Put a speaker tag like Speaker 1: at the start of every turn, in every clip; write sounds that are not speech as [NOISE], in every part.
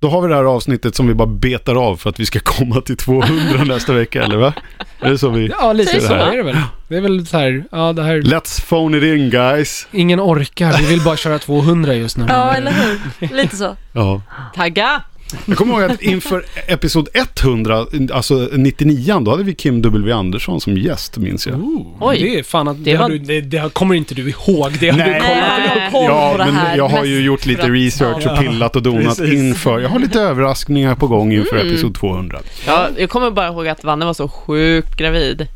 Speaker 1: Då har vi det här avsnittet som vi bara betar av för att vi ska [LAUGHS] komma till 200 nästa vecka, eller va? Är det så vi...
Speaker 2: Ja, lite
Speaker 3: Säg
Speaker 2: så
Speaker 3: så.
Speaker 2: är det väl. Det är väl så här, ja det här,
Speaker 1: Let's phone it in guys!
Speaker 2: ingen orkar, vi vill bara köra 200 just nu.
Speaker 3: Ja, eller hur? Lite så.
Speaker 1: Ja.
Speaker 3: Tagga!
Speaker 1: Jag kommer ihåg att inför episod 100, alltså 99 då hade vi Kim W. Andersson som gäst, minns jag.
Speaker 2: Ooh,
Speaker 3: Oj.
Speaker 2: det är fan att, det,
Speaker 3: Det
Speaker 2: har
Speaker 3: var-
Speaker 2: du, det, det har- kommer inte du ihåg. Det har
Speaker 1: Nej.
Speaker 2: du
Speaker 3: Nej,
Speaker 2: kommit.
Speaker 3: jag har koll
Speaker 1: Ja,
Speaker 3: på det här.
Speaker 1: men jag har ju
Speaker 3: mest
Speaker 1: gjort lite
Speaker 3: för att-
Speaker 1: research och
Speaker 3: Ja.
Speaker 1: pillat och donat
Speaker 4: Precis.
Speaker 1: inför. Jag har lite överraskningar på gång inför
Speaker 3: Mm.
Speaker 1: episod 200.
Speaker 5: Ja, jag kommer bara ihåg att Vanne var så sjukt gravid.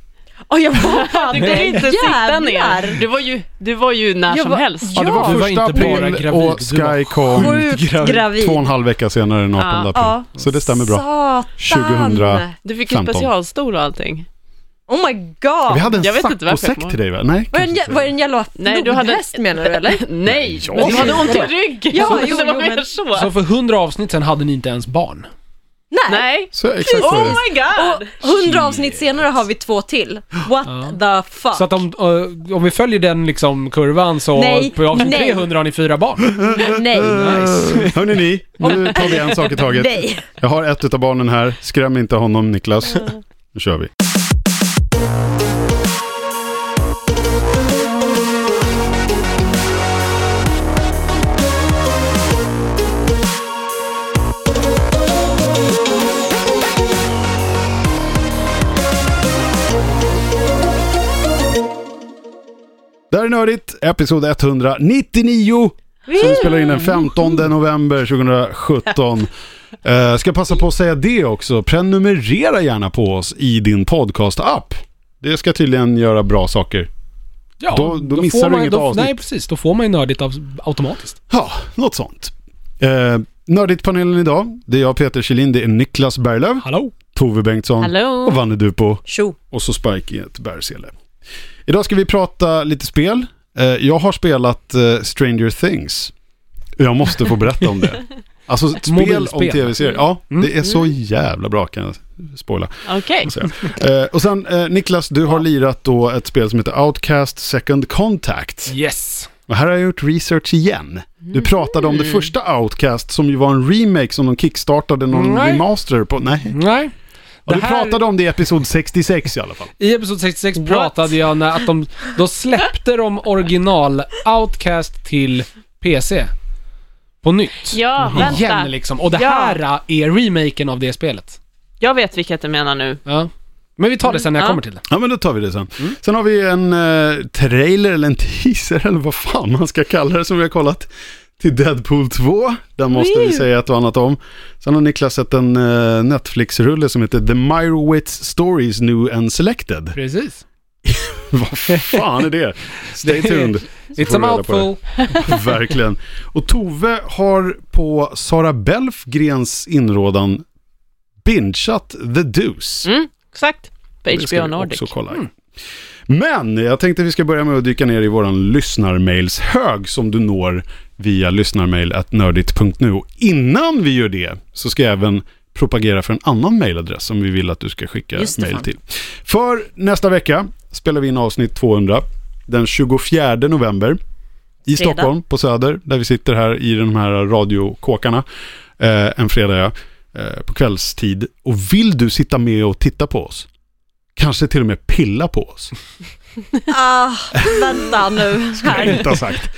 Speaker 3: Ja, jag var fan
Speaker 5: Du kunde inte sitta
Speaker 3: Jävlar.
Speaker 5: ner. Du var ju, du var ju när
Speaker 3: Jag
Speaker 5: som
Speaker 3: var-
Speaker 5: helst.
Speaker 3: Ja,
Speaker 2: Ja, det var
Speaker 3: Du
Speaker 2: första
Speaker 1: Första
Speaker 2: april bara
Speaker 1: april
Speaker 2: gravid.
Speaker 1: och Sky kom
Speaker 3: Sjukt gravid.
Speaker 1: två och en halv vecka senare den 18
Speaker 5: Ja.
Speaker 1: april.
Speaker 3: Ja.
Speaker 1: Så det stämmer bra.
Speaker 3: Satan.
Speaker 1: 2000.
Speaker 5: Du fick ju
Speaker 1: 15.
Speaker 5: specialstol och allting.
Speaker 3: Oh my god.
Speaker 1: Vi hade en
Speaker 5: Jag vet inte varför jag
Speaker 1: saccosäck
Speaker 5: kommer
Speaker 1: till dig va? Nej,
Speaker 3: Var det
Speaker 1: kanske
Speaker 3: en,
Speaker 1: inte.
Speaker 3: var det en jävla
Speaker 5: Nej, du hade-
Speaker 3: flodhäst menar du eller?
Speaker 5: [LAUGHS] Nej,
Speaker 1: Ja,
Speaker 5: men du hade ont i
Speaker 3: ja.
Speaker 5: ryggen.
Speaker 3: Ja,
Speaker 5: så
Speaker 3: jo,
Speaker 5: det var
Speaker 3: jo,
Speaker 5: mer
Speaker 3: men-
Speaker 5: så.
Speaker 2: Så för 100 avsnitt sen hade ni inte ens barn.
Speaker 5: Nej.
Speaker 1: Så exakt så är
Speaker 5: Oh
Speaker 1: det.
Speaker 5: my god!
Speaker 3: Och 100 avsnitt senare har vi två till. What the fuck?
Speaker 2: Så att om, eh, om vi följer den liksom kurvan så
Speaker 3: Nej,
Speaker 2: på avsnitt
Speaker 3: nej.
Speaker 2: 300 har ni fyra barn.
Speaker 3: Nej.
Speaker 1: Hörrni ni, nu tar vi en sak i taget.
Speaker 3: Nej.
Speaker 1: Jag har ett utav barnen här. Skräm inte honom Niklas. Nu kör vi. Där är Nördigt, episod 199 som vi spelar in den 15 november 2017. Eh, ska passa på att säga det också. Prenumerera gärna på oss i din podcast-app. Det ska tydligen göra bra saker.
Speaker 2: Ja,
Speaker 1: Då- då missar
Speaker 2: får
Speaker 1: du
Speaker 2: man,
Speaker 1: inget
Speaker 2: då,
Speaker 1: avsnitt.
Speaker 2: Nej, precis. Då får man ju nördigt av, automatiskt.
Speaker 1: Ja, något sånt. Eh, Nördigt-panelen idag, det är jag Peter Kjellin, det är Niklas Berglöf,
Speaker 2: Hallå?
Speaker 1: Tove Bengtsson och
Speaker 5: Hallå!
Speaker 1: Vanne Dupo
Speaker 3: Tjo.
Speaker 1: och så Spike i ett bärsele. Idag ska vi prata lite spel. Eh, jag har spelat eh, Stranger Things. Jag måste få berätta om
Speaker 2: [LAUGHS]
Speaker 1: det. Alltså spel om
Speaker 2: Mobilspel.
Speaker 1: tv-serier. Ja,
Speaker 2: Mm.
Speaker 1: det är så jävla bra kan jag spoila.
Speaker 5: Okej.
Speaker 1: Så. Eh, och sen eh, Niklas, du har lirat då ett spel som heter Outcast Second Contact.
Speaker 2: Yes.
Speaker 1: Och här har jag gjort research igen.
Speaker 2: Mhm.
Speaker 1: Du pratade om det första Outcast som ju var en remake som de kickstartade någon
Speaker 2: Nej.
Speaker 1: remaster på. Nej.
Speaker 2: Nej.
Speaker 1: Ja, du
Speaker 2: Det här-
Speaker 1: pratade om det i episod 66 i alla fall.
Speaker 2: I episod 66
Speaker 5: What?
Speaker 2: pratade jag när att de, då släppte de original Outcast till PC. På nytt.
Speaker 1: Mm.
Speaker 5: Ja, vänta.
Speaker 2: Igen liksom. Och det
Speaker 5: Ja.
Speaker 2: här äh, är remaken av det spelet.
Speaker 5: Jag vet vilket du menar nu.
Speaker 2: Ja. Men vi tar det sen
Speaker 3: Mm,
Speaker 2: när jag
Speaker 5: Ja.
Speaker 2: kommer till det.
Speaker 1: Ja men då tar vi det sen. Sen har vi en eh, trailer eller en teaser [LAUGHS] eller vad fan man ska kalla det som vi har kollat till Deadpool 2. Den måste vi säga ett och annat om. Sen har Niklas sett en eh, Netflix-rulle som heter The Meyerowitz Stories New and Selected. [LAUGHS]
Speaker 2: Precis.
Speaker 1: vad fan är det? Stay
Speaker 2: Det är-
Speaker 1: tuned. Så
Speaker 2: It's
Speaker 1: får
Speaker 2: a
Speaker 1: du reda på det.
Speaker 2: mouthful.
Speaker 1: Verkligen. Och Tove har på Sara Belfgrens inrådan bingeat The Deuce.
Speaker 5: Mm, exakt. På
Speaker 1: Det ska
Speaker 5: HBO
Speaker 1: vi
Speaker 5: Nordic.
Speaker 1: också kolla.
Speaker 3: Mm.
Speaker 1: Men jag tänkte vi ska börja med att dyka ner i våran lyssnarmailshög som du når via lyssnarmail.nördigt.nu. Och innan vi gör det så ska jag även propagera för en annan mailadress som vi vill att du ska skicka
Speaker 3: Just det,
Speaker 1: mail
Speaker 3: fan.
Speaker 1: till. För nästa vecka spelar vi in avsnitt 200 den 24 november i
Speaker 3: Fredag.
Speaker 1: Stockholm på Söder där vi sitter här i de här radiokåkarna eh, en fredag ja, eh, på kvällstid. Och vill du sitta med och titta på oss? Kanske till och med pilla på oss.
Speaker 3: Ah, vänta nu
Speaker 1: Nej,
Speaker 3: här.
Speaker 1: inte ha sagt.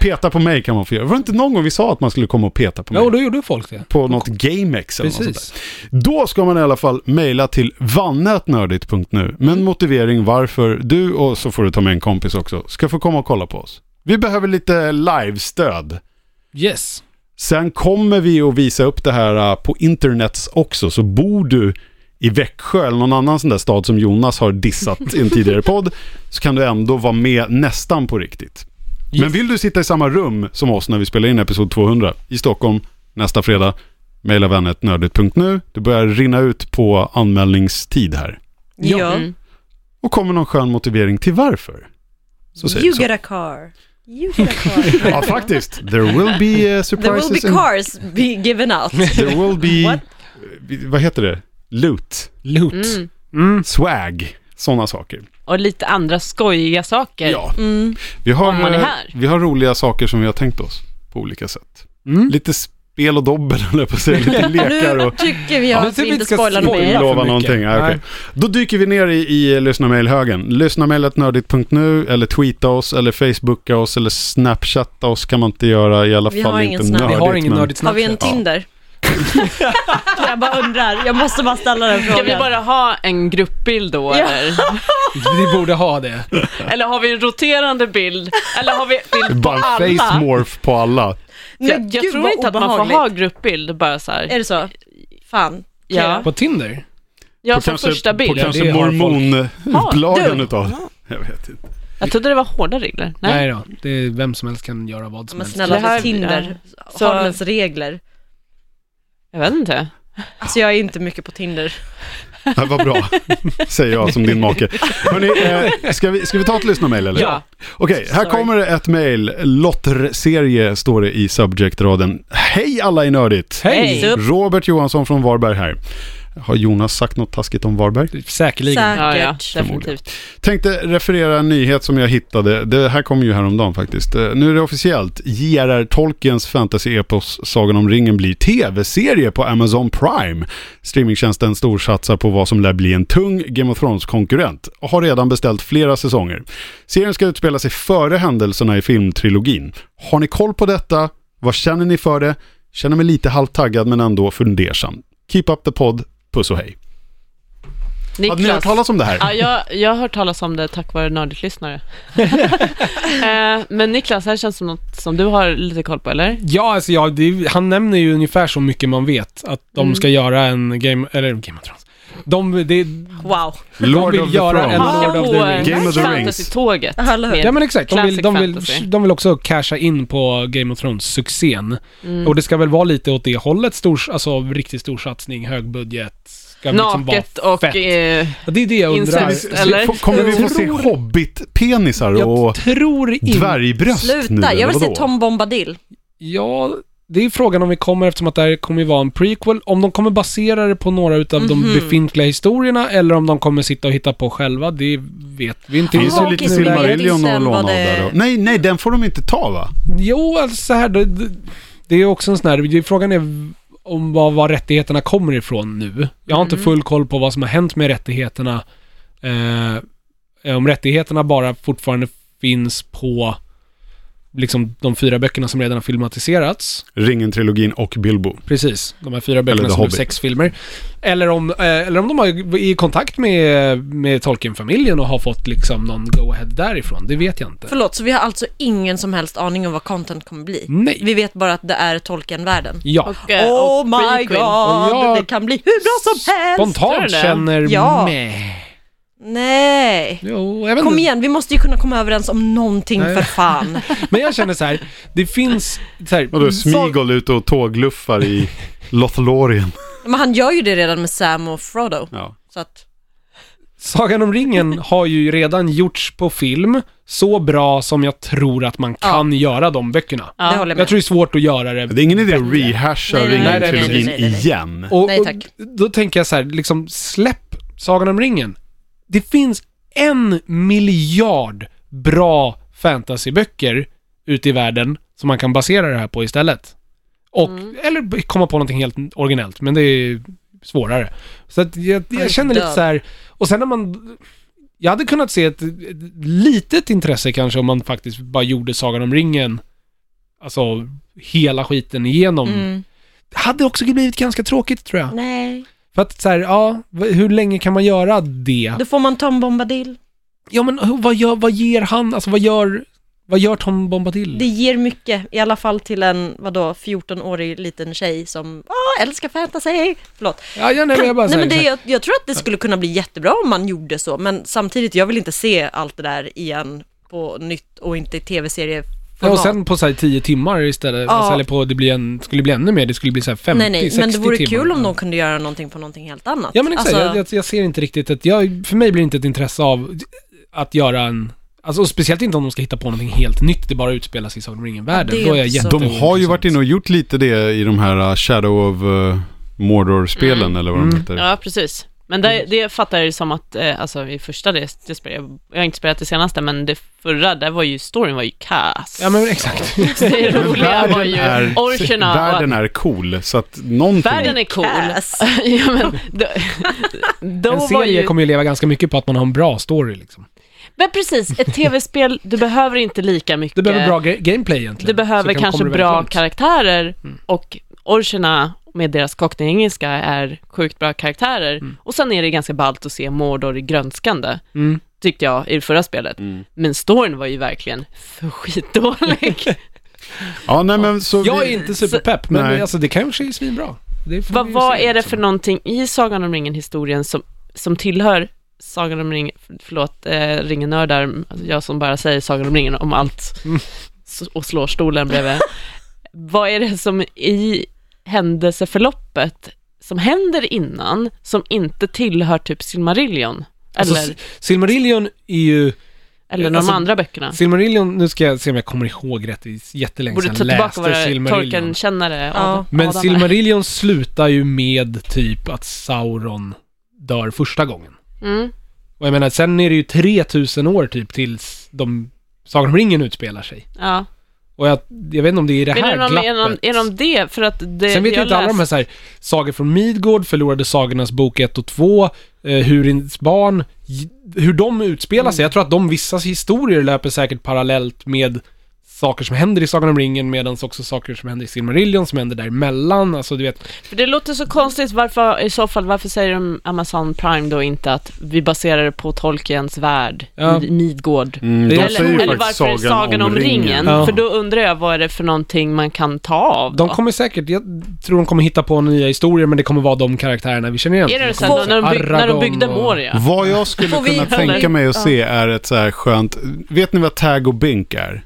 Speaker 1: Peta på mig kan man få göra. Var det inte någon gång vi sa att man skulle komma och peta på mig?
Speaker 2: Jo, då gjorde folk det.
Speaker 1: på något GameX eller något sånt där.
Speaker 2: Precis.
Speaker 1: Då ska man i alla fall mejla till vannetnördigt.nu med en motivering varför du och så får du ta med en kompis också ska få komma och kolla på oss. Vi behöver lite livestöd.
Speaker 2: Yes.
Speaker 1: Sen kommer vi att visa upp det här eh, på internets också, så bor du i Växjö eller någon annan sån där stad som Jonas har dissat i en tidigare podd, så kan du ändå vara med nästan på riktigt. Men vill du sitta i samma rum som oss när vi spelar in episod 200 i Stockholm nästa fredag, mejla vänetnördigt.nu. Det börjar rinna ut på anmälningstid här.
Speaker 3: Ja.
Speaker 5: Mm.
Speaker 1: Och kommer någon skön motivering till varför. Så säger vi
Speaker 3: You
Speaker 1: så.
Speaker 3: get a car. You get a
Speaker 1: [LAUGHS]
Speaker 3: car.
Speaker 1: Ja, faktiskt. There will be eh,
Speaker 3: There will be
Speaker 1: surprises. and-
Speaker 3: cars be
Speaker 1: [LAUGHS]
Speaker 3: given out.
Speaker 1: There will
Speaker 5: What?
Speaker 1: be... uh, Vad heter det? Loot.
Speaker 2: Loot.
Speaker 5: Mm.
Speaker 2: Mm.
Speaker 1: swag, sådana saker.
Speaker 5: Och lite andra skojiga saker.
Speaker 1: Ja.
Speaker 3: Mm.
Speaker 1: Vi har,
Speaker 5: Om man är
Speaker 1: eh,
Speaker 5: här.
Speaker 1: vi har roliga saker som vi har tänkt oss på olika sätt.
Speaker 2: Mm.
Speaker 1: Lite spel och dobbel [LAUGHS] höll jag på att säga, lite lekar
Speaker 3: Nu
Speaker 1: och
Speaker 3: tycker vi
Speaker 2: Ja,
Speaker 3: att
Speaker 2: men så
Speaker 3: vi
Speaker 2: vi
Speaker 3: inte
Speaker 2: ska
Speaker 3: spoilar
Speaker 2: spoila.
Speaker 3: mer.
Speaker 2: för
Speaker 1: lova
Speaker 2: mycket.
Speaker 1: någonting. Ja, okej.
Speaker 2: Nej.
Speaker 1: Då dyker vi ner i, i lyssnarmailhögen. Lyssnarmail.nördigt.nu eller tweeta oss eller facebooka oss eller snapchatta oss kan man inte göra i alla
Speaker 3: Vi
Speaker 1: fall
Speaker 3: har ingen
Speaker 1: inte
Speaker 3: Snap.
Speaker 1: nördigt.
Speaker 2: Vi har ingen
Speaker 1: men-
Speaker 2: nördigt
Speaker 3: Har vi en
Speaker 2: Snapchat.
Speaker 3: Tinder? [LAUGHS] jag bara undrar, jag måste bara ställa den
Speaker 5: Ska
Speaker 3: frågan.
Speaker 5: vi bara ha en gruppbild då
Speaker 3: Ja.
Speaker 5: eller?
Speaker 3: [LAUGHS]
Speaker 2: Vi borde ha det.
Speaker 5: Eller har vi en roterande bild? Eller har vi bild på
Speaker 1: Bara en face
Speaker 5: alla?
Speaker 1: morph på alla.
Speaker 3: Men
Speaker 5: Jag, jag
Speaker 3: gud,
Speaker 5: tror
Speaker 3: vad
Speaker 5: inte att man får
Speaker 3: obehagligt.
Speaker 5: ha gruppbild bara så här.
Speaker 3: Är det så? Fan.
Speaker 5: Ja.
Speaker 2: På Tinder?
Speaker 5: Jag
Speaker 1: På
Speaker 5: som första
Speaker 1: på
Speaker 5: bild.
Speaker 2: Det
Speaker 1: kanske
Speaker 2: har folk.
Speaker 1: mormonupplagan
Speaker 5: du.
Speaker 1: utav Jag vet inte.
Speaker 5: Jag trodde det var hårda regler. Nej.
Speaker 2: Nej, då. Det är vän som helst kan göra vad som
Speaker 3: Men
Speaker 2: helst.
Speaker 3: snälla,
Speaker 5: Det här-
Speaker 3: för Tinder
Speaker 5: Så-
Speaker 3: har ens regler.
Speaker 5: Jag vet inte.
Speaker 3: Alltså jag är inte mycket på Tinder.
Speaker 1: Ja, vad bra, [LAUGHS] säger jag som din make. Hörrni, eh, ska, vi, ska vi ta ett lyssnarmail eller?
Speaker 5: Ja.
Speaker 1: Okej, här
Speaker 5: Sorry.
Speaker 1: kommer det ett mail. Lotterserie står det i subjectraden. Hej alla i Nördigt!
Speaker 2: Hej!
Speaker 5: Hej.
Speaker 1: Robert Johansson från Varberg här. Har Jonas sagt något taskigt om Varberg?
Speaker 2: Säkerligen.
Speaker 5: Ja, ja,
Speaker 3: Säkert.
Speaker 5: definitivt.
Speaker 1: Tänkte referera en nyhet som jag hittade. Det här kom ju häromdagen faktiskt. Eh, Nu är det officiellt. J.R.R. Tolkiens fantasy-epos Sagan om ringen blir tv-serie på Amazon Prime. Streamingtjänsten storsatsar på vad som lär bli en tung Game of Thrones-konkurrent och har redan beställt flera säsonger. Serien ska utspela sig före händelserna i filmtrilogin. Har ni koll på detta? Vad känner ni för det? Känner mig lite halvtaggad men ändå fundersam. Keep up the pod. Puss och hej. Hade ni hört
Speaker 5: Niklas.
Speaker 1: talas om det här?
Speaker 5: Ja, jag, jag har hört talas om det tack vare nördigt lyssnare.
Speaker 1: [LAUGHS]
Speaker 5: eh, men Niklas, det här känns som något som du har lite koll på, eller?
Speaker 2: Ja, alltså ja, det, är- han nämner ju ungefär så mycket man vet att de
Speaker 5: Mm.
Speaker 2: ska göra en Game, eller Game of Thrones. De, det,
Speaker 3: Wow.
Speaker 1: Lord
Speaker 2: vill
Speaker 1: of the
Speaker 2: göra
Speaker 1: Thrones.
Speaker 2: en- Lord of the Rings.
Speaker 5: Game of the Rings. tåget
Speaker 3: Ja, eller hur?
Speaker 2: ja men exakt, de vill,
Speaker 5: Classic
Speaker 2: de, vill,
Speaker 5: fantasy.
Speaker 2: de vill också casha in på Game of Thrones-succén.
Speaker 5: Mm.
Speaker 2: Och det ska väl vara lite åt det hållet, stor, alltså riktigt stor satsning, hög budget. Ska liksom vara
Speaker 5: Naket och...
Speaker 2: fett.
Speaker 5: Eh,
Speaker 2: Ja, det är det jag undrar.
Speaker 5: incest,
Speaker 2: Jag
Speaker 5: eller?
Speaker 1: F- Kommer vi få se
Speaker 2: tror-
Speaker 1: hobbit-penisar och
Speaker 2: tror inte...
Speaker 1: dvärgbröst nu?
Speaker 3: Sluta, jag
Speaker 1: eller
Speaker 3: vill se
Speaker 1: vadå?
Speaker 3: Tom Bombadil.
Speaker 2: Ja, det är frågan om vi kommer, eftersom att det här kommer ju vara en prequel, om de kommer basera det på några utav de
Speaker 3: Mhm.
Speaker 2: befintliga historierna eller om de kommer sitta och hitta på själva, det vet vi inte.
Speaker 1: Det finns
Speaker 3: Jaha,
Speaker 1: ju lite
Speaker 3: okej, så det är
Speaker 1: Silmarillion
Speaker 3: Disney
Speaker 1: att låna av
Speaker 3: vad det-
Speaker 1: där då. Nej, nej, den får de inte ta va?
Speaker 2: Jo, alltså så här, det, det- det är också en sån här, det- frågan är om var, var rättigheterna kommer ifrån nu. Jag har inte
Speaker 3: Mm.
Speaker 2: full koll på vad som har hänt med rättigheterna. Eh, om rättigheterna bara fortfarande finns på liksom de fyra böckerna som redan har filmatiserats.
Speaker 1: Ringen-trilogin och Bilbo.
Speaker 2: Precis, de här fyra böckerna
Speaker 1: Eller The
Speaker 2: som blev
Speaker 1: Hobbit.
Speaker 2: sex filmer. Eller om, eh, eller om de har i kontakt med, med Tolkien-familjen och har fått liksom någon go-ahead därifrån. Det vet jag inte.
Speaker 3: Förlåt, så vi har alltså ingen som helst aning om vad content kommer bli.
Speaker 2: Nej.
Speaker 3: Vi vet bara att det är Tolkien-världen.
Speaker 2: Ja.
Speaker 5: och, eh,
Speaker 3: oh
Speaker 5: och
Speaker 3: my
Speaker 5: prequel.
Speaker 3: god,
Speaker 2: Ja.
Speaker 3: det kan bli hur bra som helst!
Speaker 5: tror
Speaker 2: Spontant
Speaker 5: du det?
Speaker 2: känner
Speaker 3: Ja.
Speaker 2: meh.
Speaker 3: Nej!
Speaker 2: Jo, jag vet
Speaker 3: Kom
Speaker 2: inte.
Speaker 3: igen, vi måste ju kunna komma överens om någonting
Speaker 2: Mm. Nej.
Speaker 3: för
Speaker 2: [LAUGHS]
Speaker 3: fan.
Speaker 2: Men jag känner så här, det finns så här,
Speaker 3: Mm.
Speaker 1: Vadå,
Speaker 2: så-
Speaker 1: Smeagol ute och tågluffar
Speaker 3: [LAUGHS]
Speaker 1: i Lothlorien.
Speaker 3: Men han gör ju det redan med Sam och Frodo.
Speaker 1: Ja.
Speaker 3: Så att,
Speaker 2: Sagan om ringen har ju redan gjorts på film så bra som jag tror att man kan göra de böckerna.
Speaker 5: Ja.
Speaker 3: det håller jag med.
Speaker 2: Jag tror det är svårt att göra det
Speaker 1: Det är ingen idé att rehasha
Speaker 3: Nej, nej, nej,
Speaker 1: Ringen-trilogin
Speaker 3: nej, nej, nej, nej.
Speaker 1: igen.
Speaker 2: Och,
Speaker 3: Nej, tack.
Speaker 2: och då tänker jag så här, liksom släpp Sagan om ringen. Det finns en miljard bra fantasyböcker ute i världen som man kan basera det här på istället. Och,
Speaker 3: Mm.
Speaker 2: eller b- komma på någonting helt originellt, men det är svårare. Så att jag,
Speaker 3: är
Speaker 2: jag känner lite
Speaker 3: död.
Speaker 2: så här, och sen när man... Jag hade kunnat se ett, ett litet intresse kanske om man faktiskt bara gjorde Sagan om ringen, alltså hela skiten igenom.
Speaker 3: Mm.
Speaker 2: Hade också blivit ganska tråkigt tror jag.
Speaker 3: Nej.
Speaker 2: För att så här, ja, v- hur länge kan man göra det?
Speaker 3: Då får man Tom Bombadil.
Speaker 2: Ja men h- vad, gör, vad ger han, alltså vad gör, vad gör Tom Bombadil?
Speaker 3: Det ger mycket, i alla fall till en, vadå, 14-årig liten tjej som, ah, älskar fantasy. Förlåt.
Speaker 2: ja, ja, nej, men jag bara
Speaker 3: Nej, men
Speaker 2: säger
Speaker 3: det,
Speaker 2: så här,
Speaker 3: jag, jag tror att det skulle kunna bli jättebra om man gjorde så, men samtidigt, jag vill inte se allt det där igen på nytt och inte i
Speaker 2: Ja, och
Speaker 3: tv-serieformat.
Speaker 2: sen på så här 10 timmar istället,
Speaker 3: Ja.
Speaker 2: alltså, eller på, det blir en, skulle bli ännu mer, det skulle bli så här 50,
Speaker 3: nej, nej,
Speaker 2: 60
Speaker 3: men det vore
Speaker 2: timmar.
Speaker 3: kul om de kunde göra någonting på någonting helt annat.
Speaker 2: Ja men exakt,
Speaker 3: Alltså,
Speaker 2: jag, jag, jag ser inte riktigt att, jag, för mig blir det inte ett intresse av att göra en, alltså och speciellt inte om de ska hitta på någonting helt nytt, det bara utspelas i Sagan om ringen-världen.
Speaker 3: Ja, det
Speaker 2: Då är jag
Speaker 3: är inte så-
Speaker 1: De har ju varit
Speaker 2: jätteointressant.
Speaker 1: inne och gjort lite det i de här uh, Shadow of uh, Mordor-spelen eller vad de
Speaker 2: Mm.
Speaker 1: heter.
Speaker 5: Ja, precis. Men det, det fattar jag det som att, eh, alltså i första det, det spelade, jag- jag har inte spelat det senaste, men det förra, där var ju storyn var ju kass.
Speaker 2: Ja, men
Speaker 3: [LAUGHS]
Speaker 2: exakt.
Speaker 5: [LAUGHS] Det roliga var ju
Speaker 1: är,
Speaker 5: orcherna. och-
Speaker 1: världen är cool, så att någonting...
Speaker 5: Världen är cool.
Speaker 3: Kass.
Speaker 5: [LAUGHS] ja, men,
Speaker 2: [LAUGHS]
Speaker 5: då, då
Speaker 2: En
Speaker 5: var
Speaker 2: serie
Speaker 5: ju...
Speaker 2: kommer ju leva ganska mycket på att man har en bra story liksom.
Speaker 5: Men precis, ett tv-spel, du behöver inte lika mycket.
Speaker 2: Du behöver bra ga- gameplay egentligen.
Speaker 5: Du Eh, behöver
Speaker 2: Så kan-
Speaker 5: kanske
Speaker 2: kommer du
Speaker 5: bra
Speaker 2: väldigt långt.
Speaker 5: karaktärer
Speaker 2: Mm.
Speaker 5: och orcherna med deras cockney-engelska är sjukt bra karaktärer. Och sen är det ganska ballt att se Mordor i grönskande,
Speaker 2: Mm.
Speaker 5: tyckte jag i det förra spelet. Men storyn var ju verkligen
Speaker 2: [LAUGHS]
Speaker 5: för skitdålig.
Speaker 1: Ja, nej men så...
Speaker 2: Jag är
Speaker 1: vi-
Speaker 2: inte superpepp, men
Speaker 1: Nej.
Speaker 2: alltså, det kanske är svinbra. Det får
Speaker 5: Vad
Speaker 2: vi ju
Speaker 5: vad
Speaker 2: se,
Speaker 5: är det
Speaker 2: liksom.
Speaker 5: för någonting i Sagan om ringen-historien som, som tillhör Sagan om ringen, förlåt, eh, ringenördar, alltså jag som bara säger Sagan om ringen om allt
Speaker 2: Mm.
Speaker 5: s- och slår stolen bredvid. vad är det som i händelseförloppet som händer innan, som inte tillhör typ Silmarillion? Eller,
Speaker 2: Alltså, Silmarillion är ju...
Speaker 5: eller de
Speaker 2: alltså,
Speaker 5: andra böckerna?
Speaker 2: Silmarillion, nu ska jag se om jag kommer ihåg rätt, det är jättelänge
Speaker 5: Borde
Speaker 2: sedan
Speaker 5: ta
Speaker 2: jag
Speaker 5: tillbaka
Speaker 2: läste
Speaker 5: våra
Speaker 2: Silmarillion.
Speaker 5: Tolkien-kännare.
Speaker 3: Ja.
Speaker 5: Adam-
Speaker 2: Men
Speaker 5: Adam.
Speaker 2: Silmarillion slutar ju med typ att Sauron dör första gången.
Speaker 5: Mm.
Speaker 2: Och jag menar, sen är det ju 3000 år typ tills de Sagan om ringen utspelar sig.
Speaker 5: Ja.
Speaker 2: Och jag, jag vet inte om det är i det
Speaker 5: Men är
Speaker 2: här
Speaker 5: de,
Speaker 2: glappet.
Speaker 5: är, de, är de det? För att det,
Speaker 2: Sen vet jag inte alla de här, så här Sagor från Midgård, Förlorade sagornas bok 1 och 2, eh, Hurins barn, j- hur de utspelar
Speaker 5: Mm.
Speaker 2: sig. Jag tror att de, vissas historier löper säkert parallellt med saker som händer i Sagan om ringen medan också saker som händer i Silmarillion som händer däremellan. Alltså du vet,
Speaker 5: För det låter så konstigt, varför, i så fall, varför säger de Amazon Prime då inte att vi baserar det på Tolkiens värld,
Speaker 2: Ja.
Speaker 5: Mid- Midgård?
Speaker 1: Mm, de
Speaker 2: Eller-
Speaker 1: säger ju
Speaker 5: Eller, eller
Speaker 1: faktiskt
Speaker 5: varför är Sagan om ringen?
Speaker 2: Ja.
Speaker 5: För då undrar jag, vad är det för någonting man kan ta av då?
Speaker 2: de kommer säkert, jag tror de kommer hitta på nya historier men det kommer vara de karaktärerna vi känner igen.
Speaker 5: är det
Speaker 2: De
Speaker 5: så
Speaker 2: kommer
Speaker 5: här, när, de bygg, när de
Speaker 2: Aragorn
Speaker 5: byggde
Speaker 2: och-
Speaker 5: Moria?
Speaker 1: Vad jag skulle
Speaker 3: Får vi-
Speaker 1: kunna tänka mig att se är ett så här skönt... Vet ni vad tag och bink är?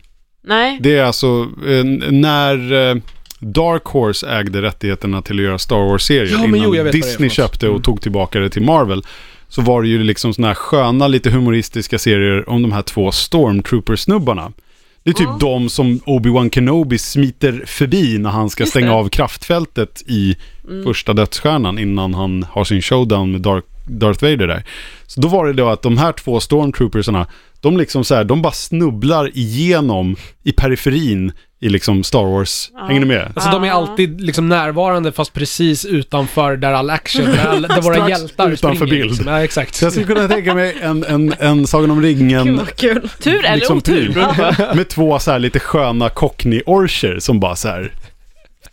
Speaker 5: Nej?
Speaker 1: Det är alltså eh, när eh, Dark Horse ägde rättigheterna till att göra Star Wars-serier
Speaker 2: Ja, men
Speaker 1: innan
Speaker 2: jo, jag vet vad det är för
Speaker 1: Disney
Speaker 2: något.
Speaker 1: köpte och
Speaker 2: Mm.
Speaker 1: tog tillbaka det till Marvel. Så var det ju liksom såna här sköna, lite humoristiska serier om de här två Stormtrooper-snubbarna. Det är typ de som Obi-Wan Kenobi smiter förbi när han ska
Speaker 5: Just
Speaker 1: stänga
Speaker 5: det.
Speaker 1: av kraftfältet i
Speaker 2: Mm.
Speaker 1: första dödsstjärnan innan han har sin showdown med Dark, Darth Vader där. Så då var det då att de här två stormtroopersarna, de liksom så här, de bara snubblar igenom i periferin i liksom Star Wars. Hänger ni med?
Speaker 2: Alltså de är
Speaker 5: Ja.
Speaker 2: alltid liksom närvarande fast precis utanför där all action, där, all,
Speaker 5: [LAUGHS]
Speaker 2: där våra
Speaker 1: Strax
Speaker 2: hjältar
Speaker 1: utanför
Speaker 2: springer,
Speaker 1: bild.
Speaker 2: Liksom. Ja, exakt.
Speaker 1: Så jag skulle kunna tänka mig en, en, en Sagan om ringen
Speaker 3: kul.
Speaker 5: Tur eller
Speaker 1: liksom
Speaker 5: otur?
Speaker 1: pryl. med två så här lite sköna cockney-orcher som bara så här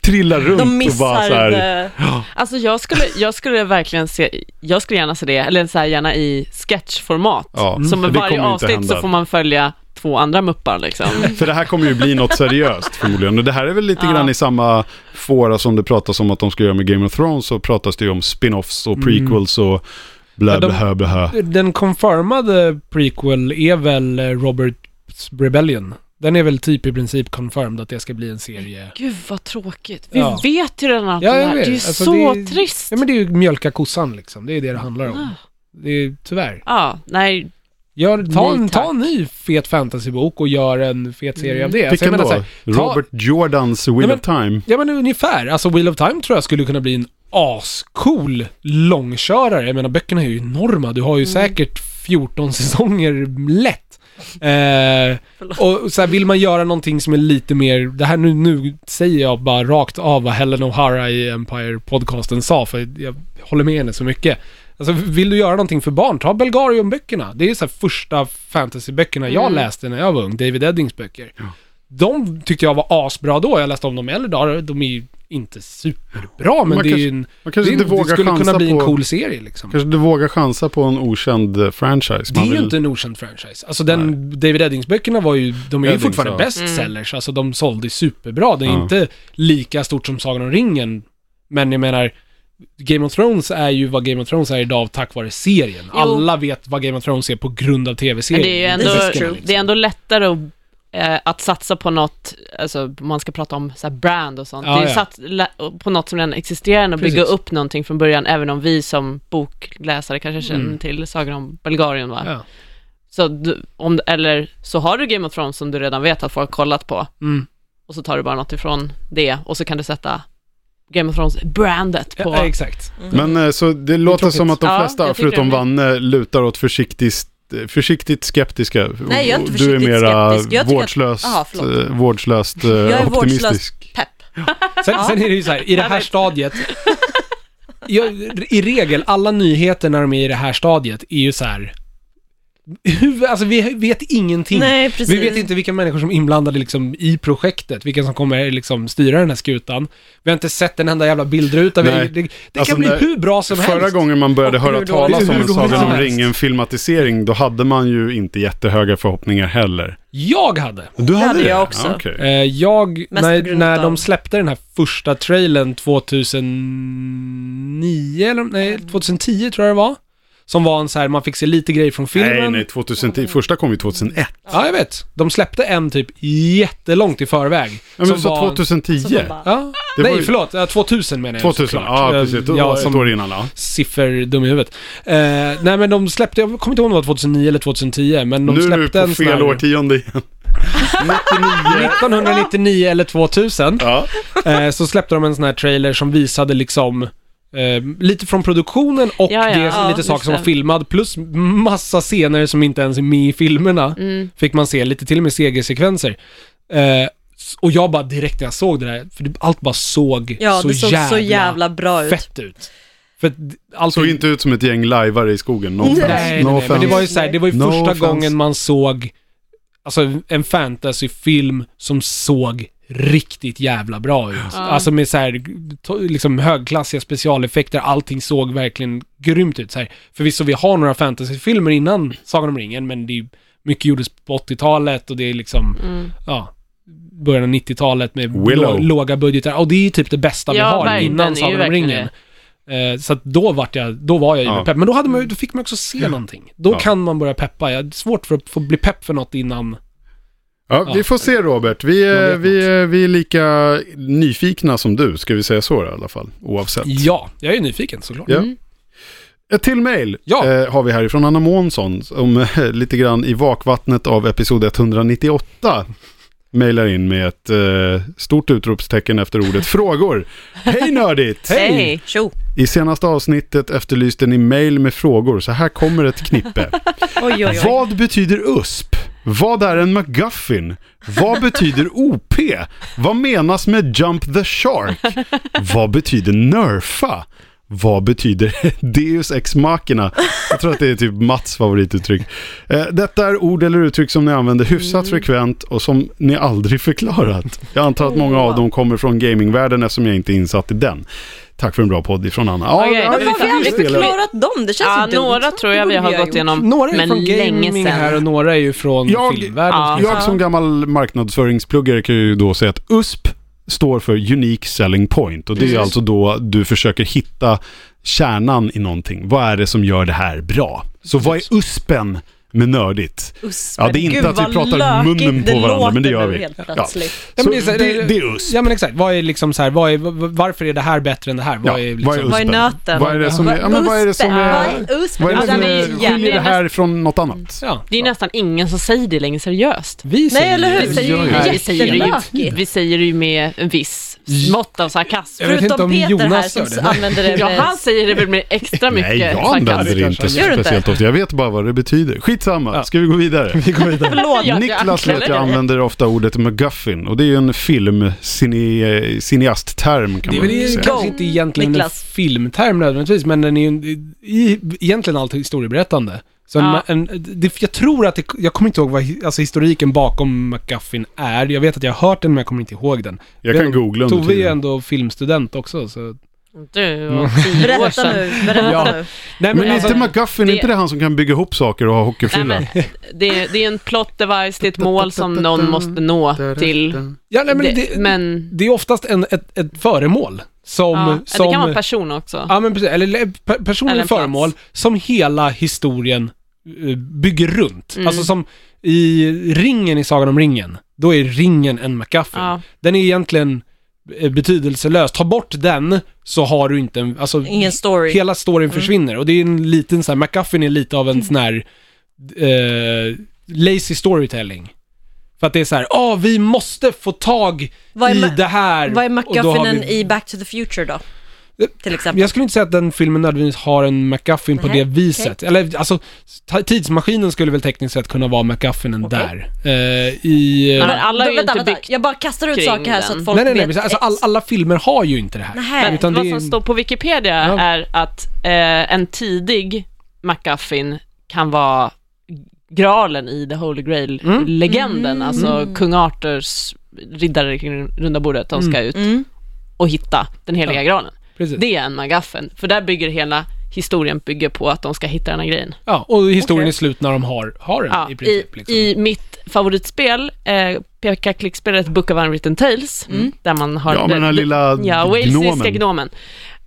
Speaker 1: trillar runt
Speaker 3: De
Speaker 1: och bara
Speaker 3: missar
Speaker 1: så här.
Speaker 3: det.
Speaker 5: Alltså jag skulle, jag skulle verkligen se, jag skulle gärna se det, eller så här gärna i sketchformat.
Speaker 1: Ja,
Speaker 2: Mm.
Speaker 5: Som
Speaker 1: för
Speaker 5: med
Speaker 1: det
Speaker 5: varje
Speaker 1: kommer ju inte
Speaker 5: avsnitt
Speaker 1: hända.
Speaker 5: så får man följa två andra muppar liksom.
Speaker 1: [LAUGHS] För det här kommer ju bli något seriöst förmodligen. Och det här är väl lite
Speaker 5: Ja.
Speaker 1: grann i samma fåra som det pratas om att de ska göra med Game of Thrones. Så pratas det ju om spin-offs och prequels och
Speaker 2: Mm. Ja,
Speaker 1: blä
Speaker 2: de-
Speaker 1: blä blä.
Speaker 2: Den confirmade prequel är väl eh, Roberts Rebellion. Den är väl typ i princip confirmed att det ska bli en serie.
Speaker 5: Gud vad tråkigt. Vi
Speaker 2: Ja.
Speaker 5: vet ju redan allt
Speaker 2: Ja,
Speaker 5: det
Speaker 2: jag
Speaker 5: här. Det
Speaker 2: vet.
Speaker 5: är ju
Speaker 2: Alltså,
Speaker 5: så
Speaker 2: det är-
Speaker 5: trist.
Speaker 2: Ja men det är ju mjölka kossan liksom, det är det det handlar om.
Speaker 5: Ah.
Speaker 2: Det är, tyvärr.
Speaker 5: Ja, nej.
Speaker 2: Gör, ta,
Speaker 5: Nej,
Speaker 2: en, ta
Speaker 5: tack. Mm.
Speaker 2: en ny fet fantasybok och gör en fet serie av det. Alltså,
Speaker 1: Vilken
Speaker 2: jag menar så
Speaker 1: då?
Speaker 2: här, ta-
Speaker 1: Robert Jordans Wheel
Speaker 2: Nej,
Speaker 1: of Time.
Speaker 2: Ja men ungefär. Alltså Wheel of Time tror jag skulle kunna bli en ascool långkörare. Jag menar böckerna är ju enorma. Du har ju säkert 14 säsonger lätt. Eh, och så här, vill man göra någonting som är lite mer, det här nu, nu säger jag bara rakt av vad Helen O'Hara i Empire-podcasten sa, för jag håller med henne så mycket. Alltså vill du göra någonting för barn, ta Belgarium-böckerna. Det är ju så här första fantasyböckerna jag
Speaker 5: Mm.
Speaker 2: läste när jag var ung, David Eddings böcker. De tyckte jag var asbra då, jag läste om dem i äldre dagar. De är ju inte superbra,
Speaker 1: Man
Speaker 2: men det är
Speaker 1: kanske-
Speaker 2: ju en...
Speaker 1: Man
Speaker 2: Det,
Speaker 1: kanske
Speaker 2: är,
Speaker 1: inte
Speaker 2: det
Speaker 1: vågar
Speaker 2: skulle kunna
Speaker 1: chansa
Speaker 2: bli en
Speaker 1: på...
Speaker 2: cool serie liksom.
Speaker 1: Kanske du vågar chansa på en okänd eh, franchise.
Speaker 2: Det är
Speaker 1: Man
Speaker 2: ju
Speaker 1: vill-
Speaker 2: inte en okänd franchise. Alltså den, David Eddings-böckerna var ju, de är ju
Speaker 1: Eddings,
Speaker 2: fortfarande
Speaker 1: ja.
Speaker 5: Mm.
Speaker 2: bestsellers. Alltså de sålde ju superbra. Det är
Speaker 1: Ja.
Speaker 2: inte lika stort som Sagan om ringen. Men jag menar, Game of Thrones är ju vad Game of Thrones är idag tack vare serien.
Speaker 5: Jo.
Speaker 2: Alla vet vad Game of Thrones är på grund av
Speaker 5: Men
Speaker 2: tv-serien. liksom.
Speaker 5: det är ju
Speaker 3: Det
Speaker 5: ändå,
Speaker 3: är true.
Speaker 5: det är ändå lättare att, eh, att satsa på något, alltså man ska prata om så här brand och sånt.
Speaker 2: Ja,
Speaker 5: det är ju
Speaker 2: ja.
Speaker 5: sats, lä- på något som redan existerar än att bygga
Speaker 2: Precis.
Speaker 5: upp någonting från början, även om vi som bokläsare kanske känner
Speaker 2: Mm.
Speaker 5: till Sagan om Bulgarien va?
Speaker 2: Ja.
Speaker 5: Så du, om, eller så har du Game of Thrones som du redan vet att folk kollat på
Speaker 2: Mm.
Speaker 5: och så tar du bara något ifrån det och så kan du sätta Game of Thrones-brandet på...
Speaker 2: Ja, exakt.
Speaker 5: Mm.
Speaker 3: Mm.
Speaker 1: Men eh, så det låter
Speaker 2: tråkigt.
Speaker 1: som att de
Speaker 5: Ja,
Speaker 1: flesta,
Speaker 5: jag tycker
Speaker 1: förutom
Speaker 5: det.
Speaker 1: Vanne, lutar åt försiktigt, försiktigt skeptiska.
Speaker 3: Nej, jag är inte
Speaker 1: Och Du är
Speaker 3: försiktigt
Speaker 1: mera
Speaker 3: skeptisk. Jag tycker att-
Speaker 1: vårdslöst,
Speaker 3: Aha, förlåt.
Speaker 1: eh, vårdslöst eh,
Speaker 3: Jag är
Speaker 1: optimistisk.
Speaker 3: vårdslöst pepp.
Speaker 2: Sen,
Speaker 3: Ja.
Speaker 2: sen är det ju så här, i det här stadiet, jag, i regel, alla nyheter när de är i det här stadiet är ju så här, hur, alltså vi vet
Speaker 1: Mm.
Speaker 2: ingenting.
Speaker 3: Nej, precis.
Speaker 2: Vi vet inte vilka människor som är inblandade liksom i projektet, vilka som kommer liksom styra den här skutan. Vi har inte sett en enda jävla bildruta. Vi,
Speaker 1: Nej.
Speaker 2: det det
Speaker 1: Alltså,
Speaker 2: kan bli
Speaker 1: när-
Speaker 2: hur bra som
Speaker 1: Förra
Speaker 2: helst.
Speaker 1: gången man började
Speaker 3: Och
Speaker 1: höra
Speaker 3: hur dåligt.
Speaker 1: talas om en
Speaker 2: Hur dåligt
Speaker 1: Sagan
Speaker 2: som
Speaker 1: om
Speaker 2: helst.
Speaker 1: ringen-filmatisering, då hade man ju inte jättehöga förhoppningar heller.
Speaker 2: Jag hade.
Speaker 1: Du
Speaker 3: hade jag också.
Speaker 1: Ja, okej.
Speaker 2: Eh, jag,
Speaker 3: Mest på
Speaker 2: när,
Speaker 3: grund
Speaker 2: när
Speaker 3: av-
Speaker 2: de släppte den här första trailern 2009, eller
Speaker 3: Mm.
Speaker 2: nej, 2010 tror jag det var. Som var en så här, man fick se lite grejer från filmen.
Speaker 1: Nej, nej, 2010. Första kom ju 2001.
Speaker 2: Ja, jag vet. De släppte en typ jättelångt i förväg.
Speaker 1: Ja, men
Speaker 2: som
Speaker 1: du sa
Speaker 2: var-
Speaker 1: 2010.
Speaker 3: Så de bara-
Speaker 2: Ja,
Speaker 1: Det
Speaker 2: nej
Speaker 1: var ju-
Speaker 2: förlåt. Ja, 2000 menar jag
Speaker 1: 2000,
Speaker 2: såklart.
Speaker 1: ja
Speaker 2: Eh,
Speaker 1: precis. Då
Speaker 2: ja,
Speaker 1: var ett
Speaker 2: som
Speaker 1: år innan. Ja.
Speaker 2: sifferdum i huvudet. Eh, nej men de släppte, jag kommer inte ihåg om det var 2009 eller 2010, men de
Speaker 1: Nu är du
Speaker 2: släppte
Speaker 1: på
Speaker 2: en sån
Speaker 1: fel
Speaker 2: här... [LAUGHS]
Speaker 1: årtionde igen. 99.
Speaker 2: 1999 eller 2000.
Speaker 1: Ja.
Speaker 2: eh, så släppte de en sån här trailer som visade liksom eh, lite från produktionen och
Speaker 5: Ja, ja,
Speaker 2: det,
Speaker 5: ja,
Speaker 2: lite saker
Speaker 5: just
Speaker 2: som var
Speaker 5: det.
Speaker 2: filmad plus massa scener som inte ens är med i filmerna.
Speaker 5: Mm.
Speaker 2: Fick man se lite till och med CG-sekvenser. Eh, s- och jag bara direkt när jag såg det där, för det- allt bara såg,
Speaker 3: Ja,
Speaker 2: så,
Speaker 3: det såg
Speaker 2: jävla
Speaker 3: så jävla bra ut.
Speaker 2: fett ut. För att d- allt
Speaker 1: Såg inte ut som ett gäng lajvare i skogen. No offense.
Speaker 2: Nej,
Speaker 1: no
Speaker 2: nej, nej, men det var ju så här, det var ju
Speaker 1: No
Speaker 2: första
Speaker 1: offense.
Speaker 2: gången man såg alltså, en fantasyfilm som såg riktigt jävla bra ut.
Speaker 5: Ja.
Speaker 2: Alltså med så här, to- liksom högklassiga specialeffekter, allting såg verkligen grymt ut. Så här. Förvisso, vi har några fantasyfilmer innan Sagan om ringen, men det är ju- mycket gjordes på 80-talet och det är liksom,
Speaker 5: Mm.
Speaker 2: ja, början av 90-talet med
Speaker 1: Willow.
Speaker 2: lå- låga budgetar. Och det är ju typ det bästa
Speaker 5: Ja,
Speaker 2: vi har
Speaker 5: verkligen.
Speaker 2: innan
Speaker 5: Det är ju
Speaker 2: Sagan om
Speaker 5: verkligen
Speaker 2: ringen. Eh, Så att då vart jag, då var jag ju
Speaker 1: Ja. Mm.
Speaker 2: pepp. Men då, hade man, ju- då fick man också se någonting. Då
Speaker 1: Ja.
Speaker 2: kan man börja peppa. Jag har svårt för att få bli pepp för något innan.
Speaker 1: Ja, vi
Speaker 2: Ja.
Speaker 1: får se Robert. Vi, är-
Speaker 2: vet
Speaker 1: vi, är- vi är lika nyfikna som du, ska vi säga så i alla fall, oavsett.
Speaker 2: Ja, jag är nyfiken såklart.
Speaker 1: Ja.
Speaker 5: Mm.
Speaker 1: Ett till mejl
Speaker 2: Ja.
Speaker 1: eh, har vi härifrån Anna Månsson, som eh, lite grann i vakvattnet av episod 198 mejlar in med ett eh, stort utropstecken efter ordet frågor. Hej nördigt!
Speaker 5: Hej!
Speaker 3: Tjo!
Speaker 1: I senaste avsnittet efterlyste ni mejl med frågor, så här kommer ett knippe.
Speaker 3: Oj, oj, oj.
Speaker 1: Vad betyder USP? Vad är en McGuffin? Vad betyder OP? Vad menas med Jump the Shark? Vad betyder Nerfa? Vad betyder [LAUGHS] Deus Ex Machina? Jag tror att det är typ Mats favorituttryck. Eh, Detta är ord eller uttryck som ni använder
Speaker 3: Mm.
Speaker 1: hyfsat frekvent och som ni aldrig förklarat. Jag antar att många av dem kommer från gamingvärlden eftersom jag inte är insatt i den. Tack för en bra podd ifrån Anna. Ja,
Speaker 5: Okej.
Speaker 1: det här
Speaker 3: Men
Speaker 1: är
Speaker 3: har vi
Speaker 1: faktiskt
Speaker 3: aldrig
Speaker 1: delar.
Speaker 3: förklarat dem? Det känns
Speaker 5: Ja,
Speaker 3: inte
Speaker 5: några tror jag vi har gått igenom,
Speaker 2: Några är
Speaker 5: men
Speaker 2: från
Speaker 5: länge
Speaker 2: gaming här och
Speaker 5: sedan.
Speaker 2: några är ju från
Speaker 1: Jag-
Speaker 2: filmvärlden.
Speaker 5: Ja.
Speaker 2: Ja.
Speaker 1: Jag som gammal marknadsföringspluggare kan ju då säga att USP står för Unique Selling Point och det är
Speaker 5: Precis.
Speaker 1: alltså då du försöker hitta kärnan i någonting. Vad är det som gör det här bra? Så vad är USPen med nördigt? Ja, det är inte att vi pratar munnen på varandra, men det gör vi.
Speaker 3: Helt
Speaker 1: Ja.
Speaker 3: plötsligt.
Speaker 2: men
Speaker 1: Så
Speaker 2: det är så
Speaker 1: det,
Speaker 2: här-
Speaker 1: det är USP.
Speaker 2: Ja men exakt, vad är liksom så här, vad är, v- varför är det här bättre än det här? Vad
Speaker 1: Ja,
Speaker 2: är liksom,
Speaker 1: vad är
Speaker 3: Vad är
Speaker 1: Uspen.
Speaker 3: nöten?
Speaker 1: Vad är det som är- ja, men vad är det som är-
Speaker 3: Vad är uspen?
Speaker 1: Vad är det
Speaker 5: Alltså,
Speaker 1: som
Speaker 5: det är
Speaker 1: skiljer det här från något annat?
Speaker 2: ja.
Speaker 5: Det är ju nästan ingen som säger det längre seriöst.
Speaker 2: Vi
Speaker 3: Nej, eller hur?
Speaker 1: Vi
Speaker 3: Det är
Speaker 1: gör ju
Speaker 3: ju
Speaker 1: det.
Speaker 5: Vi säger, det ju,
Speaker 3: jättelökigt.
Speaker 5: vi säger det ju med en viss mått av sarkasm.
Speaker 2: Jag vet inte
Speaker 3: Förutom
Speaker 2: om
Speaker 3: Peter här
Speaker 2: Jonas
Speaker 3: som
Speaker 2: gör det.
Speaker 3: använder det
Speaker 5: Ja, han
Speaker 3: med...
Speaker 5: säger det väl med extra mycket
Speaker 1: Nej, jag använder det inte
Speaker 2: kanske.
Speaker 3: Gör du inte?
Speaker 1: speciellt ofta. Jag vet bara vad det betyder. Skitsamma,
Speaker 2: Ja.
Speaker 1: ska vi gå vidare?
Speaker 2: Vi går vidare.
Speaker 5: Förlåt, jag-
Speaker 1: Niklas
Speaker 5: jag
Speaker 1: vet jag
Speaker 5: anklagar dig.
Speaker 1: använder ofta ordet McGuffin och det är ju en filmcine- cineastterm kan
Speaker 2: Det är
Speaker 1: man
Speaker 2: väl i-
Speaker 1: säga.
Speaker 2: kanske inte egentligen
Speaker 3: Niklas.
Speaker 2: en filmterm nödvändigtvis, men den är ju en, i, egentligen allt historieberättande. Så en,
Speaker 5: Ja.
Speaker 2: en, det, jag tror att det, jag kommer inte ihåg vad hi- alltså, historiken bakom McGuffin är. Jag vet att jag har hört den, men jag kommer inte ihåg den.
Speaker 1: Jag kan googla under
Speaker 2: Tove är ju
Speaker 1: tiden.
Speaker 2: ändå filmstudent också, så...
Speaker 5: Du, och tio år
Speaker 3: Berätta
Speaker 5: sedan.
Speaker 3: nu, berätta
Speaker 2: Ja.
Speaker 3: nu.
Speaker 2: Nej,
Speaker 1: Men
Speaker 2: alltså,
Speaker 1: inte McGuffin,
Speaker 5: det-
Speaker 1: inte det han som kan bygga ihop saker och ha
Speaker 5: Nej,
Speaker 1: hockeyfrilla?
Speaker 5: men, det, det är en plot device, det är ett mål som någon måste nå till.
Speaker 2: ja, nej, men det,
Speaker 5: Det, men
Speaker 2: det är oftast en, ett, ett föremål som...
Speaker 5: ja,
Speaker 2: som
Speaker 5: det kan vara en person också.
Speaker 2: Ja, men precis. Eller le- pe- personer
Speaker 5: Eller
Speaker 2: eller
Speaker 5: en plats.
Speaker 2: föremål som hela historien eh, bygger runt.
Speaker 5: Mm.
Speaker 2: Alltså som i ringen i Sagan om ringen, då är ringen en MacGuffin.
Speaker 5: Ja.
Speaker 2: Den är egentligen eh, betydelselös. Ta bort den så har du inte en, alltså
Speaker 3: Ingen story. Mm.
Speaker 2: hela storyn försvinner. Och det är en liten så här, MacGuffin är lite av en sån här eh, lazy storytelling. För att det är så här, ja vi måste få tag
Speaker 3: Vad är
Speaker 2: i
Speaker 3: ma-
Speaker 2: det här.
Speaker 3: Vad är
Speaker 2: Och då har
Speaker 3: MacGuffinen
Speaker 2: vi-
Speaker 3: i Back to the Future då?
Speaker 1: Eh,
Speaker 3: Till exempel.
Speaker 2: Jag skulle inte säga att den filmen nödvändigtvis har en MacGuffin på
Speaker 3: Nej,
Speaker 2: det viset. Eller alltså, t- tidsmaskinen skulle väl tekniskt sett kunna vara MacGuffinen
Speaker 3: Okej.
Speaker 2: där. Eh, I...
Speaker 5: Men alla är ju inte byggt
Speaker 3: Jag bara kastar ut
Speaker 5: kring
Speaker 3: saker här så
Speaker 5: den.
Speaker 3: att folk
Speaker 2: nej, nej, nej.
Speaker 3: vet
Speaker 2: men Alltså, all,
Speaker 3: ex-
Speaker 2: alla filmer har ju inte det här.
Speaker 3: Nähä.
Speaker 2: utan
Speaker 5: Vad
Speaker 2: det är-
Speaker 5: som står på Wikipedia
Speaker 2: Ja.
Speaker 5: är att eh, en tidig MacGuffin kan vara graalen i The Holy Grail-legenden,
Speaker 3: Mm.
Speaker 5: alltså
Speaker 3: Mm.
Speaker 5: kung Arthurs riddare kring runda bordet, de ska ut
Speaker 3: Mm.
Speaker 5: och hitta den heliga
Speaker 2: Ja.
Speaker 5: graalen.
Speaker 2: Precis.
Speaker 5: Det är en MacGuffin, för där bygger hela historien bygger på att de ska hitta den här grejen.
Speaker 2: Ja, och historien
Speaker 3: Okej.
Speaker 2: är slut när de har, har den
Speaker 5: Ja,
Speaker 2: i princip.
Speaker 5: i,
Speaker 2: liksom.
Speaker 5: I mitt favoritspel, eh, peka-klickspelet Book of Unwritten Tales,
Speaker 2: Mm.
Speaker 5: där man har...
Speaker 1: Ja, med den här lilla
Speaker 5: Ja, walesiska
Speaker 1: gnomen.
Speaker 5: gnomen.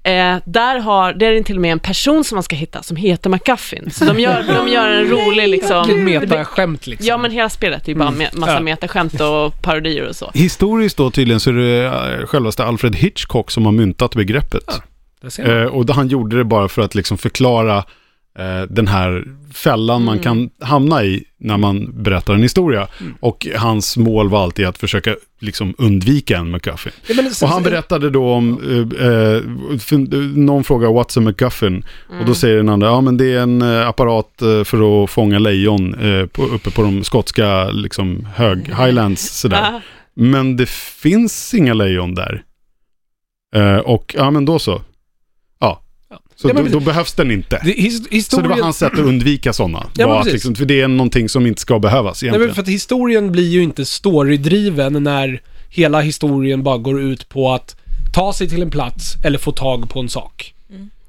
Speaker 5: Eh, där har, där är det till och med en person som man ska hitta som heter McGuffin. Så de gör, de gör en rolig
Speaker 2: Vilket
Speaker 5: liksom...
Speaker 2: metaskämt liksom.
Speaker 5: Ja men hela spelet är ju bara
Speaker 1: Mm.
Speaker 5: med massa
Speaker 2: Ja.
Speaker 5: metaskämt och parodier och så.
Speaker 1: Historiskt då tydligen så är det eh, självaste Alfred Hitchcock som har myntat begreppet.
Speaker 2: Där ser man.
Speaker 1: Eh, och då han gjorde det bara för att liksom förklara eh, den här fällan man kan hamna i när man berättar en historia. Och hans mål var alltid att försöka liksom undvika en McGuffin.
Speaker 2: Ja, men sen-
Speaker 1: Och han berättade då om, eh, eh, för- någon frågar what's a McGuffin? Och då
Speaker 2: Mm.
Speaker 1: säger den andra, ja men det är en eh, apparat eh, för att fånga lejon eh, på, uppe på de skotska liksom, hög,
Speaker 2: Mm.
Speaker 1: highlands sådär.
Speaker 5: Ah,
Speaker 1: Men det finns inga lejon där. Eh, och ja, men då så. Ja.
Speaker 2: Ja.
Speaker 1: Så
Speaker 2: Ja, men
Speaker 1: då, då behövs den inte.
Speaker 2: Det, his,
Speaker 1: Så det
Speaker 2: historien,
Speaker 1: var hans sätt att undvika sådana.
Speaker 2: Ja, men
Speaker 1: var att
Speaker 2: precis.
Speaker 1: liksom, för det är någonting som inte ska behövas
Speaker 2: nej,
Speaker 1: egentligen.
Speaker 2: men för att historien blir ju inte storydriven när hela historien bara går ut på att ta sig till en plats eller få tag på en sak.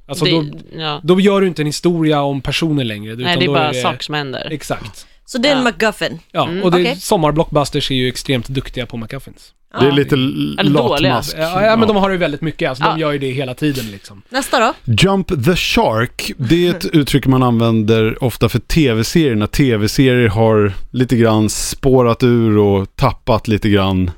Speaker 2: Alltså
Speaker 5: Mm. det,
Speaker 2: då,
Speaker 5: ja.
Speaker 2: då gör du inte en historia om personer längre. utan
Speaker 5: Nej det är
Speaker 2: då
Speaker 5: bara saker som händer.
Speaker 2: Exakt.
Speaker 3: Så det är en
Speaker 5: Ja.
Speaker 3: MacGuffin.
Speaker 2: Ja,
Speaker 5: Mm,
Speaker 2: och det,
Speaker 3: okej.
Speaker 2: sommarblockbusters är ju extremt duktiga på McCuffins.
Speaker 1: Det är lite l-
Speaker 5: Eller dåliga.
Speaker 1: latmask.
Speaker 2: Ja, ja, men de har ju väldigt mycket, alltså
Speaker 5: Ja.
Speaker 2: de gör ju det hela tiden liksom.
Speaker 3: Nästa då?
Speaker 1: Jump the Shark, det är ett uttryck man använder ofta för tv-serier. När tv-serier har lite grann spårat ur och tappat lite grann.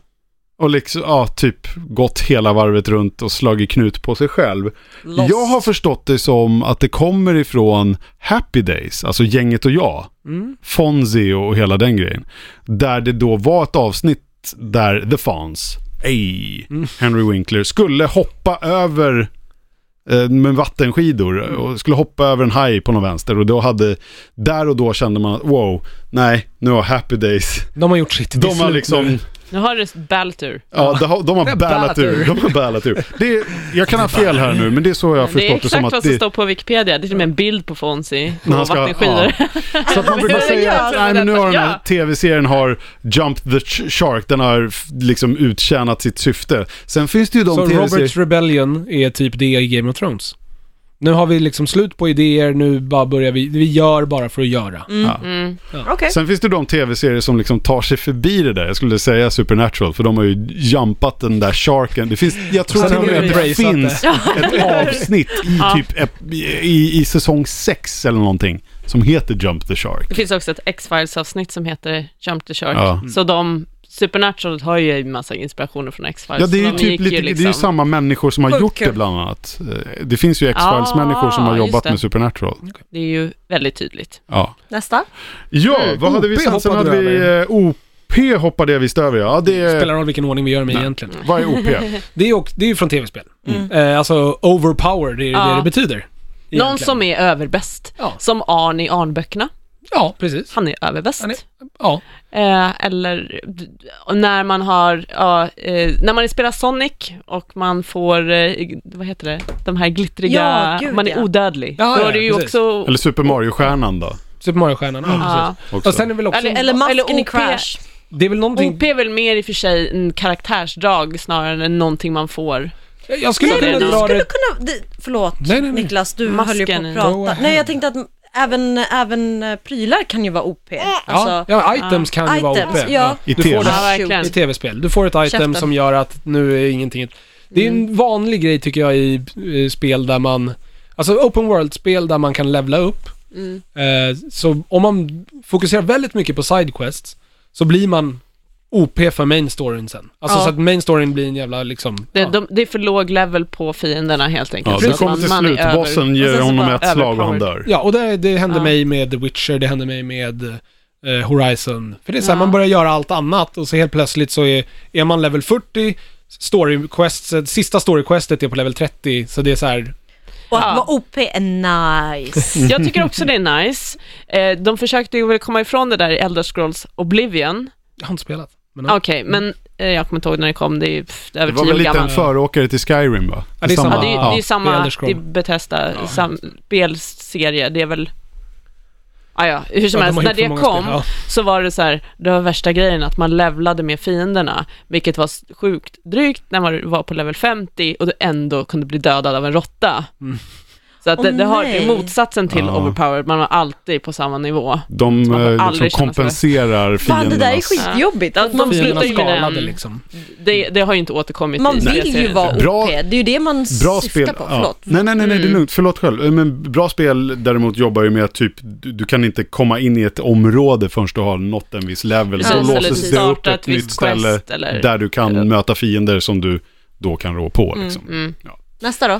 Speaker 1: Och liksom, ja, typ gått hela varvet runt och slagit knut på sig själv.
Speaker 3: Lost.
Speaker 1: Jag har förstått det som att det kommer ifrån Happy Days, alltså gänget och jag.
Speaker 2: Mm.
Speaker 1: Fonzie och hela den grejen. Där det då var ett avsnitt där The Fonz, ey, Henry Winkler, skulle hoppa över eh, med vattenskidor och skulle hoppa över en haj på någon vänster och då hade, där och då kände man att wow, nej, nu har Happy Days,
Speaker 2: De har gjort sitt. Det
Speaker 1: [LAUGHS]
Speaker 2: är
Speaker 1: de har
Speaker 2: slut nu.
Speaker 1: liksom,
Speaker 5: Nu har du Baltur.
Speaker 1: ja, de har, de har
Speaker 2: Ja,
Speaker 1: ballat
Speaker 2: ballat
Speaker 1: ur,
Speaker 2: ur.
Speaker 1: de har ballat ur. Det är, jag kan ha fel här nu, men det är så jag har
Speaker 5: Det är
Speaker 1: förstått det som
Speaker 5: exakt vad
Speaker 1: att
Speaker 5: som
Speaker 1: det,
Speaker 5: står på Wikipedia. Det är till och med en bild på Fonzie på
Speaker 1: När han ska-
Speaker 5: vattenskidor.
Speaker 1: Så att man brukar
Speaker 5: Ja,
Speaker 1: säga
Speaker 5: jag
Speaker 1: att
Speaker 5: tror
Speaker 1: nej, men nu har den här
Speaker 5: ja.
Speaker 1: tv-serien har Jump the Ch- Shark, den har f- liksom uttjänat sitt syfte. Sen finns det ju de
Speaker 2: Så
Speaker 1: tv-serier...
Speaker 2: Roberts Rebellion är typ det i Game of Thrones. Nu har vi liksom slut på idéer, nu bara börjar vi, vi gör bara för att göra.
Speaker 5: Mm.
Speaker 3: Okej.
Speaker 1: Sen finns det ju de tv-serier som liksom tar sig förbi det där. Jag skulle säga Supernatural, för de har ju jumpat den där sharken. Det finns, jag tror
Speaker 2: Sen
Speaker 1: till
Speaker 2: har
Speaker 1: och
Speaker 2: de
Speaker 1: med att det
Speaker 2: embraceat det.
Speaker 1: finns
Speaker 2: [LAUGHS]
Speaker 1: ett avsnitt i, typ, ep- i, i säsong 6 eller någonting som heter Jump the Shark.
Speaker 5: Det finns också ett X-Files avsnitt som heter Jump the Shark.
Speaker 1: Ja.
Speaker 5: Så de, Supernatural har ju en massa inspirationer från X-Files.
Speaker 1: Ja, det är ju
Speaker 5: Alltså, De
Speaker 1: typ
Speaker 5: gick liksom
Speaker 1: lite, det är ju samma människor som har
Speaker 3: Sjukt
Speaker 1: gjort det
Speaker 3: kul.
Speaker 1: bland annat. Eh, Det finns ju X-Files-människor som har
Speaker 5: Ah,
Speaker 1: jobbat
Speaker 5: just det. Mm.
Speaker 1: med Supernatural.
Speaker 5: det är ju väldigt tydligt.
Speaker 1: Ja.
Speaker 3: Nästa.
Speaker 1: Ja,
Speaker 2: Mm,
Speaker 1: vad hade vi
Speaker 2: OP
Speaker 1: sen? Sen
Speaker 2: hoppade
Speaker 1: hade
Speaker 2: du
Speaker 1: vi eh, OP hoppade jag visst över ja. ja det
Speaker 2: Spelar
Speaker 1: är,
Speaker 2: roll vilken ordning vi gör med
Speaker 1: Nej.
Speaker 2: egentligen.
Speaker 1: vad är OP?
Speaker 5: [LAUGHS]
Speaker 2: Det är ju också- det är ju från tv-spel.
Speaker 3: Mm.
Speaker 2: Eh, alltså overpower, det är ju
Speaker 5: Ja.
Speaker 2: det det betyder. egentligen.
Speaker 5: Någon som är överbäst.
Speaker 2: Ja.
Speaker 5: Som Arn i Arnböckerna.
Speaker 2: Ja, precis.
Speaker 5: Han är överbäst.
Speaker 2: Han är, ja.
Speaker 5: Eh, eller d- när man har, ja, eh, när man spelar Sonic och man får, eh, vad heter det, de här glittriga,
Speaker 3: Ja, gud,
Speaker 5: man är
Speaker 3: ja.
Speaker 5: odödlig.
Speaker 2: Ja,
Speaker 5: Då
Speaker 2: ja,
Speaker 5: är det ju
Speaker 2: precis.
Speaker 5: också...
Speaker 1: Eller Super Mario-stjärnan då?
Speaker 2: Super Mario-stjärnan, ja,
Speaker 5: Ja.
Speaker 2: precis.
Speaker 1: Också.
Speaker 2: Och sen är väl också,
Speaker 5: Eller-
Speaker 3: Eller masken i
Speaker 5: OP.
Speaker 3: Crash.
Speaker 2: det är väl någonting,
Speaker 5: OP är väl mer i och för sig en karaktärsdrag snarare än någonting man får.
Speaker 2: jag skulle
Speaker 3: Nej,
Speaker 5: det
Speaker 2: vilja
Speaker 3: men du
Speaker 2: dra
Speaker 3: skulle
Speaker 2: det,
Speaker 3: kunna... det- Förlåt
Speaker 2: Nej, nej, nej.
Speaker 3: Niklas, du
Speaker 5: Masken
Speaker 3: höll ju på
Speaker 5: är-
Speaker 2: Go
Speaker 3: att prata.
Speaker 2: ahead.
Speaker 3: Nej, jag tänkte att även, även eh, prylar kan ju vara OP.
Speaker 2: ja,
Speaker 3: Alltså,
Speaker 2: ja, items kan ju vara OP.
Speaker 3: items. Ja.
Speaker 1: I
Speaker 2: Du får
Speaker 1: TV.
Speaker 2: det.
Speaker 5: Ja, verkligen.
Speaker 2: i tv-spel. Du får ett item
Speaker 3: Käften. Mm.
Speaker 2: som gör att nu är ingenting... ett- Det är en vanlig grej tycker jag i eh, spel där man... Alltså open world-spel där man kan levla upp.
Speaker 3: Mm.
Speaker 2: Eh, så om man fokuserar väldigt mycket på sidequests så blir man OP för main storyn sen. Alltså
Speaker 3: Ja.
Speaker 2: så att main storyn blir en jävla liksom...
Speaker 5: Det,
Speaker 2: ja.
Speaker 5: de, det är för låg level på fienderna helt enkelt.
Speaker 1: Ja,
Speaker 5: Så
Speaker 1: du
Speaker 5: att
Speaker 1: kommer
Speaker 5: man-
Speaker 1: till
Speaker 5: man är
Speaker 1: slut,
Speaker 5: över-
Speaker 1: bossen
Speaker 5: och sen
Speaker 1: ger
Speaker 5: så
Speaker 1: honom
Speaker 5: bara
Speaker 1: ett slag och han
Speaker 5: överpowered.
Speaker 1: dör.
Speaker 2: ja, och det, det hände
Speaker 5: Ja.
Speaker 2: mig med The Witcher, det hände mig med eh, Horizon. För det är så här,
Speaker 5: Ja.
Speaker 2: man börjar göra allt annat och så helt plötsligt så är, är man level 40, story quest, sista story questet är på level 30, så det är så här,
Speaker 3: Och att
Speaker 5: Ja.
Speaker 3: vara OP är
Speaker 2: [LAUGHS]
Speaker 3: nice.
Speaker 5: Jag tycker också det är nice. Eh, De försökte ju väl komma ifrån det där i Elder Scrolls Oblivion.
Speaker 2: jag har inte spelat. Men, ja.
Speaker 5: Okej, men eh, jag kommer inte ihåg när det kom, det är ju pff, över
Speaker 1: Det var
Speaker 5: tio
Speaker 1: väl
Speaker 5: år
Speaker 1: lite en
Speaker 5: gammalt.
Speaker 1: föråkare till Skyrim va?
Speaker 2: Ja, det är
Speaker 5: Ja,
Speaker 2: samma.
Speaker 5: det är ju
Speaker 1: Ja.
Speaker 5: det är
Speaker 2: det är
Speaker 5: samma,
Speaker 2: Elder
Speaker 5: det är
Speaker 2: Scroll.
Speaker 5: Bethesda, sam, spelserie, det är väl... Ah, ja, hur som
Speaker 2: Ja, de
Speaker 5: helst,
Speaker 2: har
Speaker 5: när
Speaker 2: gjort för
Speaker 5: det
Speaker 2: många
Speaker 5: kom
Speaker 2: spel, ja.
Speaker 5: så var det så här, det var värsta grejen att man levlade med fienderna, vilket var s- sjukt drygt när man var på level 50 och du ändå kunde bli dödad av en råtta.
Speaker 2: Mm.
Speaker 5: Så att
Speaker 3: Åh,
Speaker 5: det, det har det är
Speaker 3: nej.
Speaker 5: motsatsen till
Speaker 1: Ja.
Speaker 5: overpowered, man var alltid på samma nivå.
Speaker 1: De
Speaker 5: Så man får
Speaker 1: eh, liksom
Speaker 5: aldrig känna sig
Speaker 1: kompenserar
Speaker 3: Fan det där är
Speaker 1: fiendernas...
Speaker 3: skitjobbigt.
Speaker 5: Ja,
Speaker 3: Att man,
Speaker 5: de
Speaker 2: Fienderna
Speaker 5: slutar ju med
Speaker 2: skalade
Speaker 5: den.
Speaker 2: liksom.
Speaker 5: Det, det har ju inte återkommit
Speaker 3: man
Speaker 5: i
Speaker 3: vill ju
Speaker 5: spelserien.
Speaker 3: vara OP.
Speaker 1: Bra-
Speaker 3: Det är ju det man
Speaker 1: Bra
Speaker 3: syftar
Speaker 1: spel.
Speaker 3: på.
Speaker 1: ja.
Speaker 3: Förlåt.
Speaker 1: Nej, nej, nej, nej, det är lugnt. Förlåt själv. Eh, Men bra spel däremot jobbar ju med att typ, du, du kan inte komma in i ett område förrän du har nått en viss level.
Speaker 5: Precis,
Speaker 1: Då
Speaker 3: Ja,
Speaker 5: eller
Speaker 3: precis.
Speaker 1: låses det upp
Speaker 5: starta
Speaker 1: ett
Speaker 5: ett visst
Speaker 1: nytt ställe
Speaker 5: quest eller...
Speaker 1: där du kan möta fiender som du då kan rå på. Liksom.
Speaker 5: Mm.
Speaker 3: Nästa då.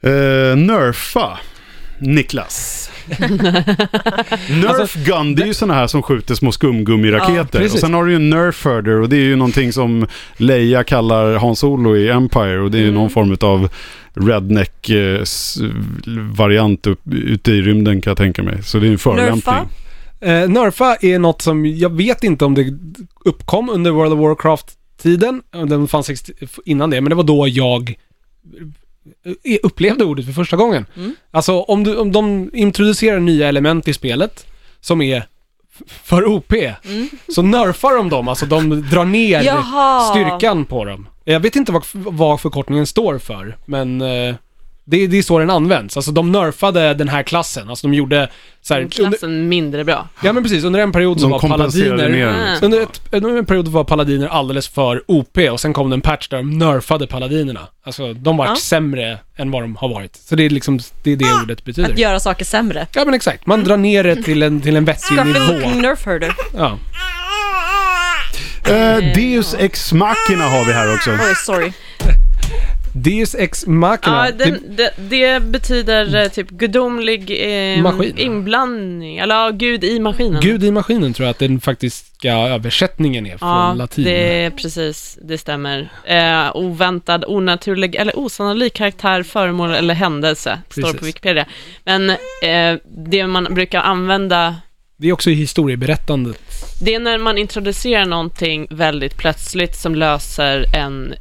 Speaker 1: Eh, nerfa. Niklas. Nerf gun, det är ju sådana här som skjuter små
Speaker 2: Ja,
Speaker 1: skumgummiraketer.
Speaker 2: precis.
Speaker 1: och sen har du ju nerf herder och det är ju någonting som Leia kallar Han Solo i Empire och det är ju någon form eh, av redneck-variant ute i rymden kan jag tänka mig. Så det är en förolämpning.
Speaker 3: Nerfa.
Speaker 2: Eh, Nerfa är något som, jag vet inte om det uppkom under World of Warcraft-tiden, den fanns ex- innan det, men det var då jag eh, upplevde ordet för första gången.
Speaker 3: Mm.
Speaker 2: Alltså om, du, om de introducerar nya element i spelet som är f- för OP,
Speaker 3: Mm.
Speaker 2: så nerfar de dem, alltså de drar ner
Speaker 3: Jaha.
Speaker 2: styrkan på dem. Jag vet inte vad, vad förkortningen står för, men eh, det, det är så den används. Alltså de nerfade den här klassen, alltså de gjorde så här, under-
Speaker 5: Klassen mindre bra.
Speaker 2: Ja men precis, under en period så
Speaker 1: De
Speaker 2: var
Speaker 1: kompenserade
Speaker 2: paladiner...
Speaker 1: ner
Speaker 5: Mm.
Speaker 1: den.
Speaker 2: Under, ett, under en period var paladiner alldeles för OP och sen kom det en patch där de nerfade paladinerna. Alltså de vart
Speaker 3: Ja.
Speaker 2: sämre än vad de har varit. Så det är liksom, det är det
Speaker 5: Ah,
Speaker 2: ordet betyder.
Speaker 3: Att göra saker sämre.
Speaker 2: Ja men exakt, man drar ner det till en, till en vettig
Speaker 3: Skaffa en
Speaker 2: nivå.
Speaker 3: fucking nerf herder.
Speaker 2: Ja.
Speaker 1: Eh, Deus Ex Machina har vi här också.
Speaker 3: Oj, sorry.
Speaker 2: Deus ex machina.
Speaker 5: Ja, den, det, det betyder eh, typ gudomlig eh,
Speaker 2: Maskin.
Speaker 5: inblandning, eller ja, gud i maskinen.
Speaker 2: det, Gud i maskinen tror jag att den faktiska översättningen är från
Speaker 5: ja,
Speaker 2: latin.
Speaker 5: det är precis, det stämmer. Eh, oväntad, onaturlig eller osannolik karaktär, föremål eller händelse, står
Speaker 2: Precis.
Speaker 5: på Wikipedia. Men eh, det man brukar använda,
Speaker 2: Det är också i historieberättandet.
Speaker 5: det är när man introducerar någonting väldigt plötsligt som löser en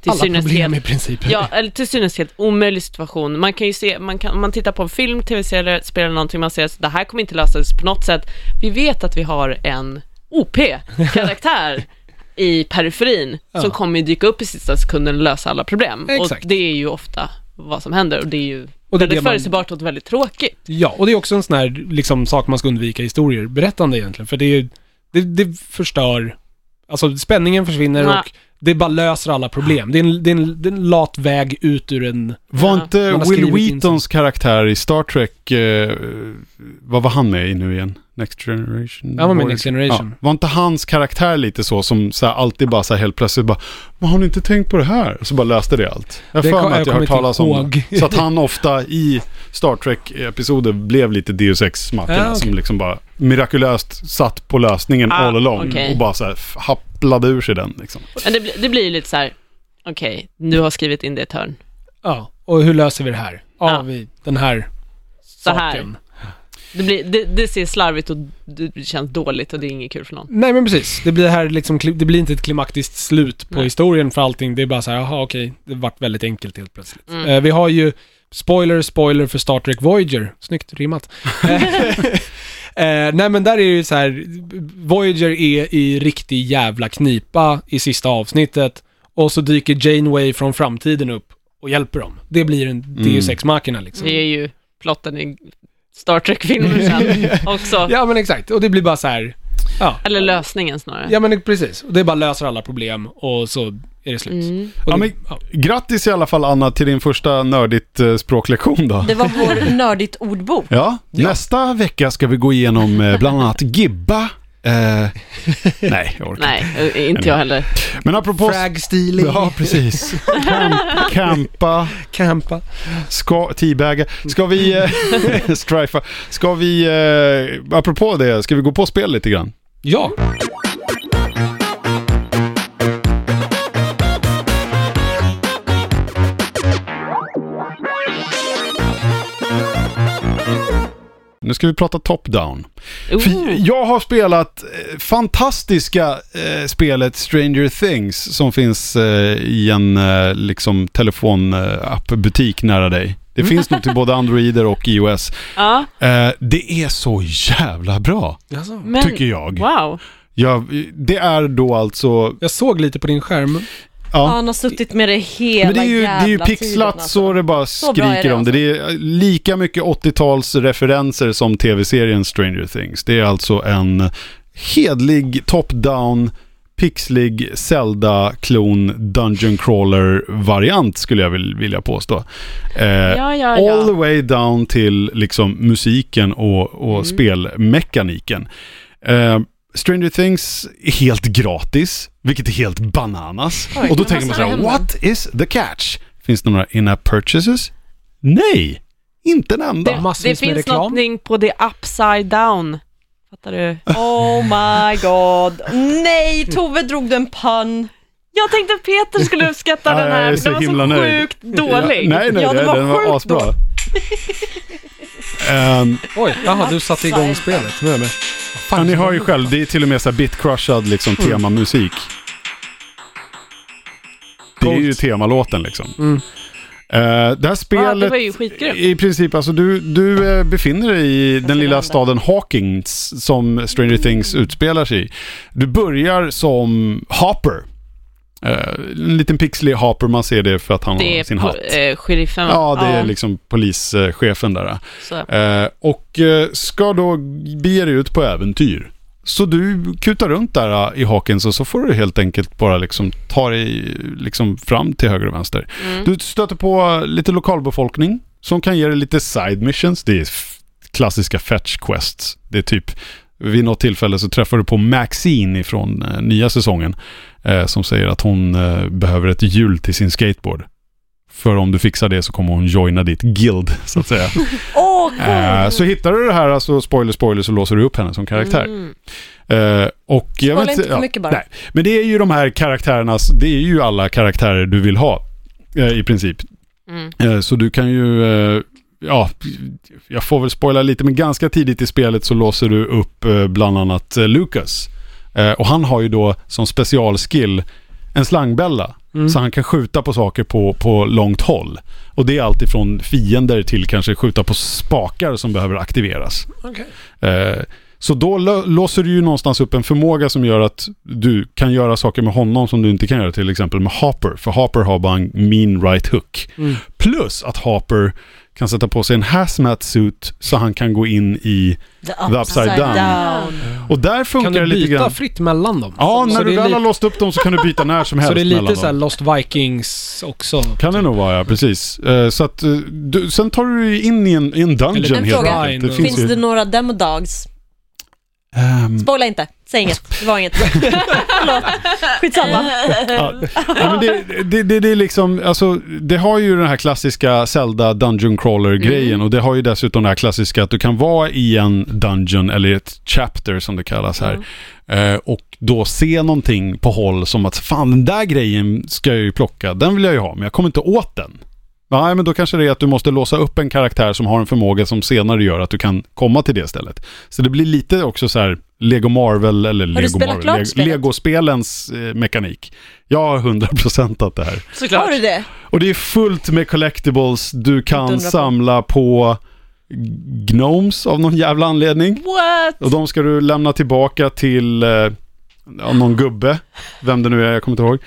Speaker 5: till
Speaker 2: Alla
Speaker 5: synes helt
Speaker 2: problem i princip.
Speaker 5: Ja, eller till synes helt omöjlig situation. Man kan ju se, man kan, om man tittar på en film, tv-serie, spelar någonting, man ser att det här kommer inte lösas på något sätt. Vi vet att vi har en
Speaker 2: [LAUGHS]
Speaker 5: OP-karaktär i periferin
Speaker 2: Ja.
Speaker 5: som kommer dyka upp i sista sekunden och lösa alla problem.
Speaker 2: Exakt.
Speaker 5: Och det är ju ofta vad som händer och det är ju
Speaker 2: Och det är
Speaker 5: väldigt
Speaker 2: det man-
Speaker 5: förutsägbart och väldigt tråkigt.
Speaker 2: Ja, och det är också en sån här liksom, sak man ska undvika i historieberättande egentligen. För det, är, det, det förstör, alltså spänningen försvinner
Speaker 5: Ja.
Speaker 2: och det bara löser alla problem. Det är, en, det, är en, det är en lat väg ut ur en...
Speaker 1: Var
Speaker 5: Ja.
Speaker 1: inte
Speaker 2: Man har
Speaker 1: Will
Speaker 2: skrivit in
Speaker 1: Wheatons karaktär i Star Trek, eh, vad var han med i nu igen? Next Generation?
Speaker 2: Ja, vad med
Speaker 1: Voyager?
Speaker 2: Next Generation?
Speaker 1: Ja. Var inte hans karaktär lite så som så här, alltid bara så här, helt plötsligt bara Men har ni inte tänkt på det här? Så bara löste det allt. Jag har
Speaker 2: Det
Speaker 1: för
Speaker 2: kom-
Speaker 1: mig att
Speaker 2: jag
Speaker 1: jag har hört
Speaker 2: kommer
Speaker 1: talas
Speaker 2: inte
Speaker 1: om det.
Speaker 2: ihåg.
Speaker 1: Så att han ofta i Star Trek-episoder blev lite Deus ex machina
Speaker 2: Ja, okej.
Speaker 1: som liksom bara mirakulöst satt på lösningen
Speaker 5: Ah,
Speaker 1: all along
Speaker 5: okej.
Speaker 1: och bara så här f- happlade ur sig den liksom.
Speaker 5: Men det, bli- det blir ju lite så här, okej, du har skrivit in det i ett hörn.
Speaker 2: [LAUGHS] Ja, och hur löser vi det här? Ja,
Speaker 5: Ja.
Speaker 2: vi, den här
Speaker 5: Så
Speaker 2: saken.
Speaker 5: här. Det, blir, det, det ser slarvigt och det känns dåligt och det är inget kul för någon.
Speaker 2: Nej men precis, det blir, här liksom, kli- det blir inte ett klimaktiskt slut på
Speaker 5: Nej.
Speaker 2: historien för allting. Det är bara så här, jaha okej, det vart väldigt enkelt helt plötsligt.
Speaker 5: Mm.
Speaker 2: Eh, vi har ju, spoiler, spoiler för Star Trek Voyager. Snyggt
Speaker 5: [LAUGHS]
Speaker 2: rimmat. eh, eh, nej men där är det ju så här, Voyager är i riktig jävla knipa i sista avsnittet och så dyker Janeway från framtiden upp och hjälper dem. Det blir en
Speaker 1: Mm.
Speaker 2: Deus Ex Machina liksom.
Speaker 5: Det är ju plotten i Star
Speaker 2: [LAUGHS]
Speaker 5: Trek-filmer sen också.
Speaker 2: Mm. Ja men exakt, och det blir bara så här, ja.
Speaker 5: Eller lösningen snarare.
Speaker 2: Ja men precis, och det bara löser alla problem och så är det slut.
Speaker 5: Mm.
Speaker 2: Och
Speaker 1: Ja,
Speaker 2: det-
Speaker 1: men, grattis i alla fall Anna till din första nördigt eh, språklektion då.
Speaker 3: Det var
Speaker 1: [LAUGHS]
Speaker 3: vår nördigt ordbok.
Speaker 1: Ja, nästa vecka ska vi gå igenom eh, bland annat gibba, Eh, nej, jag orkar
Speaker 5: Nej, eh, inte jag heller.
Speaker 1: inte. Men apropå...
Speaker 2: Frag-stealing,
Speaker 1: Ja, precis. Camp, campa,
Speaker 2: campa.
Speaker 1: ska, teabagga. Ska vi... Eh, [LAUGHS] strifa. Ska vi... Eh, apropå det, ska vi gå på spel lite grann?
Speaker 2: Ja,
Speaker 1: Nu ska vi prata top-down. För
Speaker 5: Oh,
Speaker 1: Jag har spelat eh, fantastiska eh, spelet Stranger Things som finns eh, i en eh, liksom, telefonappbutik nära dig. Det finns nog till både Androider och iOS.
Speaker 5: ja,
Speaker 1: Eh, det är så jävla bra,
Speaker 2: alltså.
Speaker 5: men,
Speaker 1: tycker jag.
Speaker 5: Wow.
Speaker 1: jag. Det är då alltså...
Speaker 2: jag såg lite på din skärm.
Speaker 3: Ja,
Speaker 1: Ja.
Speaker 3: han har suttit med det hela
Speaker 1: Men det är ju, det
Speaker 3: jävla
Speaker 1: är ju
Speaker 3: tiden,
Speaker 1: pixlat
Speaker 3: alltså.
Speaker 1: så det bara
Speaker 3: Så bra är det alltså.
Speaker 1: skriker om det. Det är lika mycket 80-talsreferenser som tv-serien Stranger Things. Det är alltså en hedlig top-down, pixlig Zelda-klon, Dungeon Crawler-variant skulle jag vil- vilja påstå. Eh,
Speaker 5: Ja, ja,
Speaker 1: All the
Speaker 5: ja.
Speaker 1: way down till liksom musiken och, och
Speaker 3: Mm.
Speaker 1: spelmekaniken. Eh, Stranger Things är helt gratis, vilket är helt bananas.
Speaker 5: Oj,
Speaker 1: och då
Speaker 5: jag
Speaker 1: tänker man
Speaker 5: måste
Speaker 1: så här,
Speaker 5: hem
Speaker 1: what is the catch? Finns det några in-app purchases? Nej, inte en enda.
Speaker 5: Det,
Speaker 2: Massvis
Speaker 5: det
Speaker 2: med
Speaker 5: finns
Speaker 2: reklam.
Speaker 5: någonting på det upside down. Fattar du?
Speaker 3: Oh my god. Nej, Tove drog du en pann.
Speaker 5: Jag tänkte att Peter skulle uppskatta
Speaker 1: Ja,
Speaker 5: den här,
Speaker 1: jag är
Speaker 5: men
Speaker 1: så
Speaker 5: den var
Speaker 1: himla
Speaker 5: så
Speaker 1: nöjd.
Speaker 5: sjukt dålig.
Speaker 1: nej, nej,
Speaker 3: Ja, det
Speaker 1: nej,
Speaker 3: var
Speaker 1: den var
Speaker 3: sjukt
Speaker 1: asbra.
Speaker 3: då.
Speaker 1: [LAUGHS] Ehm,
Speaker 2: Oj, jaha, du satte igång spelet. Nu är jag med.
Speaker 1: ja, ni hör ju själv, det är till och med så här bitcrushad liksom temamusik. Det är ju
Speaker 2: Coolt.
Speaker 1: temalåten liksom.
Speaker 2: Mm.
Speaker 1: Eh, det här
Speaker 5: Ja, det
Speaker 1: spelet...
Speaker 5: var ju skitgrymt.
Speaker 1: I princip, alltså du, du eh, befinner dig i den lilla
Speaker 3: landa.
Speaker 1: staden Hawkins som Stranger Things utspelar sig i. Du börjar som Hopper. Eh, en liten pixlig Hopper, man ser det för att han
Speaker 5: Det
Speaker 1: har sin
Speaker 5: är på,
Speaker 1: hatt.
Speaker 5: eh, sheriffen. va?
Speaker 1: Ja, det är liksom polischefen där. eh.
Speaker 5: så.
Speaker 1: Eh, och eh, ska då bege dig ut på äventyr. Så du kutar runt där eh, i Hawkins och så får du helt enkelt bara liksom ta dig eh, liksom fram till höger och vänster.
Speaker 5: mm.
Speaker 1: Du stöter på lite lokalbefolkning som kan ge dig lite side missions. Det är f- klassiska fetch quests. Det är typ vid något tillfälle så träffar du på Maxine ifrån eh, nya säsongen eh, som säger att hon eh, behöver ett hjul till sin skateboard. För om du fixar det så kommer hon joina ditt guild [LAUGHS] så att säga.
Speaker 3: Åh,
Speaker 1: Eh, så hittar du det här, alltså spoiler, spoiler, så låser du upp henne som karaktär.
Speaker 5: Mm.
Speaker 1: Eh, och jag
Speaker 3: Spoila
Speaker 1: vet,
Speaker 3: inte för
Speaker 1: ja,
Speaker 3: mycket bara.
Speaker 1: Nej. Men det är ju de här karaktärernas, det är ju alla karaktärer du vill ha eh, i princip.
Speaker 5: Mm.
Speaker 1: Eh, så du kan ju, eh, ja, jag får väl spoila lite, men ganska tidigt i spelet så låser du upp eh, bland annat eh, Lucas. Eh, och han har ju då som specialskill en slangbälla.
Speaker 2: Mm.
Speaker 1: Så han kan skjuta på saker på, på långt håll. Och det är allt ifrån fiender till kanske skjuta på spakar som behöver aktiveras.
Speaker 2: Okej.
Speaker 1: Eh, Så då lö- låser du ju någonstans upp en förmåga som gör att du kan göra saker med honom som du inte kan göra till exempel med Hopper. För Hopper har bara en mean right hook.
Speaker 2: Mm.
Speaker 1: Plus att Hopper kan sätta på sig en hazmat suit så han kan gå in i...
Speaker 3: The
Speaker 1: upside down. Och där funkar
Speaker 2: Kan du
Speaker 1: det lite
Speaker 2: byta
Speaker 1: grann.
Speaker 2: fritt mellan dem?
Speaker 1: Ja,
Speaker 2: Så
Speaker 1: när
Speaker 2: det
Speaker 1: du
Speaker 2: är
Speaker 1: väl
Speaker 2: li-
Speaker 1: har låst upp dem så kan du byta när som helst
Speaker 2: [LAUGHS] Så det är
Speaker 1: mellan
Speaker 2: lite
Speaker 1: dem.
Speaker 2: såhär Lost Vikings
Speaker 1: [LAUGHS]
Speaker 2: också?
Speaker 1: Kan det nog vara ja, precis. Eh, Så att eh, du, sen tar du ju in i en, i en
Speaker 2: Eller
Speaker 1: dungeon
Speaker 3: en
Speaker 1: helt
Speaker 3: fråga.
Speaker 1: enkelt. Det
Speaker 3: Finns
Speaker 1: finns ju... Mm.
Speaker 3: det några demo dogs?
Speaker 1: Ehm,
Speaker 3: Spoila inte, säg inget. Det
Speaker 1: [LAUGHS]
Speaker 3: var inget. Förlåt, skitsamma.
Speaker 1: Ja. Ja, men det, det, det, det är liksom, alltså, det har ju den här klassiska Zelda Dungeon Crawler-grejen och det har ju dessutom det här klassiska att du kan vara i en dungeon eller ett chapter som det kallas här eh, och då se någonting på håll som att fan den där grejen ska jag ju plocka, den vill jag ju ha men jag kommer inte åt den. Nej, men då kanske det är att du måste låsa upp en karaktär som har en förmåga som senare gör att du kan komma till det stället. Så det blir lite också så här Lego Marvel eller
Speaker 3: Har du
Speaker 1: Lego
Speaker 3: spelat
Speaker 1: Marvel,
Speaker 3: klart
Speaker 1: Lego-
Speaker 3: spelet?
Speaker 1: Lego-spelens eh, mekanik. Jag har 100% att det här.
Speaker 5: Såklart.
Speaker 3: Har du det?
Speaker 1: Och det är fullt med collectibles du
Speaker 3: Inte
Speaker 1: kan
Speaker 3: undra på.
Speaker 1: samla på gnomes av någon jävla anledning.
Speaker 5: What?
Speaker 1: Och de ska du lämna tillbaka till eh, ja, någon gubbe, vem det nu är, jag kommer inte ihåg.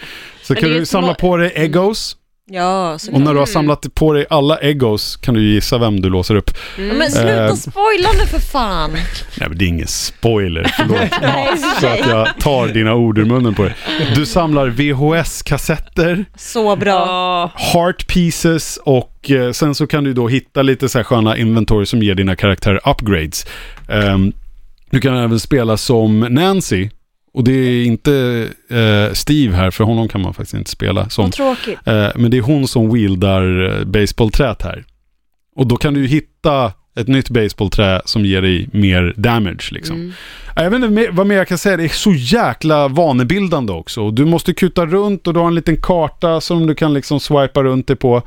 Speaker 1: Så
Speaker 5: Men
Speaker 1: kan
Speaker 5: det är
Speaker 1: du
Speaker 5: ju små- Mm.
Speaker 1: samla på dig Eggos.
Speaker 3: Ja,
Speaker 1: Och
Speaker 3: såklart.
Speaker 1: när du har samlat på dig alla Eggos kan du gissa vem du låser upp.
Speaker 3: Mm. Ja, Men sluta
Speaker 1: Eh.
Speaker 3: spoila nu för fan.
Speaker 1: Nej men det är ingen spoiler,
Speaker 5: [LAUGHS]
Speaker 1: förlåt
Speaker 3: Nej,
Speaker 1: så att jag tar dina ord ur munnen på dig. Du samlar VHS-kassetter,
Speaker 3: Så bra.
Speaker 5: Ja.
Speaker 1: heart pieces och eh, sen så kan du då hitta lite så här sköna inventory som ger dina karaktärer upgrades. Ehm, Du kan även spela som Nancy. Och det är inte eh, Steve här, för honom kan man faktiskt inte spela som.
Speaker 4: Vad tråkigt.
Speaker 1: Eh, men det är hon som wieldar eh, baseballträt här. Och då kan du ju hitta ett nytt baseballträ som ger dig mer damage liksom.
Speaker 5: Mm.
Speaker 1: Ja, Jag vet inte mer- vad mer jag kan säga, det är så jäkla vanebildande också. Och Du måste kuta runt och du har en liten karta som du kan liksom swipa runt dig på.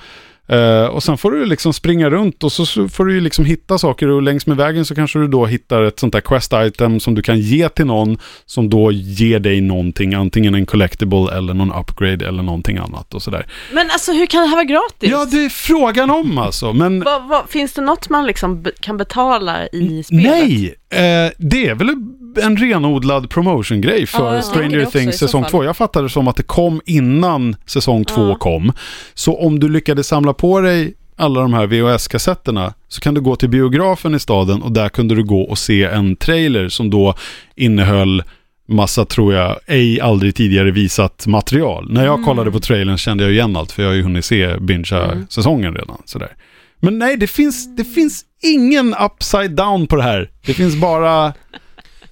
Speaker 1: Eh, och sen får du liksom springa runt och så- så får du ju liksom hitta saker och längs med vägen så kanske du då hittar ett sånt där quest item som du kan ge till någon som då ger dig någonting, antingen en collectible eller någon upgrade eller någonting annat och sådär.
Speaker 5: Men alltså hur kan det här vara gratis?
Speaker 1: Ja, det är frågan om alltså, men
Speaker 5: Vad- vad- finns det något man liksom be- kan betala i spelet?
Speaker 1: Nej, eh, det är väl en renodlad promotion-grej för
Speaker 5: Ja, jag
Speaker 4: tänker det
Speaker 1: Stranger
Speaker 4: också i
Speaker 1: Things
Speaker 4: så
Speaker 1: säsong
Speaker 4: fall.
Speaker 1: 2. Jag fattade det som att det kom innan säsong 2
Speaker 5: Ja.
Speaker 1: kom. Så om du lyckades samla på dig alla de här VHS-kassetterna så kan du gå till biografen i staden och där kunde du gå och se en trailer som då innehöll massa, tror jag, ej aldrig tidigare visat material. När jag kollade på trailern kände jag igen allt för jag har ju hunnit se Bincha-säsongen redan. Sådär. Men nej, det finns, det finns ingen upside down på det här. Det finns bara...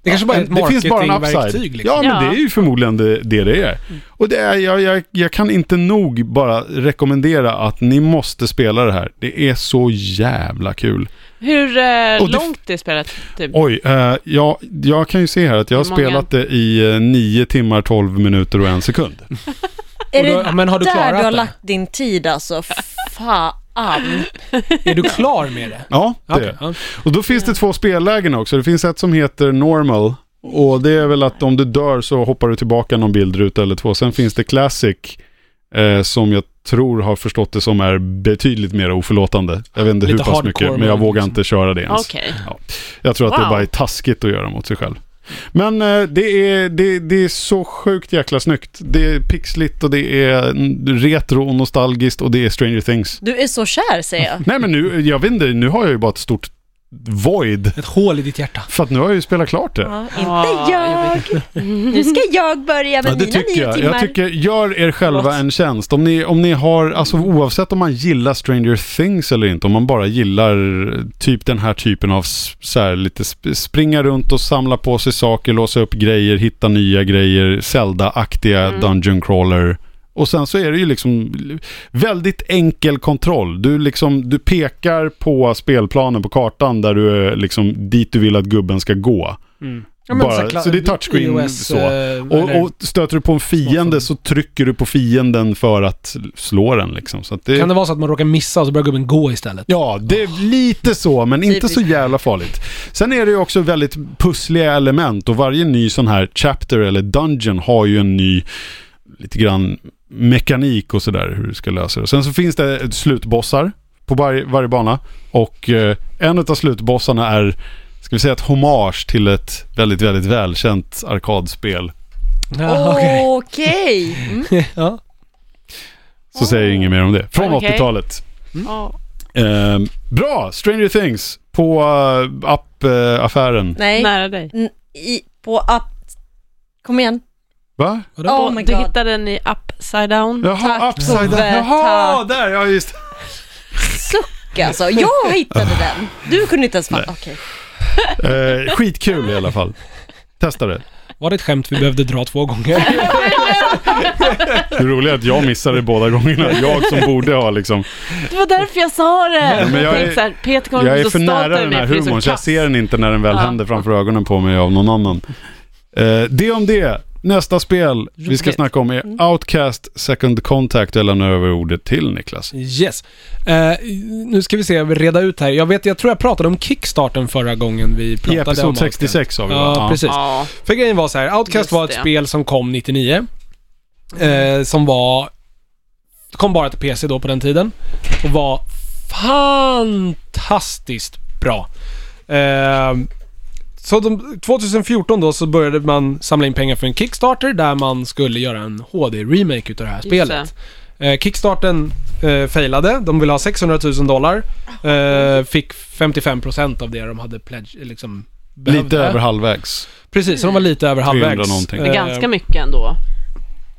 Speaker 2: Det kanske bara är ett
Speaker 1: det finns bara en upside.
Speaker 2: marketingverktyg liksom. Mm.
Speaker 1: Ja, men
Speaker 5: Ja.
Speaker 1: det är ju förmodligen det det, det är. Och det är, jag, jag, jag kan inte nog bara rekommendera att ni måste spela det här. Det är så jävla kul.
Speaker 5: Hur eh,
Speaker 1: Och det-
Speaker 5: långt det är spelet? Typ?
Speaker 1: Oj, eh, jag, jag kan ju se här att jag har
Speaker 5: Hur många?
Speaker 1: spelat det i eh, 9 timmar, 12 minuter och en
Speaker 2: [LAUGHS]
Speaker 1: sekund.
Speaker 4: Är
Speaker 2: Och då-
Speaker 4: det
Speaker 2: men har du
Speaker 4: där
Speaker 2: klarat
Speaker 4: du har
Speaker 2: det?
Speaker 4: lagt din tid alltså? Fan.
Speaker 2: Är du klar med det?
Speaker 1: Ja, det
Speaker 2: Okej, ja.
Speaker 1: Och då finns det två spellägen också. Det finns ett som heter normal. Och det är väl att om du dör så hoppar du tillbaka någon bildruta eller två. Sen finns det classic. Eh, som jag tror har förstått det som är betydligt mer oförlåtande. Jag vet inte
Speaker 2: Lite
Speaker 1: hur pass mycket,
Speaker 2: hardcore,
Speaker 1: men jag
Speaker 2: men
Speaker 1: vågar
Speaker 2: liksom-
Speaker 1: inte köra det ens.
Speaker 5: Okej.
Speaker 1: Jag tror att det
Speaker 5: Wow.
Speaker 1: bara är taskigt att göra mot sig själv. Men eh, det, är, det, det är så sjukt jäkla snyggt. Det är pixligt och det är mm, retro och nostalgiskt och det är Stranger Things.
Speaker 4: Du är så kär säger jag.
Speaker 1: Nej men nu, jag vet inte, nu har jag ju bara ett stort void.
Speaker 2: Ett hål i ditt hjärta.
Speaker 1: För att nu har jag ju spelat klart det.
Speaker 4: Ja,
Speaker 5: Ah,
Speaker 4: inte jag. Nu ska jag börja med
Speaker 1: Ja, det
Speaker 4: mina
Speaker 1: tycker
Speaker 4: nio
Speaker 1: jag.
Speaker 4: timmar.
Speaker 1: Jag tycker, gör er själva en tjänst. Om ni, om ni har, alltså oavsett om man gillar Stranger Things eller inte, om man bara gillar eh, typ den här typen av s- så här, lite sp- springa runt och samla på sig saker, låsa upp grejer, hitta nya grejer, Zelda-aktiga
Speaker 5: Mm.
Speaker 1: Dungeon Crawler. Och sen så är det ju liksom väldigt enkel kontroll. Du, liksom, du pekar på spelplanen på kartan där du är liksom dit du vill att gubben ska gå.
Speaker 2: Ja, men
Speaker 1: Mm. Bara-
Speaker 2: här kla-
Speaker 1: så det är touchscreen så.
Speaker 2: eh,
Speaker 1: Och,
Speaker 2: eller-
Speaker 1: och stöter du på en fiende så trycker du på fienden för att slå den liksom. Så att det,
Speaker 2: Kan det vara så att man råkar missa och så börjar gubben gå istället?
Speaker 1: Ja, det är lite så, men inte så jävla farligt. Sen är det ju också väldigt pussliga element och varje ny sån här chapter eller dungeon har ju en ny, lite grann mekanik och sådär hur du ska lösa det. Sen så finns det ett slutbossar på varje, varje bana och eh, en av slutbossarna är, ska vi säga ett hommage till ett väldigt, väldigt välkänt arkadspel.
Speaker 2: Ja, okej. [LAUGHS]
Speaker 4: Okej. Mm.
Speaker 2: Ja.
Speaker 1: Så säger jag inget mer om det. Från
Speaker 5: Okej.
Speaker 1: 80-talet.
Speaker 5: Ja.
Speaker 1: Ehm, bra, Stranger Things på uh, app-affären.
Speaker 4: Nej.
Speaker 5: Nära dig.
Speaker 4: N- I, på app... Kom igen.
Speaker 1: Va?
Speaker 2: Ja,
Speaker 4: Oh my
Speaker 5: du
Speaker 4: god.
Speaker 5: hittade den i Upside Down.
Speaker 1: Jaha,
Speaker 4: Tack,
Speaker 1: upside down.
Speaker 4: Tove,
Speaker 1: Jaha,
Speaker 4: tack.
Speaker 1: där, ja just
Speaker 4: Suck alltså. Jag hittade den. Du kunde inte ens fatta. Okej.
Speaker 1: uh, Skitkul i alla fall. Testa det.
Speaker 2: Var det ett skämt vi behövde dra två gånger? [LAUGHS]
Speaker 1: Det roliga är att jag missade det båda gångerna. Jag som borde ha liksom.
Speaker 5: Det var därför jag sa det.
Speaker 1: men jag är-
Speaker 5: jag tänkte så här, Peter kommer
Speaker 1: Jag
Speaker 5: bli
Speaker 1: är
Speaker 5: så
Speaker 1: för
Speaker 5: stolt
Speaker 1: nära
Speaker 5: över
Speaker 1: den
Speaker 5: mig
Speaker 1: här
Speaker 5: för det är så
Speaker 1: humorn så jag
Speaker 5: kass.
Speaker 1: ser den inte när den väl
Speaker 5: Ja.
Speaker 1: händer framför ögonen på mig av någon annan. Eh, det om det. Nästa spel vi ska
Speaker 5: Roligt. Mm.
Speaker 1: snacka om är Outcast Second Contact. Jag lämnar över ordet till Niklas.
Speaker 2: Yes. Eh, nu ska vi se, vi reda ut här. Jag, vet, jag tror jag pratade om kickstarten förra gången vi
Speaker 1: I
Speaker 2: pratade om
Speaker 1: episod
Speaker 2: Outcast.
Speaker 1: 66 har vi va?
Speaker 2: Ja, precis.
Speaker 5: Ja.
Speaker 2: För grejen var så här, Outcast
Speaker 5: Just
Speaker 2: var ett
Speaker 5: det.
Speaker 2: spel som kom 99. Eh, som var... Kom bara till PC då på den tiden. Och var fantastiskt bra. Eh, så de, 2014 då så började man samla in pengar för en Kickstarter där man skulle göra en HD-remake utav det här
Speaker 5: Just
Speaker 2: spelet. Eh, Kickstarten eh, failade. De ville ha 600 000 dollar. Eh, fick 55% av det de hade pledge, liksom, behövde.
Speaker 1: Lite över halvvägs.
Speaker 2: Precis, så de var lite över
Speaker 1: 300
Speaker 2: halvvägs.
Speaker 1: någonting.
Speaker 5: Det är
Speaker 2: Eh,
Speaker 5: ganska mycket ändå.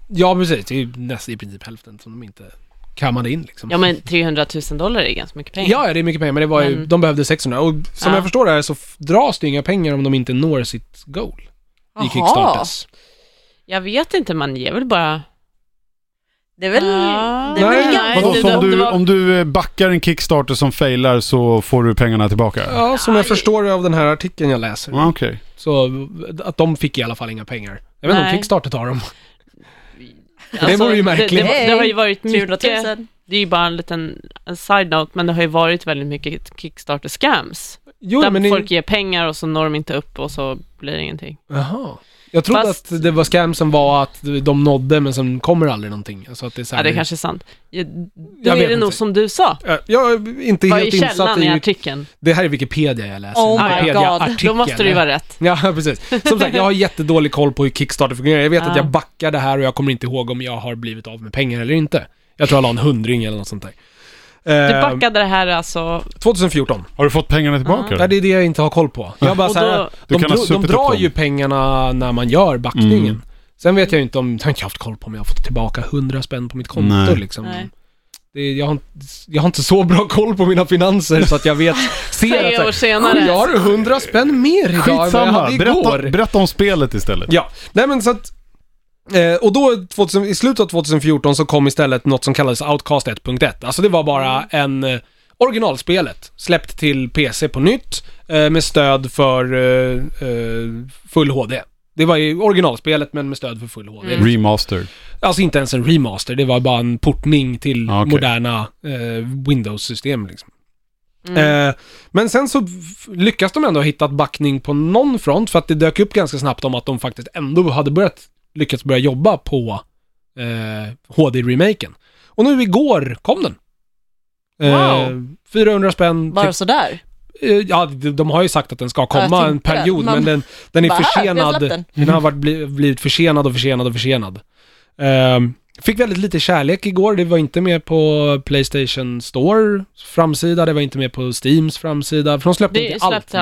Speaker 2: Ja, precis. Det är ju nästan i princip hälften som de inte kammade in liksom.
Speaker 5: Ja men 300 000 dollar är ganska mycket pengar.
Speaker 2: Ja, ja, det är mycket pengar, men det var ju,
Speaker 5: Men-
Speaker 2: de behövde 600. Och som
Speaker 5: Ja.
Speaker 2: jag förstår det här så f- dras det inga pengar om de inte når sitt goal i
Speaker 4: Jaha.
Speaker 2: Kickstarters.
Speaker 5: Jag vet inte, man ger väl bara...
Speaker 4: Det är väl...
Speaker 5: Ja.
Speaker 4: Det är
Speaker 2: Nej,
Speaker 4: väl
Speaker 5: nej,
Speaker 4: ganska...
Speaker 1: Vadå,
Speaker 5: det-
Speaker 1: så
Speaker 5: det-
Speaker 1: om,
Speaker 5: det
Speaker 1: du,
Speaker 5: var-
Speaker 1: om du eh, backar en Kickstarter som failar så får du pengarna tillbaka?
Speaker 2: Ja, som jag förstår det av den här artikeln jag läser.
Speaker 1: Ah, Okej.
Speaker 2: Så att de fick i alla fall inga pengar. Jag vet inte om
Speaker 5: Nej.
Speaker 2: Kickstarter tar dem.
Speaker 5: Alltså,
Speaker 2: vore ju
Speaker 5: Det,
Speaker 2: märkligt.
Speaker 5: det, det har ju varit
Speaker 4: 300
Speaker 5: mycket...
Speaker 4: 000.
Speaker 5: Det är ju bara en liten en side-note, men det har ju varit väldigt mycket Kickstarter-scams.
Speaker 2: Jo,
Speaker 5: där
Speaker 2: men
Speaker 5: folk
Speaker 2: ni...
Speaker 5: ger pengar och så når de inte upp och så blir det ingenting.
Speaker 2: Jaha. Jag trodde
Speaker 5: Fast-
Speaker 2: att det var scam som var att de nådde, men sen kommer aldrig någonting. Alltså att det är så
Speaker 5: Ja,
Speaker 2: här,
Speaker 5: det är kanske är sant. Ja, Då
Speaker 2: Jag
Speaker 5: är
Speaker 2: vet
Speaker 5: det nog
Speaker 2: inte.
Speaker 5: som du sa.
Speaker 2: Eh, Jag är inte
Speaker 5: Vad är
Speaker 2: helt insatt
Speaker 5: källan i
Speaker 2: i...
Speaker 5: artikeln?
Speaker 2: Det här är Wikipedia jag läser.
Speaker 4: Oh my
Speaker 2: Wikipedia-artikeln.
Speaker 5: Då måste det ju vara rätt.
Speaker 2: Ja, [LAUGHS] precis. Som sagt, jag har jättedålig koll på hur Kickstarter fungerar. Jag vet att
Speaker 5: Ja.
Speaker 2: jag backade här och jag kommer inte ihåg om jag har blivit av med pengar eller inte. Jag tror jag la en hundring eller något sånt där.
Speaker 5: Du
Speaker 2: Eh,
Speaker 5: backade det här alltså...
Speaker 2: 2014.
Speaker 1: Har du fått pengarna tillbaka?
Speaker 2: Ja, det är det jag inte har koll på. Jag bara
Speaker 5: Och
Speaker 2: så här,
Speaker 5: då-
Speaker 1: Du
Speaker 2: de,
Speaker 1: kan ha
Speaker 2: dro- de
Speaker 1: suppit upp
Speaker 2: drar
Speaker 1: dem.
Speaker 2: ju pengarna när man gör backningen.
Speaker 1: Mm.
Speaker 2: Sen vet jag ju inte om, jag har inte haft koll på om jag har fått tillbaka 100 spänn på mitt konto
Speaker 1: Nej.
Speaker 2: liksom.
Speaker 5: Nej.
Speaker 2: Det, är- jag, har, inte- jag har inte så bra koll på mina finanser så att jag
Speaker 5: [LAUGHS]
Speaker 2: vet, ser att
Speaker 5: Tre
Speaker 2: så
Speaker 5: år
Speaker 2: här,
Speaker 5: senare.
Speaker 2: jag har 100 spänn mer idag än vad jag
Speaker 1: Skitsamma,
Speaker 2: hade
Speaker 1: berätta,
Speaker 2: igår.
Speaker 1: berätta om spelet istället.
Speaker 2: Ja, nej men så att... Eh, och då 2000, i slutet av 2014 så kom istället något som kallades Outcast 1.1. Alltså det var bara en... Eh, originalspelet, släppt till PC på nytt eh, med stöd för eh, eh, full HD. Det var ju originalspelet men med stöd för full HD.
Speaker 1: Mm. Remaster.
Speaker 2: Alltså inte ens en remaster, det var bara en portning till
Speaker 1: Ah, okej.
Speaker 2: moderna eh, Windows-system liksom.
Speaker 5: Mm.
Speaker 4: Mm.
Speaker 2: Eh, men sen så f- lyckas de ändå ha hittat backning på någon front för att det dök upp ganska snabbt om att de faktiskt ändå hade börjat, lyckats börja jobba på eh, HD-remaken. Och nu igår kom den. Eh,
Speaker 5: Wow.
Speaker 2: 400 spänn.
Speaker 4: Bara
Speaker 2: typ.
Speaker 4: sådär.
Speaker 2: Eh, ja, de, de har ju sagt att den ska
Speaker 4: Ja,
Speaker 2: komma
Speaker 4: jag
Speaker 2: en
Speaker 4: tänkte det.
Speaker 2: period,
Speaker 4: Man-
Speaker 2: men den, den är
Speaker 4: Bara, "Ah, vi har
Speaker 2: försenad.
Speaker 4: släppt den."
Speaker 2: Den
Speaker 5: Mhm.
Speaker 2: har varit, bli, blivit försenad och försenad och försenad. Ehm, fick väldigt lite kärlek igår. Det var inte med på Playstation Store framsida. Det var inte med på Steams framsida. För de släppte
Speaker 5: Det
Speaker 2: inte allt.
Speaker 5: släppte
Speaker 2: nu.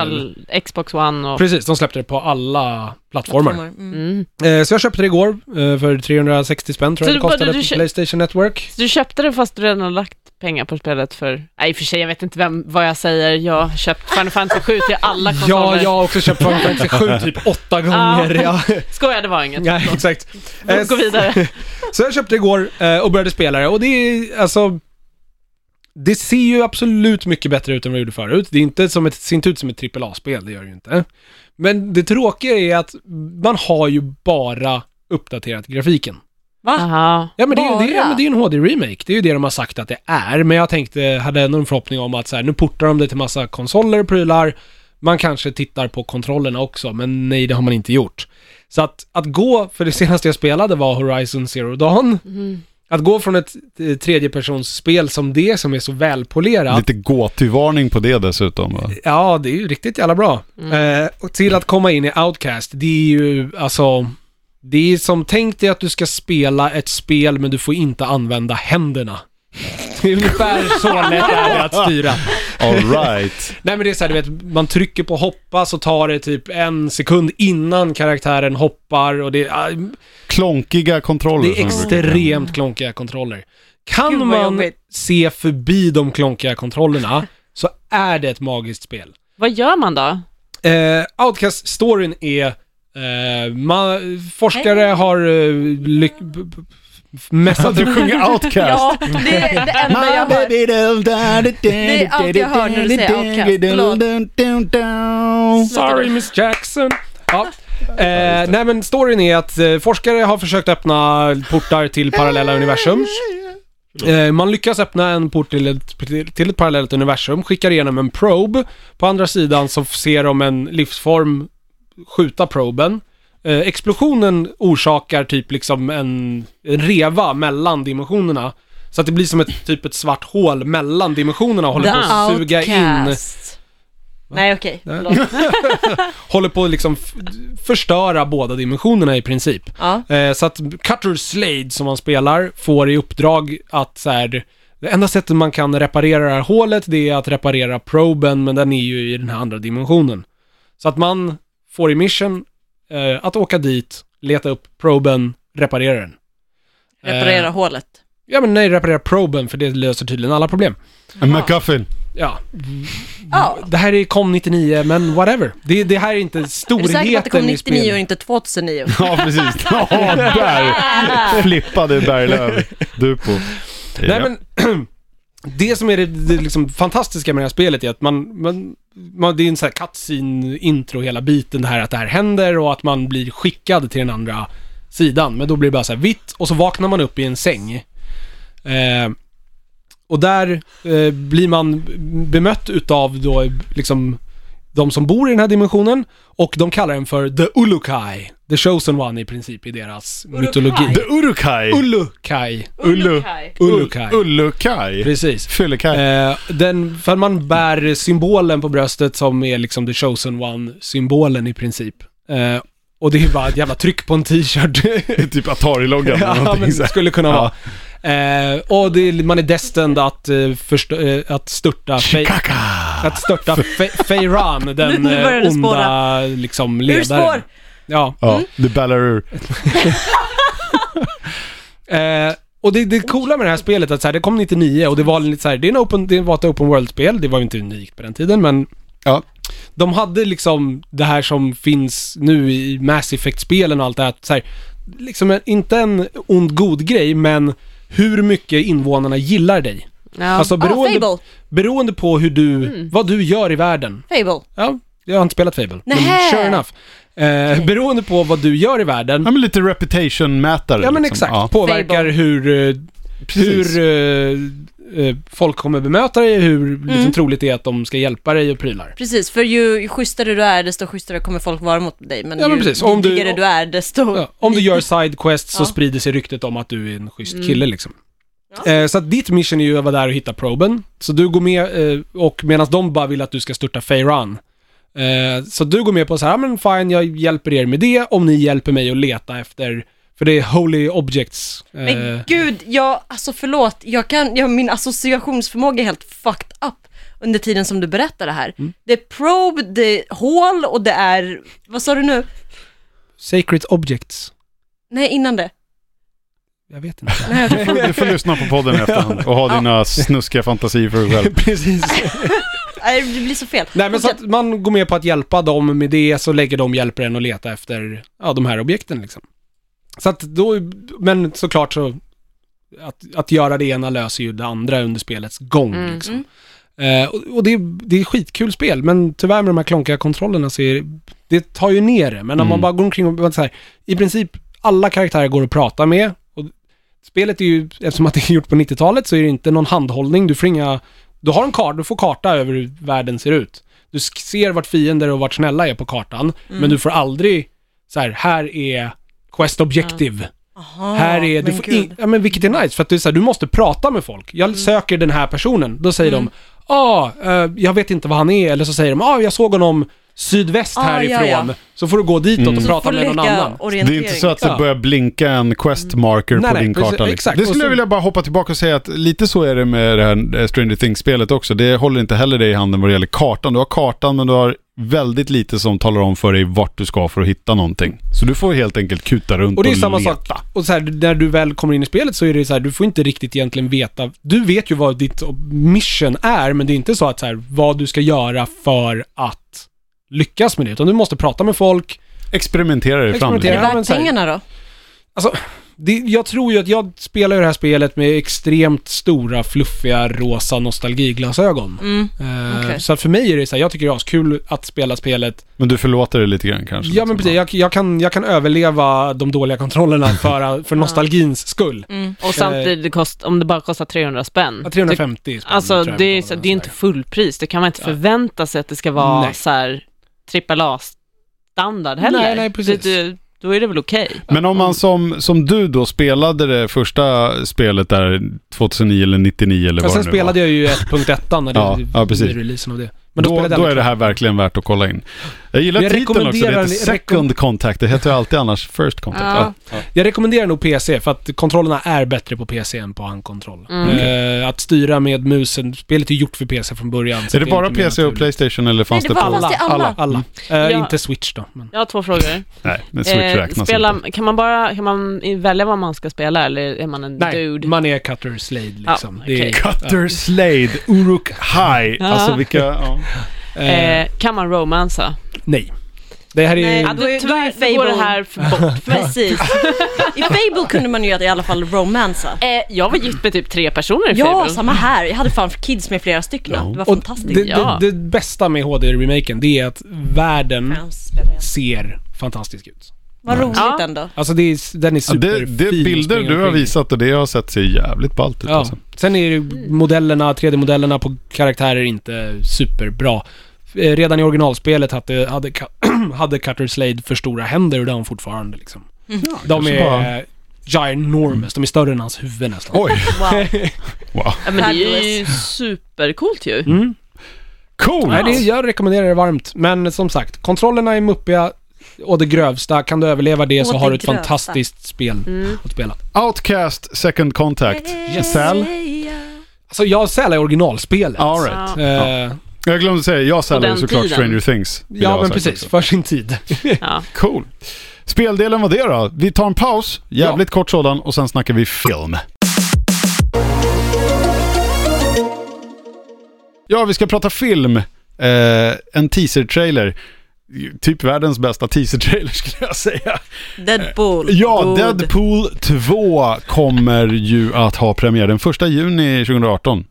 Speaker 5: all Xbox One och...
Speaker 2: Precis, de släppte det på alla plattformar.
Speaker 4: Mm.
Speaker 5: Mm.
Speaker 2: Eh, så jag köpte det igår eh, för 360 spänn tror
Speaker 5: Så
Speaker 2: jag det
Speaker 5: du- vad
Speaker 2: kostade
Speaker 5: du- du
Speaker 2: på
Speaker 5: kö-
Speaker 2: Playstation Network.
Speaker 5: Så du köpte det fast du redan har lagt pengar på spelet för... Nej, i och för sig, jag vet inte vem, vad jag säger. Jag har köpt Final Fantasy 7 till alla
Speaker 2: Ja,
Speaker 5: konsoler.
Speaker 2: jag har
Speaker 5: [LAUGHS]
Speaker 2: också köpt Final Fantasy 7 typ åtta gånger. Ja,
Speaker 5: Skoja, det var inget.
Speaker 2: ja exakt. Eh,
Speaker 5: Gå vidare.
Speaker 2: [LAUGHS] Så jag köpte det igår eh, och började spela det och det är alltså... Det ser ju absolut mycket bättre ut än vad det gjorde förut. Det är inte som ett, ser inte ut som ett AAA-spel, det gör det ju inte. Men det tråkiga är att man har ju bara uppdaterat grafiken.
Speaker 5: Aha.
Speaker 2: Ja men det är, ju- det, är,
Speaker 4: Bara?
Speaker 2: ja, men det är ju en HD-remake, det är ju det de har sagt att det är. Men jag tänkte, hade ändå en förhoppning om att så här, nu portar de det till massa konsoler och prylar. Man kanske tittar på kontrollerna också, men nej det har man inte gjort. Så att, att gå, för det senaste jag spelade var Horizon Zero Dawn. Att gå från ett eh, tredjepersonsspel som det, som är så välpolerat,
Speaker 1: Lite gåtyvarning på det dessutom va?
Speaker 2: ja det är ju riktigt jävla bra.
Speaker 4: Mm.
Speaker 2: Eh, och till att komma in i Outcast, det är ju alltså... Det är som, tänk dig att du ska spela ett spel men du får inte använda händerna. Det är ungefär så lätt
Speaker 4: [LAUGHS]
Speaker 2: är det att styra.
Speaker 1: All right.
Speaker 2: Nej men det är så här, du vet, man trycker på hoppa så tar det typ en sekund innan karaktären hoppar och det, ah,
Speaker 1: Klonkiga kontroller.
Speaker 2: det är
Speaker 1: som jag brukar säga.
Speaker 2: extremt klonkiga kontroller. Kan
Speaker 4: Gud, vad
Speaker 2: man
Speaker 4: jobbigt.
Speaker 2: se förbi de klonkiga kontrollerna så är det ett magiskt spel.
Speaker 5: Vad gör man då?
Speaker 2: Eh, Outcast-storyn är... Eh, ma- forskare har eh, lyck... b- b- f-
Speaker 1: [LAUGHS]
Speaker 2: messat...
Speaker 1: Du
Speaker 2: [LAUGHS]
Speaker 1: sjunger Outcast.
Speaker 4: Ja, det är det enda jag hör.
Speaker 1: Det
Speaker 4: är allt jag hör när du säger Outkast.
Speaker 1: Förlåt.
Speaker 2: Sorry Miss Jackson. Ja. Eh, nej men storyn är att eh, forskare har försökt öppna portar till parallella universum. Eh, man lyckas öppna en port till ett, till ett parallellt universum, skickar igenom en probe. På andra sidan så ser de en livsform skjuta proben. Eh, explosionen orsakar typ liksom en, en reva mellan dimensionerna. Så att det blir som ett typ ett svart hål mellan dimensionerna och håller på att suga in
Speaker 4: Nej okej, förlåt.
Speaker 2: håller på att liksom f- förstöra båda dimensionerna i princip.
Speaker 4: Ja.
Speaker 2: Eh, så att Cutter Slade som man spelar får i uppdrag att så här, det enda sättet man kan reparera det här hålet det är att reparera proben men den är ju i den här andra dimensionen. Så att man får i mission eh, att åka dit, leta upp proben, reparera den.
Speaker 4: Reparera hålet.
Speaker 2: Ja men nej, reparera proben för det löser tydligen alla problem.
Speaker 1: En MacGuffin.
Speaker 2: Ja,
Speaker 4: Ja.
Speaker 2: det här är kom 99 men whatever. Det, det här är inte
Speaker 4: Är du säker på att det kom
Speaker 2: storheten i
Speaker 4: 99 och
Speaker 2: spelet.
Speaker 4: inte
Speaker 2: [LAUGHS]
Speaker 4: 2009?
Speaker 1: [LAUGHS] Ja, precis. Ja,
Speaker 4: Ah,
Speaker 1: där flippade Berglöf du på.
Speaker 2: Nej men, [CLEARS THROAT] det som är det, det liksom fantastiska med det här spelet är att man, man, man det är en sån här cutscene intro hela biten, det här att det här händer och att man blir skickad till den andra sidan. Men då blir det bara så här vitt och så vaknar man upp i en säng. Eh, och där eh, blir man bemött utav då liksom de som bor i den här dimensionen och de kallar den för The Ulukai. The Chosen One i princip i deras mytologi.
Speaker 1: The Urukai.
Speaker 2: Ulukai.
Speaker 1: Ullu.
Speaker 2: Ulukai.
Speaker 1: Ullukai.
Speaker 2: Precis.
Speaker 1: Fyllekaj.
Speaker 2: Eh, den, för man bär symbolen på bröstet som är liksom the chosen one-symbolen i princip. Eh, och det är bara ett jävla tryck på en
Speaker 3: [LAUGHS]
Speaker 2: t-shirt.
Speaker 1: Typ Atari-loggan eller
Speaker 2: [LAUGHS] ja,
Speaker 1: någonting
Speaker 2: men
Speaker 1: så
Speaker 2: det
Speaker 1: här.
Speaker 2: skulle kunna vara. Eh, och det, är- man är destined att, eh, förstö- eh, att störta Fey- att störta Fe- Feyran, den
Speaker 3: [LAUGHS] Nu börjar
Speaker 2: eh,
Speaker 3: det
Speaker 2: onda
Speaker 3: spåra.
Speaker 2: liksom
Speaker 3: Ur
Speaker 2: ledaren.
Speaker 3: spår!
Speaker 2: Ja.
Speaker 1: Ja, du ballar ur.
Speaker 2: Eh, och det, det coola med det här spelet är att så här, det kom 99 och det var lite så här, det, är en open, det var ett open world-spel, det var ju inte unikt på den tiden men
Speaker 1: Ja.
Speaker 2: de hade liksom det här som finns nu i Mass Effect-spelen och allt det här, att så här liksom en, inte en ond god grej men hur mycket invånarna gillar dig.
Speaker 5: Ja.
Speaker 2: Alltså
Speaker 4: Ja,
Speaker 2: beroende,
Speaker 4: Fable.
Speaker 2: beroende på hur du, vad du gör i världen.
Speaker 4: Fable.
Speaker 2: Ja, jag har inte spelat Fable, men
Speaker 4: Nähä.
Speaker 2: sure enough. Eh, beroende på vad du gör i världen,
Speaker 1: Ja, men lite reputation-mätare.
Speaker 2: Ja men
Speaker 1: liksom.
Speaker 2: exakt,
Speaker 1: Ja.
Speaker 2: påverkar
Speaker 4: Fable.
Speaker 2: hur, eh,
Speaker 1: Precis.
Speaker 2: hur eh, eh, folk kommer bemöta dig, hur
Speaker 4: Mm.
Speaker 2: liksom troligt det är att de ska hjälpa dig och prylar.
Speaker 4: Precis, för ju schysstare du är, desto schysstare kommer folk vara mot dig. Men
Speaker 2: Ja,
Speaker 4: ju
Speaker 2: men precis. Om du-
Speaker 4: vidrigare du är, desto...
Speaker 2: Ja, om du gör side quests så
Speaker 4: Ja. Mm.
Speaker 2: sprider sig ryktet om att du är en schysst kille liksom. Eh, så att ditt mission är ju att vara där och hitta proben. Så du går med eh, och medan de bara vill att du ska störta Feyran. Eh, så du går med på så här, "Ja, men fine, jag hjälper er med det om ni hjälper mig att leta efter, för det är holy objects. eh,
Speaker 4: [LAUGHS] Men gud, jag, alltså förlåt, jag kan, jag, min associationsförmåga är helt fucked up under tiden som du berättar det här.
Speaker 2: Mm.
Speaker 4: Det är probe, det är hål och det är, vad sa du nu?
Speaker 2: Sacred objects.
Speaker 4: Nej, innan det.
Speaker 2: Jag vet inte.
Speaker 1: Du får, du får lyssna på podden i efterhand och ha dina snuskiga fantasier för dig själv.
Speaker 2: [LAUGHS] Precis.
Speaker 4: Nej, det blir så fel.
Speaker 2: Nej men så att man går med på att hjälpa dem med det, så lägger de hjälper en att leta efter, ja, de här objekten liksom. Så att då, men såklart så, att, att göra det ena löser ju det andra under spelets gång
Speaker 5: Mm.
Speaker 2: liksom. Eh, och och det, är- det är skitkul spel, men tyvärr med de här klonkiga kontrollerna så är det, det tar ju ner det. Men om man
Speaker 1: Mm.
Speaker 2: bara går omkring och bara så här, i princip alla karaktärer går att prata med. Och spelet är ju, eftersom att det är gjort på 90-talet så är det inte någon handhållning. Du får inga, du har en karta, du får karta över hur världen ser ut. Du sk- ser vart fiender och vart snälla är på kartan, men du får aldrig så här, här är Quest Objective.
Speaker 3: Aha,
Speaker 2: Här är, du
Speaker 3: men
Speaker 2: får
Speaker 3: gud.
Speaker 2: in, ja men vilket är nice, för att du, är så här, du måste prata med folk. Jag söker den här personen, då säger de, ah, eh, jag vet inte vad han är, eller så säger de, ah, jag såg honom sydväst
Speaker 4: Ah,
Speaker 2: härifrån.
Speaker 4: ja, ja.
Speaker 2: Så får du gå ditåt och
Speaker 1: Mm.
Speaker 2: prata med någon annan.
Speaker 1: Det är inte så att det
Speaker 2: Ja. Mm.
Speaker 1: börjar blinka en quest marker
Speaker 2: Nej,
Speaker 1: på
Speaker 2: nej,
Speaker 1: din
Speaker 2: precis,
Speaker 1: karta. liksom.
Speaker 2: exakt.
Speaker 1: Det
Speaker 2: Och
Speaker 1: skulle
Speaker 2: så-
Speaker 1: jag vilja bara hoppa tillbaka och säga att lite så är det med det här eh, Stranger Things-spelet också. Det håller inte heller dig i handen vad det gäller kartan. Du har kartan men du har väldigt lite som talar om för dig vart du ska för att hitta någonting. Så du får helt enkelt kuta runt
Speaker 2: Och
Speaker 1: och
Speaker 2: det är samma
Speaker 1: leta.
Speaker 2: sak, och så här, när du väl kommer in i spelet så är det så här, du får inte riktigt egentligen veta, du vet ju vad ditt mission är, men det är inte så att så här, vad du ska göra för att lyckas med det, utan du måste prata med folk.
Speaker 1: Experimentera dig fram.
Speaker 2: Experimentera.
Speaker 1: lite.
Speaker 2: Ja,
Speaker 4: Är det
Speaker 2: men
Speaker 4: värt
Speaker 2: så här-
Speaker 4: pengarna då?
Speaker 2: Alltså, det, jag tror ju att jag spelar ju det här spelet med extremt stora, fluffiga, rosa nostalgiglasögon.
Speaker 4: Mm.
Speaker 2: Eh,
Speaker 4: okej.
Speaker 2: Så att för mig är det så här, jag tycker det är askul att spela spelet.
Speaker 1: Men du förlåter dig lite grann kanske. liksom.
Speaker 2: Ja men precis, jag, jag, kan, jag kan överleva de dåliga kontrollerna för,
Speaker 5: [LAUGHS]
Speaker 2: för nostalgins skull.
Speaker 5: Och samtidigt, det kost, om det bara kostar 300 spänn.
Speaker 2: Ja, 350 spänn,
Speaker 5: Alltså
Speaker 2: tror jag
Speaker 5: det är,
Speaker 2: betalade,
Speaker 5: så, det
Speaker 2: sådär.
Speaker 5: är inte fullpris, det kan man inte förvänta sig att det ska vara
Speaker 2: Nej.
Speaker 5: så här trippel A-standard heller.
Speaker 2: Nej, nej, precis.
Speaker 5: Det, det, då är det väl okej.
Speaker 1: Men om man som, som du då spelade det första spelet där 2009 eller 99 eller
Speaker 2: Ja,
Speaker 1: vad
Speaker 2: sen
Speaker 1: det nu var.
Speaker 2: spelade jag ju 1.1 när
Speaker 1: [LAUGHS]
Speaker 2: det
Speaker 1: Ja, ja, precis.
Speaker 2: vid releasen av det.
Speaker 1: Men då, då,
Speaker 2: spelade jag
Speaker 1: är det här verkligen värt att kolla in. Jag gillar
Speaker 2: Jag
Speaker 1: titeln också, det
Speaker 2: rekommenderar-
Speaker 1: heter Second Contact. Det heter ju alltid annars First Contact.
Speaker 5: Ja.
Speaker 1: Ja.
Speaker 2: Jag rekommenderar nog PC för att kontrollerna är bättre på PC än på handkontroll.
Speaker 5: Mm.
Speaker 2: Eh, att styra med musen, spelet är gjort för PC från början. så
Speaker 1: Är det
Speaker 2: är
Speaker 1: bara
Speaker 2: lite mer
Speaker 1: PC och
Speaker 2: naturligt.
Speaker 1: Playstation eller fanns
Speaker 4: Nej,
Speaker 1: det
Speaker 4: det
Speaker 1: på?
Speaker 4: var- Fast det är alla.
Speaker 2: Alla. Eh,
Speaker 5: Ja.
Speaker 2: Inte Switch då. Men.
Speaker 5: Jag har två frågor.
Speaker 1: Nej, men Switch
Speaker 5: Eh,
Speaker 1: räknas
Speaker 5: spela,
Speaker 1: inte.
Speaker 5: Kan man bara kan man i- välja vad man ska spela eller är man en
Speaker 2: Nej,
Speaker 5: dude?
Speaker 2: man är Cutter Slade liksom.
Speaker 5: Ja,
Speaker 2: det är,
Speaker 5: okej.
Speaker 1: Cutter Slade, Uruk High.
Speaker 5: Ja.
Speaker 1: Alltså vilka... Ja.
Speaker 2: eh,
Speaker 5: Eh, kan man romansa?
Speaker 2: nej. Det här är...
Speaker 3: Nej.
Speaker 5: Ja, då,
Speaker 3: då är
Speaker 5: tyvärr
Speaker 3: Fable-
Speaker 5: då går det här för
Speaker 3: [LAUGHS]
Speaker 1: [LAUGHS]
Speaker 5: bort.
Speaker 3: Precis. I Fable kunde man ju i alla fall romansa.
Speaker 5: Eh, jag var gift med typ tre personer i
Speaker 3: Ja,
Speaker 5: Fable.
Speaker 3: samma här. Jag hade fan för kids med flera stycken.
Speaker 1: Ja.
Speaker 3: Det var
Speaker 2: och
Speaker 3: fantastiskt.
Speaker 2: det,
Speaker 5: ja.
Speaker 2: det, det bästa med HD-remaken, det är att världen
Speaker 3: Jag spelar igen.
Speaker 2: ser fantastisk ut.
Speaker 3: Mm. Vad
Speaker 1: Mm.
Speaker 3: roligt
Speaker 5: Ja.
Speaker 3: ändå.
Speaker 2: Alltså det är, den är
Speaker 1: Ja, det,
Speaker 2: superfin.
Speaker 1: det
Speaker 2: att
Speaker 1: bilder
Speaker 2: springa
Speaker 1: du har
Speaker 2: omkring i.
Speaker 1: visat och det jag har sett ser jävligt ballt ut.
Speaker 2: Ja.
Speaker 1: Alltså.
Speaker 2: typ, Sen är ju modellerna, 3D-modellerna på karaktärer inte superbra. Eh, Redan i originalspelet hade, hade, Ca- [CLEARS THROAT] hade Cutter Slade för stora händer och det har hon fortfarande liksom. De
Speaker 1: kanske
Speaker 2: är
Speaker 1: bara-
Speaker 2: bara... ginormous, de är större än hans huvud nästan.
Speaker 1: Oj,
Speaker 3: Wow.
Speaker 1: wow.
Speaker 5: Ja, men det är ju supercoolt ju.
Speaker 2: Mm.
Speaker 1: Cool!
Speaker 2: Nej, det, jag rekommenderar det varmt. Men som sagt, kontrollerna är muppiga och det grövsta. Kan du överleva det så
Speaker 3: Å,
Speaker 2: har
Speaker 3: det
Speaker 2: du ett
Speaker 3: grövsta.
Speaker 2: fantastiskt spel
Speaker 5: Mm.
Speaker 2: att spela.
Speaker 1: Outcast Second Contact.
Speaker 2: Yes.
Speaker 1: Säl?
Speaker 2: Alltså jag säljer originalspelet.
Speaker 1: All right.
Speaker 5: Ja.
Speaker 2: Eh, ja,
Speaker 1: Jag glömde säga, jag säljer
Speaker 5: den
Speaker 1: såklart
Speaker 5: tiden.
Speaker 1: Stranger Things. vill jag ha
Speaker 2: men
Speaker 1: sagt
Speaker 2: precis.
Speaker 1: också.
Speaker 2: För
Speaker 1: [LAUGHS]
Speaker 2: sin tid.
Speaker 5: Ja.
Speaker 1: Cool. Speldelen var det då. Vi tar en paus, jävligt kort sådan, och sen snackar vi film. Ja, vi ska prata film. Eh, en teaser-trailer. Typ världens bästa teaser-trailer [LAUGHS] skulle jag säga.
Speaker 3: Deadpool.
Speaker 1: Eh, Ja,
Speaker 3: Good.
Speaker 1: Deadpool 2 kommer ju att ha premiär den 1 juni 2018.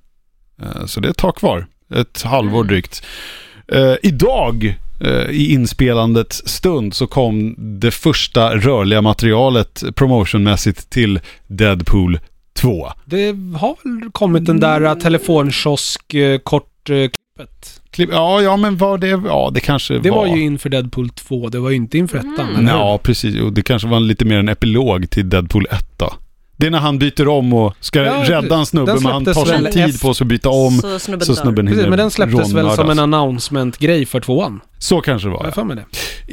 Speaker 1: Eh, Så det är ett tag kvar. Ett
Speaker 2: Mm.
Speaker 1: halvår drygt. Eh, Idag eh, i inspelandets stund så kom det första rörliga materialet promotionmässigt till Deadpool 2.
Speaker 2: Det har väl kommit den där
Speaker 5: Mm.
Speaker 2: eh, telefonkiosk eh, kort eh, klippet.
Speaker 1: Klipp- Ja, ja men var det, ja det kanske
Speaker 2: Det
Speaker 1: var
Speaker 2: var ju inför Deadpool 2, det var ju inte inför ettan.
Speaker 5: Mm.
Speaker 2: eller hur?
Speaker 1: Ja, precis. Jo, det kanske var en- lite mer en epilog till Deadpool 1. Det är när han byter om och ska
Speaker 2: Ja,
Speaker 1: rädda en snubbe,
Speaker 2: den
Speaker 1: men han
Speaker 2: släpptes
Speaker 1: tar sin
Speaker 2: väl
Speaker 1: tid
Speaker 2: efter-
Speaker 1: på sig att byta om.
Speaker 3: Så snubben
Speaker 1: Så
Speaker 3: dör.
Speaker 1: snubben hinner
Speaker 2: Precis, men den släpptes väl som en
Speaker 1: rånmördas.
Speaker 2: announcement-grej för tvåan.
Speaker 1: Så kanske det
Speaker 2: Har
Speaker 1: var.
Speaker 2: jag
Speaker 1: Ja.
Speaker 2: för mig det.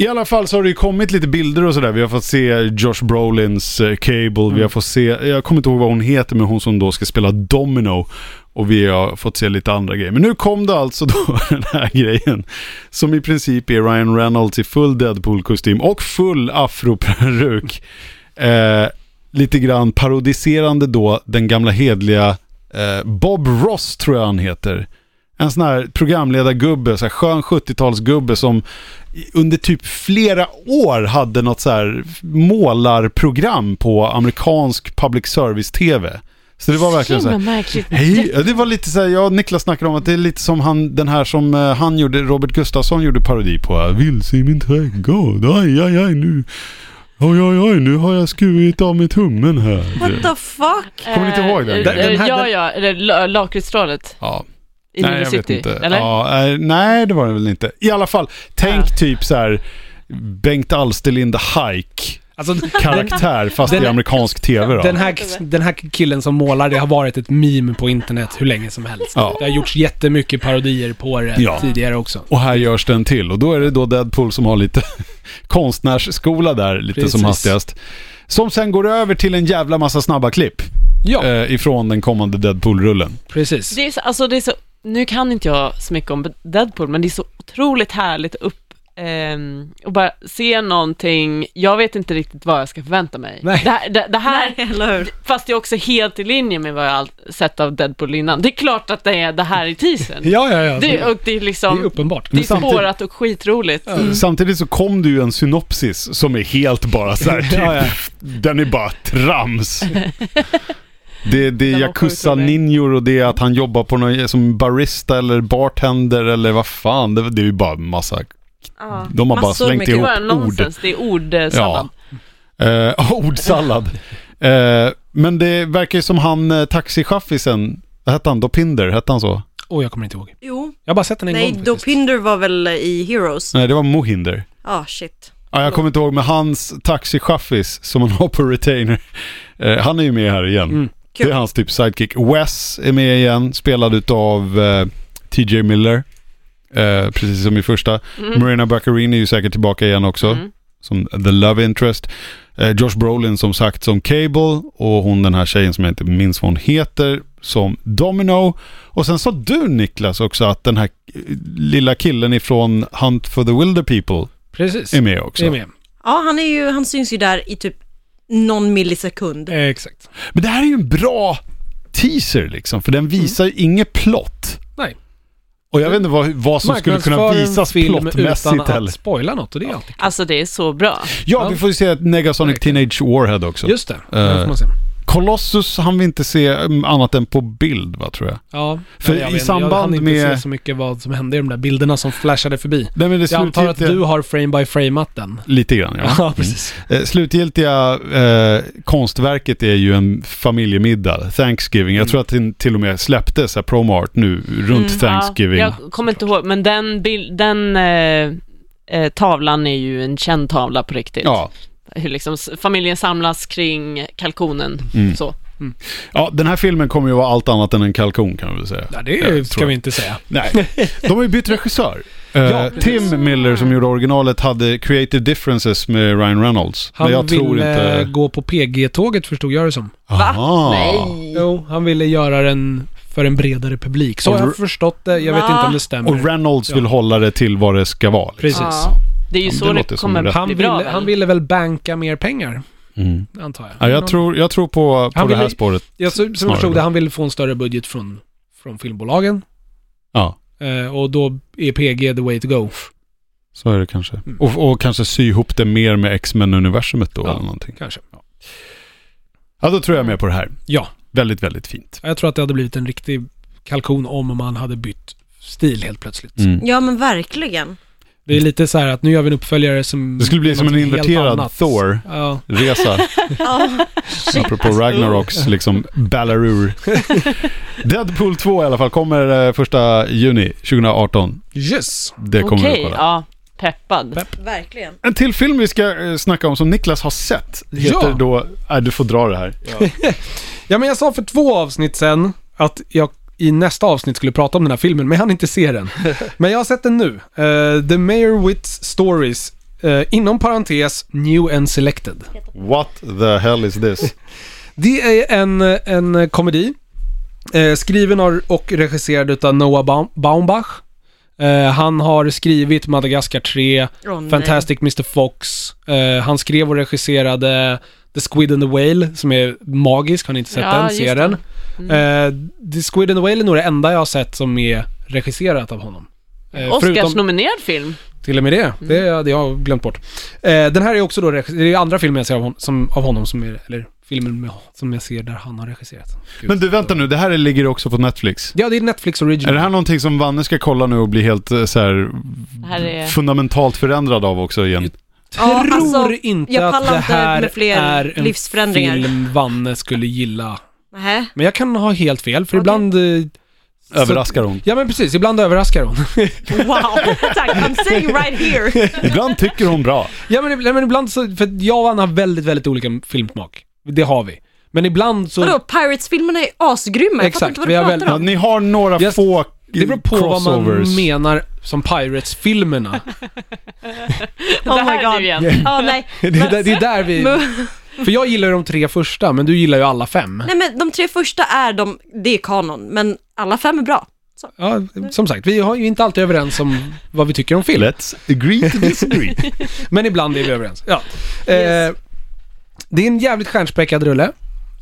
Speaker 1: I alla fall så har det ju kommit lite bilder och sådär. Vi har fått se Josh Brolins eh, Cable. Vi har fått se, jag kommer inte ihåg vad hon heter, men hon som då ska spela Domino. Och vi har fått se lite andra grejer. Men nu kom det alltså då [LAUGHS] den här grejen. Som i princip är Ryan Reynolds i full Deadpool-kostym och full afroperuk. [LAUGHS] Eh, lite grann parodiserande då den gamla hedliga eh, Bob Ross tror jag han heter. En sån här programledargubbe, så här skön 70-talsgubbe som i- under typ flera år hade något så här målarprogram på amerikansk public service-tv. Så det var verkligen så här,
Speaker 5: Himla märkligt.
Speaker 1: Hej, ja, det var lite så här, jag och Niklas snackade om att det är lite som han, den här som eh, han gjorde, Robert Gustafsson gjorde parodi på. Vilse i min trädgård, aj, aj, aj nu. Oj, oj, oj, nu har jag skurit av mig tummen här.
Speaker 3: What the fuck?
Speaker 1: Kommer ni inte ihåg den
Speaker 5: Eh,
Speaker 1: grejen?
Speaker 5: eh,
Speaker 2: Den här-
Speaker 5: ja,
Speaker 2: den-
Speaker 5: ja, eller la- lakritsstrålet
Speaker 1: Ja,
Speaker 5: i
Speaker 1: nej,
Speaker 5: New
Speaker 1: jag vet
Speaker 5: City.
Speaker 1: inte.
Speaker 5: Eller?
Speaker 1: Ja, eh, nej, det var det väl inte. I alla fall, tänk
Speaker 5: Ja.
Speaker 1: typ så här Bengt Alsterlind Hike
Speaker 5: [LAUGHS]
Speaker 1: [LAUGHS]
Speaker 2: Alltså, den,
Speaker 1: karaktär fast i
Speaker 2: den-
Speaker 1: amerikansk tv då.
Speaker 2: den, här, den här killen som målar, det har varit ett meme på internet hur länge som helst.
Speaker 1: Ja.
Speaker 2: Det har gjorts jättemycket parodier på det
Speaker 1: Ja.
Speaker 2: tidigare också.
Speaker 1: Och här görs den till. Och då är det då Deadpool som har lite [LAUGHS] konstnärsskola där, lite som
Speaker 2: Precis.
Speaker 1: hastigast. Som sen går över till en jävla massa snabba klipp
Speaker 2: Ja,
Speaker 1: eh, ifrån den kommande Deadpool-rullen.
Speaker 2: precis.
Speaker 5: Det är så, alltså det är så, nu kan inte jag så mycket om Deadpool, men det är så otroligt härligt att upp ehm, och bara se någonting, jag vet inte riktigt vad jag ska förvänta mig.
Speaker 2: Nej.
Speaker 5: Det här, det, det här
Speaker 3: Nej, eller hur?
Speaker 5: fast det är också helt i linje med vad jag all- sett av Deadpool innan. Det är klart att det är det här i teasern.
Speaker 2: Ja, ja, ja.
Speaker 1: alltså,
Speaker 5: det, och det är
Speaker 2: det är
Speaker 5: liksom,
Speaker 2: uppenbart.
Speaker 5: det är
Speaker 1: samtidigt-
Speaker 5: spårat och skitroligt.
Speaker 1: Mm. Samtidigt så kom det ju en synopsis som är helt bara så här, typ,
Speaker 2: Ja, ja.
Speaker 1: den är bara trams. Det, det är
Speaker 5: Den var
Speaker 1: Yakuza
Speaker 5: sjukt rolig.
Speaker 1: ninjor och det är att han jobbar på någon, som barista eller bartender eller vad fan. Det, det är ju bara massa,
Speaker 5: Ja.
Speaker 1: de har bara
Speaker 3: Massor
Speaker 1: slängt
Speaker 3: med
Speaker 5: Det är
Speaker 1: ihop
Speaker 5: bara
Speaker 1: ord.
Speaker 5: nonsens, det är ordsallad.
Speaker 1: Eh, [LAUGHS] ordsallad. Eh, men det verkar ju som han eh, taxichaffisen, vad hette han, Dopinder, hette han så?
Speaker 2: Åh, jag kommer inte ihåg.
Speaker 3: Jo.
Speaker 2: Jag har bara sett den en
Speaker 3: Nej,
Speaker 2: gång faktiskt.
Speaker 3: Dopinder var väl i Heroes? Ja,
Speaker 1: Nej, det var Mohinder.
Speaker 3: ah, shit.
Speaker 1: Ja, jag kommer inte ihåg, men hans taxichaffis som han har på retainer, eh, han är ju med här igen.
Speaker 2: Mm.
Speaker 1: Det är hans typ sidekick. Wes är med igen, spelad utav eh, TJ Miller. eh, precis som i första. Marina Baccarin är ju säkert tillbaka igen också,
Speaker 5: Mm.
Speaker 1: som the love interest. Eh, Josh Brolin som sagt som Cable och hon den här tjejen som jag inte minns vad hon heter som Domino. Och sen sa du Niklas också att den här eh, lilla killen ifrån Hunt for the Wilder People
Speaker 2: Precis.
Speaker 1: är med också.
Speaker 2: Är med.
Speaker 3: Ja, han, är ju, han syns ju där i typ någon millisekund.
Speaker 2: Eh, Exakt.
Speaker 1: Men det här är ju en bra teaser liksom, för den visar ju inget plott.
Speaker 2: Mm. Nej.
Speaker 1: Och jag vet inte vad, vad som skulle kunna
Speaker 2: Marknadsför en
Speaker 1: visas
Speaker 2: film utan
Speaker 1: plottmässigt heller.
Speaker 2: att spoila något och det är alltid
Speaker 5: Alltså det är så bra.
Speaker 1: Ja, vi får ju se ett Negasonic
Speaker 2: Verkligen.
Speaker 1: Teenage Warhead också.
Speaker 2: Just det,
Speaker 1: Eh.
Speaker 2: det får man se.
Speaker 1: Colossus han vi inte se mm, annat än på bild, va, tror jag.
Speaker 2: Ja,
Speaker 1: För
Speaker 2: jag
Speaker 1: i
Speaker 2: vet inte, Jag hann
Speaker 1: samband
Speaker 2: inte
Speaker 1: med-
Speaker 2: se så mycket vad som hände i de där bilderna som flashade förbi.
Speaker 1: Nej, men det
Speaker 2: Jag antar att
Speaker 1: slutgiltiga-
Speaker 2: du har frame by frameat den.
Speaker 1: Lite grann, ja.
Speaker 2: precis.
Speaker 1: Eh, slutgiltiga eh, konstverket är ju en familjemiddag, Thanksgiving. Jag tror att den till och med släpptes, här, Promart, nu runt
Speaker 5: Mm,
Speaker 1: Thanksgiving.
Speaker 5: Ja, jag kommer inte ihåg, men den, bild, den eh, eh, tavlan är ju en känd tavla på riktigt.
Speaker 1: ja.
Speaker 5: Hur liksom s- familjen samlas kring kalkonen.
Speaker 1: Mm.
Speaker 5: Så.
Speaker 1: Ja, den här filmen kommer ju vara allt annat än en kalkon kan vi väl säga.
Speaker 2: Ja, det
Speaker 1: Jag tror
Speaker 2: ska
Speaker 1: jag.
Speaker 2: vi inte säga.
Speaker 1: Nej, de har ju bytt regissör. Eh,
Speaker 2: Ja, precis.
Speaker 1: Tim Miller som gjorde originalet hade Creative Differences med Ryan Reynolds.
Speaker 2: Han
Speaker 1: men jag
Speaker 2: ville
Speaker 1: tror inte...
Speaker 2: gå på PG-tåget förstod jag det som.
Speaker 1: Aha.
Speaker 2: Jo, han ville göra den för en bredare publik. Så
Speaker 1: Och
Speaker 2: har
Speaker 1: Ru-
Speaker 2: jag förstått det. Jag vet
Speaker 3: Va?
Speaker 2: inte om det stämmer.
Speaker 1: Och Reynolds vill
Speaker 2: Ja.
Speaker 1: hålla det till vad det ska vara. liksom.
Speaker 2: Precis.
Speaker 5: Ja. Det är ju
Speaker 1: Ja,
Speaker 5: så
Speaker 1: det
Speaker 5: det,
Speaker 1: låter som
Speaker 5: kommer
Speaker 1: rätt.
Speaker 5: bli
Speaker 2: Han,
Speaker 5: bra.
Speaker 2: ville,
Speaker 5: väl?
Speaker 2: han ville väl banka mer pengar,
Speaker 1: Mm.
Speaker 2: antar jag.
Speaker 1: Ja, jag, tror, jag tror på, på
Speaker 2: Han
Speaker 1: det här
Speaker 2: ville-
Speaker 1: spåret.
Speaker 2: jag så- som jag
Speaker 1: snarare.
Speaker 2: förstod det, han ville få en större budget från, från filmbolagen.
Speaker 1: Ja,
Speaker 2: Eh, och då är PG the way to go.
Speaker 1: så är det kanske.
Speaker 2: Mm.
Speaker 1: Och, och kanske sy ihop det mer med X-Men-universumet då
Speaker 2: Ja.
Speaker 1: eller någonting.
Speaker 2: Kanske.
Speaker 1: Ja, då tror jag mer på det här.
Speaker 2: Ja.
Speaker 1: Väldigt, väldigt fint.
Speaker 2: Jag tror att det hade blivit en riktig kalkon om man hade bytt stil helt plötsligt.
Speaker 1: Mm.
Speaker 3: Ja, men
Speaker 5: [LAUGHS]
Speaker 3: verkligen.
Speaker 2: Det är lite så här att nu gör vi en uppföljare som...
Speaker 1: Det skulle bli som en
Speaker 2: något helt
Speaker 1: inverterad
Speaker 2: annat.
Speaker 1: Thor.
Speaker 2: Ja, [LAUGHS]
Speaker 1: Resa,
Speaker 3: Ja,
Speaker 1: apropå Ragnaroks liksom
Speaker 2: [LAUGHS]
Speaker 1: ballarur. Deadpool 2 i alla fall kommer eh, första juni 2018.
Speaker 2: yes.
Speaker 1: Det kommer vi
Speaker 5: Okej,
Speaker 1: kolla.
Speaker 5: ja. Peppad.
Speaker 2: Pepp.
Speaker 3: verkligen.
Speaker 1: En till film vi ska eh, snacka om som Niklas har sett heter
Speaker 2: Ja.
Speaker 1: då... Nej, du får dra det här.
Speaker 2: Ja, men jag sa för två avsnitt sen att jag i nästa avsnitt skulle prata om den här filmen, men jag hann inte
Speaker 1: [LAUGHS]
Speaker 2: se den. Men jag har sett den nu. Eh, The Mayor Wits Stories, eh, inom parentes, New and Selected.
Speaker 1: What the hell is this?
Speaker 2: Det är en, en komedi. Eh, skriven av- och regisserad av Noah Baum- Baumbach. Eh, han har skrivit Madagaskar 3,
Speaker 3: Åh, nej.
Speaker 2: Fantastic Mr Fox. Eh, han skrev och regisserade The Squid and the Whale, som är magisk. Har ni inte sett
Speaker 5: Ja,
Speaker 2: den?
Speaker 5: just
Speaker 2: Se
Speaker 5: det. Mm.
Speaker 2: den. Eh, The Squid and the Whale är nog det enda jag har sett som är regisserat av honom. Eh, förutom-
Speaker 5: Oscarsnominerad film.
Speaker 2: till och med det. Det,
Speaker 3: Mm.
Speaker 2: är- det har jag glömt bort. Eh, den här är också då, regi- det är andra filmen jag ser av, hon, som, av honom som är, eller filmen med, som jag ser där han har regisserat. Gud.
Speaker 1: Men du, vänta nu. Det här ligger också på Netflix.
Speaker 2: Ja, det är Netflix
Speaker 1: Är
Speaker 2: original.
Speaker 1: det här någonting som Vanne ska kolla nu och bli helt eh, så här,
Speaker 5: Det här är...
Speaker 1: fundamentalt förändrad av också igen?
Speaker 3: Ja,
Speaker 2: Tror
Speaker 3: alltså,
Speaker 2: inte
Speaker 3: jag
Speaker 2: att
Speaker 3: pallar
Speaker 2: det
Speaker 3: inte
Speaker 2: här
Speaker 3: med fler
Speaker 2: är en
Speaker 3: livsförändringar.
Speaker 2: film Vanne skulle gilla.
Speaker 3: Nähä.
Speaker 2: Men jag kan ha helt fel, för
Speaker 3: Okej.
Speaker 2: ibland... eh, så-
Speaker 1: Överraskar hon.
Speaker 2: Ja, men precis. Ibland överraskar hon. [LAUGHS]
Speaker 3: Wow, tack. I'm sitting right here.
Speaker 1: Ibland tycker hon bra.
Speaker 2: ja, men, ibland- men ibland så... För jag och Anna har väldigt, väldigt olika filmsmak. Det har vi. Men ibland så...
Speaker 3: Vadå, Pirates-filmerna är asgrymma. Jag fattar
Speaker 2: Exakt,
Speaker 3: inte vad
Speaker 2: vi
Speaker 3: du
Speaker 2: har
Speaker 3: pratar
Speaker 2: väl-
Speaker 1: Ja,
Speaker 3: om.
Speaker 1: ni har några
Speaker 2: Just-
Speaker 1: få
Speaker 2: Det beror på vad
Speaker 1: crossovers.
Speaker 2: man menar som Pirates-filmerna.
Speaker 5: det
Speaker 3: Oh my
Speaker 5: här nu
Speaker 3: god.
Speaker 5: igen.
Speaker 3: Ja, nej.
Speaker 2: [LAUGHS] Det är, där, det är där
Speaker 3: [LAUGHS]
Speaker 2: vi... För jag gillar ju de tre första, men du gillar ju alla fem.
Speaker 3: Nej, men de tre första är de, det är kanon, men alla fem är bra.
Speaker 2: Ja, som sagt, vi har ju inte alltid överens om vad vi tycker om film.
Speaker 1: Let's agree to disagree.
Speaker 2: Men ibland är vi överens. Ja.
Speaker 3: Yes.
Speaker 2: Eh, det är en jävligt stjärnspäckad rulle.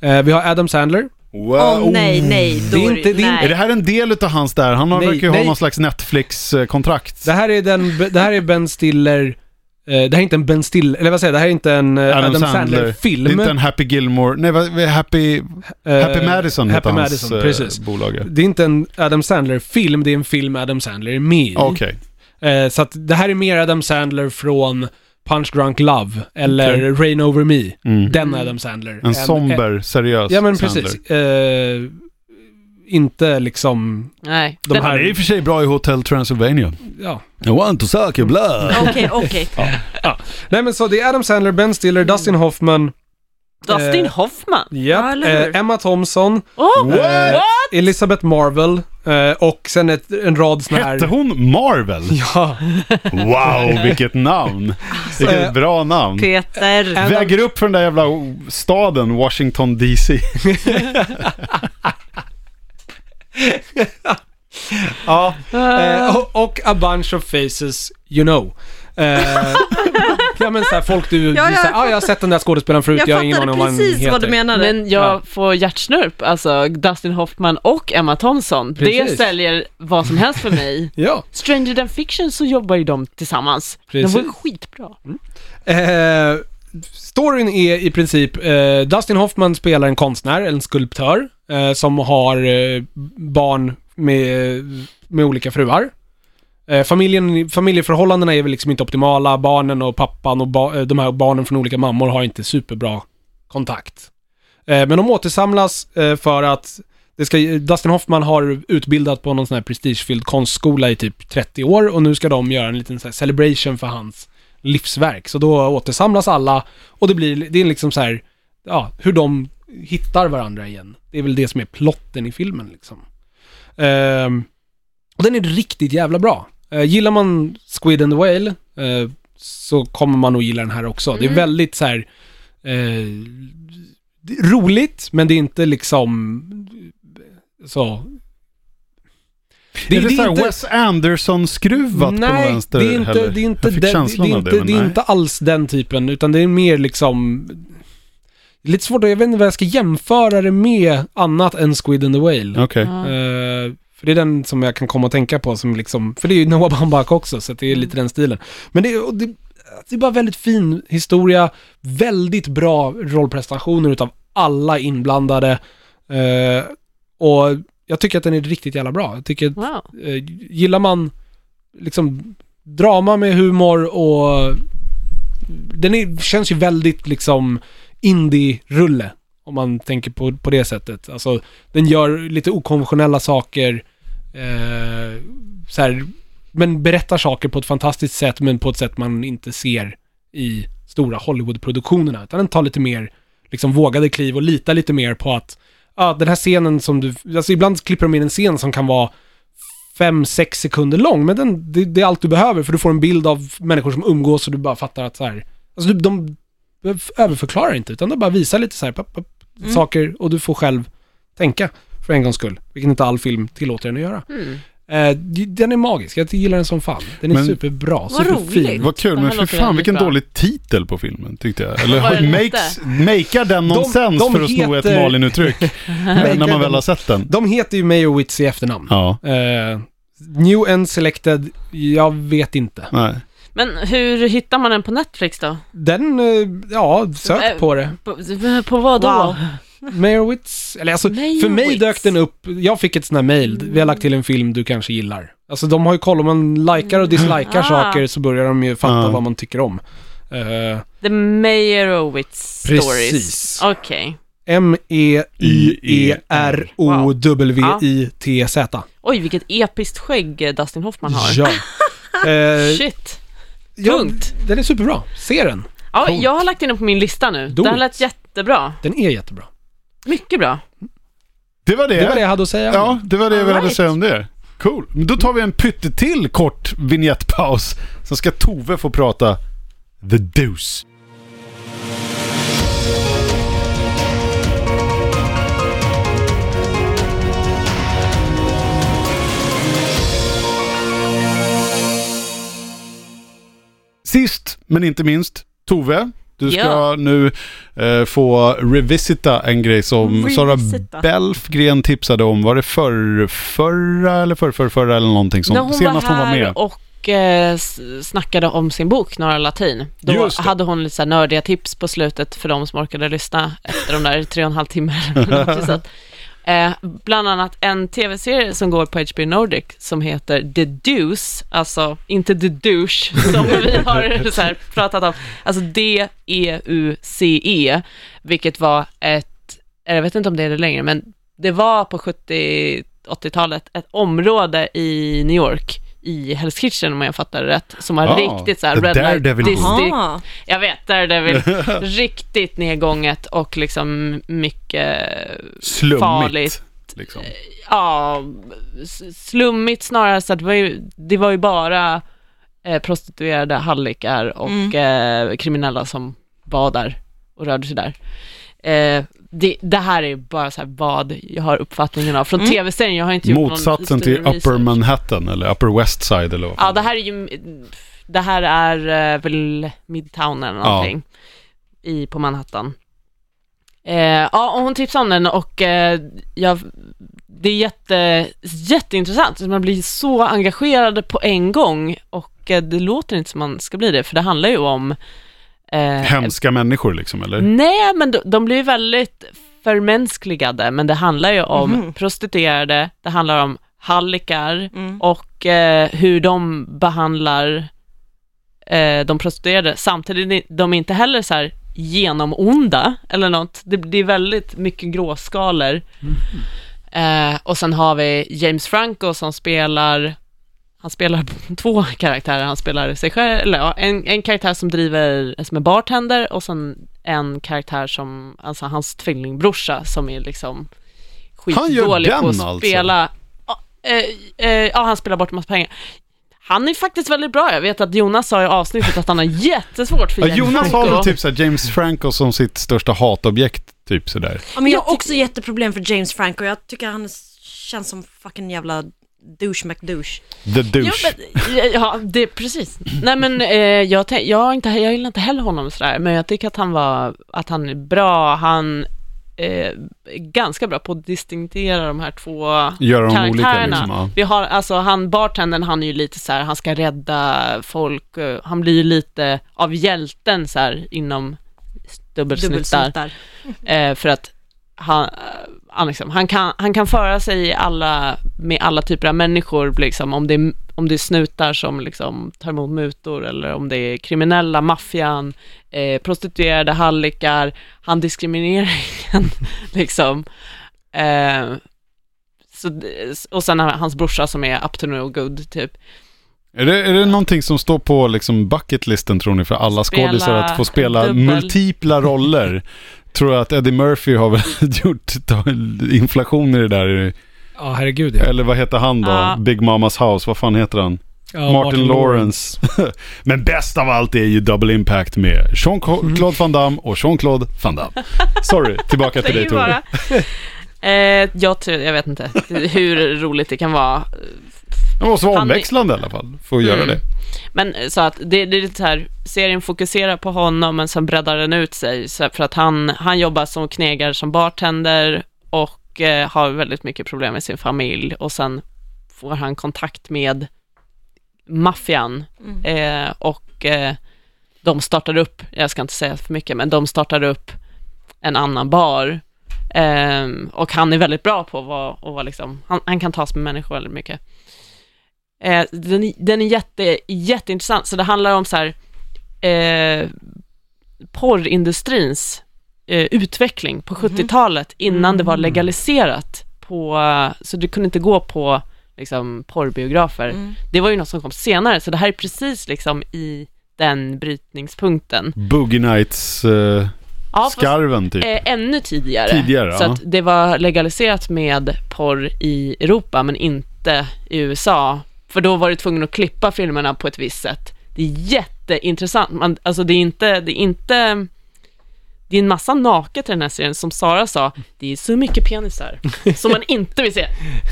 Speaker 2: Eh, vi har Adam Sandler.
Speaker 1: [LAUGHS] Wow.
Speaker 3: Åh nej, nej,
Speaker 2: Äh, oh. Det är
Speaker 3: Dory,
Speaker 2: inte din-
Speaker 1: Är
Speaker 3: nej.
Speaker 1: det här en del utav hans där? Han har,
Speaker 2: Nej,
Speaker 1: verkar ju ha
Speaker 2: nej.
Speaker 1: någon slags Netflix-kontrakt.
Speaker 2: Det här är, den, det här är Ben Stiller... Eh, det här är inte en Ben Stiller... Eller vad säger jag? Det här är inte en eh, Adam, Sandler-film.
Speaker 1: Det är inte en Happy Gilmore. Nej, vad- vad- Happy, Happy Madison heter
Speaker 2: Eh, Happy
Speaker 1: hans
Speaker 2: Madison,
Speaker 1: eh,
Speaker 2: precis. Mm.
Speaker 1: bolag. ja.
Speaker 2: Det är inte en Adam Sandler-film, det är en film Adam Sandler är med i.
Speaker 1: Okej.
Speaker 2: Eh, så att det här är mer Adam Sandler från Punch Drunk Love eller
Speaker 1: Okej.
Speaker 2: Rain Over Me.
Speaker 1: Mm.
Speaker 2: Den Adam Sandler.
Speaker 1: En
Speaker 2: eh,
Speaker 1: somber, seriös
Speaker 2: Ja men
Speaker 1: Sandler.
Speaker 2: precis. Eh, inte liksom
Speaker 5: Nej.
Speaker 2: de
Speaker 5: Den-
Speaker 1: Han är i och
Speaker 2: här...
Speaker 1: för sig bra i Hotel Transylvania.
Speaker 2: Ja.
Speaker 1: I want to suck your blood.
Speaker 3: Okej,
Speaker 2: [LAUGHS]
Speaker 3: okej.
Speaker 2: Nej men så det är Adam Sandler, Ben Stiller,
Speaker 1: Mm.
Speaker 2: Dustin Hoffman,
Speaker 5: Dustin
Speaker 2: eh,
Speaker 5: Hoffman.
Speaker 2: japp,
Speaker 3: Ja, eller hur?
Speaker 2: eh, Emma Thompson,
Speaker 5: Oh,
Speaker 1: What?
Speaker 2: Elizabeth Marvel, Eh, och sen ett, en rad såna här...
Speaker 1: Hette hon Marvel?
Speaker 2: [LAUGHS] Ja. Alltså,
Speaker 1: Wow, vilket namn! Vilket bra namn!
Speaker 5: Peter.
Speaker 1: Väger upp för den där jävla staden Washington DC.
Speaker 2: ja.
Speaker 3: Ah.
Speaker 2: Eh, och, och A Bunch of Faces You Know. Eh, [LAUGHS] ja men såhär folk du, du
Speaker 3: Ja, ja.
Speaker 2: säger, ah, jag har sett den där skådespelaren förut, jag,
Speaker 3: Jag
Speaker 2: har ingen aning
Speaker 3: fattade
Speaker 2: om vad han heter.
Speaker 3: precis vad du menade.
Speaker 5: Men
Speaker 2: Ja.
Speaker 5: jag får hjärtsnörp, alltså Dustin Hoffman och Emma Thompson.
Speaker 2: Precis.
Speaker 5: Det säljer vad som helst för mig.
Speaker 2: Ja.
Speaker 5: Stranger than fiction så jobbar ju de tillsammans.
Speaker 2: Precis.
Speaker 5: De var ju skitbra.
Speaker 2: Eh, storyn är i princip, eh, Dustin Hoffman spelar en konstnär, en skulptör, eh, som har eh, barn med, med olika fruar. Eh, familjen, familjeförhållandena är väl liksom inte optimala, barnen och pappan och ba, eh, de här barnen från olika mammor har inte superbra kontakt. Eh, men de återsamlas eh, för att det ska, Dustin Hoffman har utbildat på någon sån här prestigefylld konstskola i typ 30 år och nu ska de göra en liten så här celebration för hans livsverk. Så då återsamlas alla och det blir, det är liksom så här, ja, hur de hittar varandra igen. Det är väl det som är plotten i filmen liksom. Ehm, och den är riktigt jävla bra. Eh, gillar man Squid and the Whale eh, så kommer man nog gilla den här också. Det är väldigt så här eh, det är roligt, men det är inte liksom så...
Speaker 1: Det är, det
Speaker 2: det
Speaker 1: så
Speaker 2: är
Speaker 1: här
Speaker 2: inte-
Speaker 1: Wes Anderson-skruvat på någon
Speaker 2: Nej,
Speaker 1: vänster
Speaker 2: det är inte,
Speaker 1: heller.
Speaker 2: det är inte,
Speaker 1: Jag fick
Speaker 2: den, det
Speaker 1: känslan
Speaker 2: är
Speaker 1: av
Speaker 2: inte,
Speaker 1: det, men
Speaker 2: det är
Speaker 1: nej.
Speaker 2: inte alls den typen, utan det är mer liksom... det är Lite svårt, att- jag vet inte vad jag ska jämföra det med annat än Squid and the Whale.
Speaker 1: Okej.
Speaker 5: Ja.
Speaker 2: Eh, för det är den som jag kan komma att tänka på som liksom, för det är ju Noah Baumbach också, så att
Speaker 1: Mm.
Speaker 2: det är lite den stilen. Men det, är- och det, det är bara väldigt fin historia, väldigt bra rollprestationer utav alla inblandade. Eh, och jag tycker att den är riktigt jävla bra. Jag tycker att
Speaker 5: Wow.
Speaker 2: Eh, gillar man liksom drama med humor och den är, känns ju väldigt liksom indie-rulle om man tänker på, på det sättet. Alltså den gör lite okonventionella saker eh, så här, men berättar saker på ett fantastiskt sätt men på ett sätt man inte ser i stora Hollywood-produktionerna. Utan den tar lite mer liksom vågade kliv och litar lite mer på att ja, den här scenen som du, alltså ibland klipper de in en scen som kan vara fem sex sekunder lång, men den, det, det är allt du behöver för du får en bild av människor som umgås och du bara fattar att så här, alltså du, de överförklarar inte utan de bara visar lite så här, papp, papp, saker och du får själv tänka för en gångs skull, vilket inte all film tillåter en att göra. Eh, d- den är magisk, jag gillar den som fan. Den är
Speaker 1: Men-
Speaker 2: superbra, superfin.
Speaker 5: roligt.
Speaker 1: Vad kul,
Speaker 5: Det
Speaker 1: men
Speaker 5: här
Speaker 1: för
Speaker 5: låter
Speaker 1: fan
Speaker 5: väldigt
Speaker 1: vilken
Speaker 5: bra.
Speaker 1: dålig titel på filmen tyckte jag.
Speaker 5: Vad var
Speaker 1: Eller
Speaker 5: den
Speaker 1: makes, makear den nonsens
Speaker 2: de
Speaker 1: för att sno ett
Speaker 2: heter-
Speaker 1: Malin-uttryck
Speaker 2: [LAUGHS]
Speaker 1: eh, när man väl har sett den.
Speaker 2: De heter ju Mayor Witz i efternamn.
Speaker 1: Ja,
Speaker 2: Eh, new and selected, jag vet inte.
Speaker 1: nej.
Speaker 5: Men hur hittar man den på Netflix då?
Speaker 2: Den, eh, ja, sök
Speaker 5: Eh,
Speaker 2: på det.
Speaker 5: På, på vad då?
Speaker 3: Wow.
Speaker 2: Meyerowitz, eller alltså,
Speaker 5: Meyerowitz.
Speaker 2: för mig dök den upp, jag fick ett sånt här mail, vi har lagt till en film du kanske gillar. Alltså de har ju koll, om man likar och dislikar
Speaker 5: Ah.
Speaker 2: saker så börjar de ju fatta
Speaker 1: Ah.
Speaker 2: vad man tycker om. Eh,
Speaker 5: The Meyerowitz Stories.
Speaker 2: Precis.
Speaker 5: Okej.
Speaker 2: E M-E-Y-E-R-O-W-I-T-Z.
Speaker 5: Oj, vilket episkt skägg eh, Dustin Hoffman har.
Speaker 2: Ja.
Speaker 5: [LAUGHS]
Speaker 2: Eh,
Speaker 5: Shit.
Speaker 2: ja,
Speaker 5: tungt.
Speaker 2: Den är superbra, se den.
Speaker 5: Ja,
Speaker 2: Coolt.
Speaker 5: jag har lagt in den på min lista nu.
Speaker 2: Do
Speaker 5: Den
Speaker 2: it.
Speaker 5: lät jättebra.
Speaker 2: Den är jättebra.
Speaker 5: Mycket bra.
Speaker 1: Det var det.
Speaker 2: Det var det jag hade att säga.
Speaker 1: Ja, det var det vi
Speaker 5: All
Speaker 1: hade att
Speaker 5: right.
Speaker 1: säga om det. Cool. Men då tar vi en pyttetill kort vignettpaus. Sen ska Tove få prata The Deuce. Sist men inte minst, Tove. Du ska
Speaker 5: Ja.
Speaker 1: nu eh, få revisita en grej som Sara
Speaker 3: Revisita.
Speaker 1: Belfgren tipsade om. Var det förr, förra eller förr, förr, förra eller någonting som
Speaker 5: När hon
Speaker 1: senast
Speaker 5: var
Speaker 1: hon var
Speaker 5: här
Speaker 1: med?
Speaker 5: och eh, s- snackade om sin bok Norra Latin, då
Speaker 1: Just det.
Speaker 5: hade hon lite så här nördiga tips på slutet för de som orkade lyssna efter de där tre och en halv timme.
Speaker 1: [LAUGHS]
Speaker 5: Så att, eh, bland annat en tv-serie som går på HBO Nordic som heter The Deuce, alltså inte The Douche [LAUGHS] som vi har så här pratat om, alltså D-E-U-C-E, vilket var ett, eller jag vet inte om det är det längre, men det var på 70 80-talet ett område i New York, i Hell's Kitchen om jag fattar det rätt, som var
Speaker 1: Ah,
Speaker 5: riktigt så här
Speaker 1: the
Speaker 5: Red Light
Speaker 1: Daredevil.
Speaker 5: District.
Speaker 3: Aha.
Speaker 5: Jag vet, Daredevil. riktigt nedgånget och liksom mycket
Speaker 1: Slummigt.
Speaker 5: farligt. eh,
Speaker 1: slummigt liksom.
Speaker 5: ja, s- slummigt snarare så att det var ju, det var ju bara eh, prostituerade hallickar och eh, kriminella som var där och rörde sig där. Eh, det, det här är ju bara så här vad jag har uppfattningen av från tv-serien. Jag har inte gjort någon
Speaker 1: Motsatsen till
Speaker 5: större
Speaker 1: Upper
Speaker 5: research.
Speaker 1: Manhattan eller Upper West Side eller vad
Speaker 5: Ja,
Speaker 1: fan
Speaker 5: det här är ju, det här är eh, väl Midtown eller
Speaker 1: Ja.
Speaker 5: någonting i, på Manhattan. Eh, ja, och hon tipsade om den och eh, jag, det är jätte, jätteintressant. Man blir så engagerad på en gång och eh, det låter inte som man ska bli det, för det handlar ju om... eh,
Speaker 1: Hemska människor liksom eller?
Speaker 5: Nej, men de, de blir ju väldigt förmänskligade, men det handlar ju om prostituerade, det handlar om hallickar och eh, hur de behandlar eh, de prostituerade. Samtidigt är de inte heller så här genomonda eller något. Det, det är väldigt mycket gråskalor. Eh, och sen har vi James Franco som spelar han spelar [LAUGHS] två karaktärer, han spelar sig själv, eller ja, en, en karaktär som driver, eh, som är bartender och sen en karaktär som, alltså hans tvillingbrorsa som är liksom
Speaker 1: Han gör
Speaker 5: skitdålig på
Speaker 1: den
Speaker 5: att
Speaker 1: alltså?
Speaker 5: spela. Ja, eh, eh, ja, han spelar bort en massa pengar. Han är faktiskt väldigt bra, jag vet att Jonas sa i avsnittet att han har [LAUGHS] jättesvårt för
Speaker 1: Ja,
Speaker 5: James
Speaker 1: Jonas har
Speaker 5: Franco.
Speaker 1: väl typ såhär James Franco som sitt största hatobjekt, typ sådär.
Speaker 3: Ja, men jag har också jätteproblem för James Franco. Jag tycker han känns som fucking jävla douche McDouche.
Speaker 1: The douche.
Speaker 5: Jo, men, ja, ja, det, precis. Nej men eh, jag, tän- jag, har inte, jag gillar inte heller honom sådär, men jag tycker att han var, att han är bra, han eh, är ganska bra på att distinktera de här två
Speaker 1: Göra dem olika,
Speaker 5: karaktärerna.
Speaker 1: liksom, ja.
Speaker 5: Vi har, alltså han, bartendern, han är ju lite så här, han ska rädda folk, eh, han blir ju lite av hjälten så här inom dubbelsnuttar.
Speaker 3: Dubbelsnuttar.
Speaker 5: Eh, för att han, eh, han, liksom, han, kan, han kan föra sig i alla, med alla typer av människor, liksom, om, det är, om det är snutar som liksom, tar emot mutor eller om det är kriminella, maffian, eh, prostituerade, hallickar, han diskriminerar ingen. [LAUGHS] liksom. eh, så, det- och sen har han- hans brorsa som är up to no good, typ.
Speaker 1: Är det, är det någonting som står på liksom bucketlisten tror ni för alla
Speaker 5: Spela
Speaker 1: skådisar att få spela
Speaker 5: dubbel.
Speaker 1: multipla roller?
Speaker 5: [LAUGHS]
Speaker 1: tror jag att Eddie Murphy har väl [LAUGHS] gjort ta- inflation i det där.
Speaker 2: Ja, herregud ja.
Speaker 1: Eller vad heter han då?
Speaker 5: Ja.
Speaker 1: Big Mamas House, vad fan heter han?
Speaker 2: ja
Speaker 1: Martin, Lawrence. [LAUGHS] Men bäst av allt är ju Double Impact med
Speaker 5: Mm.
Speaker 1: Jean-Claude Van Damme och Jean-Claude Van
Speaker 5: [LAUGHS]
Speaker 1: Damme. Sorry, tillbaka till dig
Speaker 5: Säg
Speaker 1: Tore.
Speaker 5: bara. [LAUGHS] Eh, jag, tror, jag vet inte hur roligt det kan vara
Speaker 1: Det måste vara
Speaker 5: Han är-
Speaker 1: omväxlande i alla fall, för att göra
Speaker 5: Mm.
Speaker 1: det.
Speaker 5: Men eh, så att det, det är lite så här, serien fokuserar på honom men sen breddar den ut sig så här, för att han, han jobbar som knegare som bartender och eh, har väldigt mycket problem med sin familj och sen får han kontakt med maffian
Speaker 3: Mm.
Speaker 5: eh, och eh, de startar upp, jag ska inte säga för mycket, men de startar upp en annan bar eh, och han är väldigt bra på att vara, att vara liksom, han, han kan tas med människor väldigt mycket. Eh, den, den är jätte, jätteintressant, så det handlar om så här, eh, porrindustrins eh, utveckling på 70-talet innan det var legaliserat. På, så du kunde inte gå på liksom, porrbiografer. Det var ju något som kom senare, så det här är precis liksom i den brytningspunkten.
Speaker 1: Boogie Nights-skarven
Speaker 5: Ja, fast,
Speaker 1: typ.
Speaker 5: eh, ännu tidigare.
Speaker 1: Tidigare,
Speaker 5: så
Speaker 1: ja.
Speaker 5: att det var legaliserat med porr i Europa, men inte i USA. För då var du tvungen att klippa filmerna på ett visst sätt. Det är jätteintressant. Man, alltså det är inte, det är inte... Det är en massa naket i den här serien, som Sara sa, det är så mycket penisar
Speaker 1: [LAUGHS]
Speaker 5: som man inte vill se.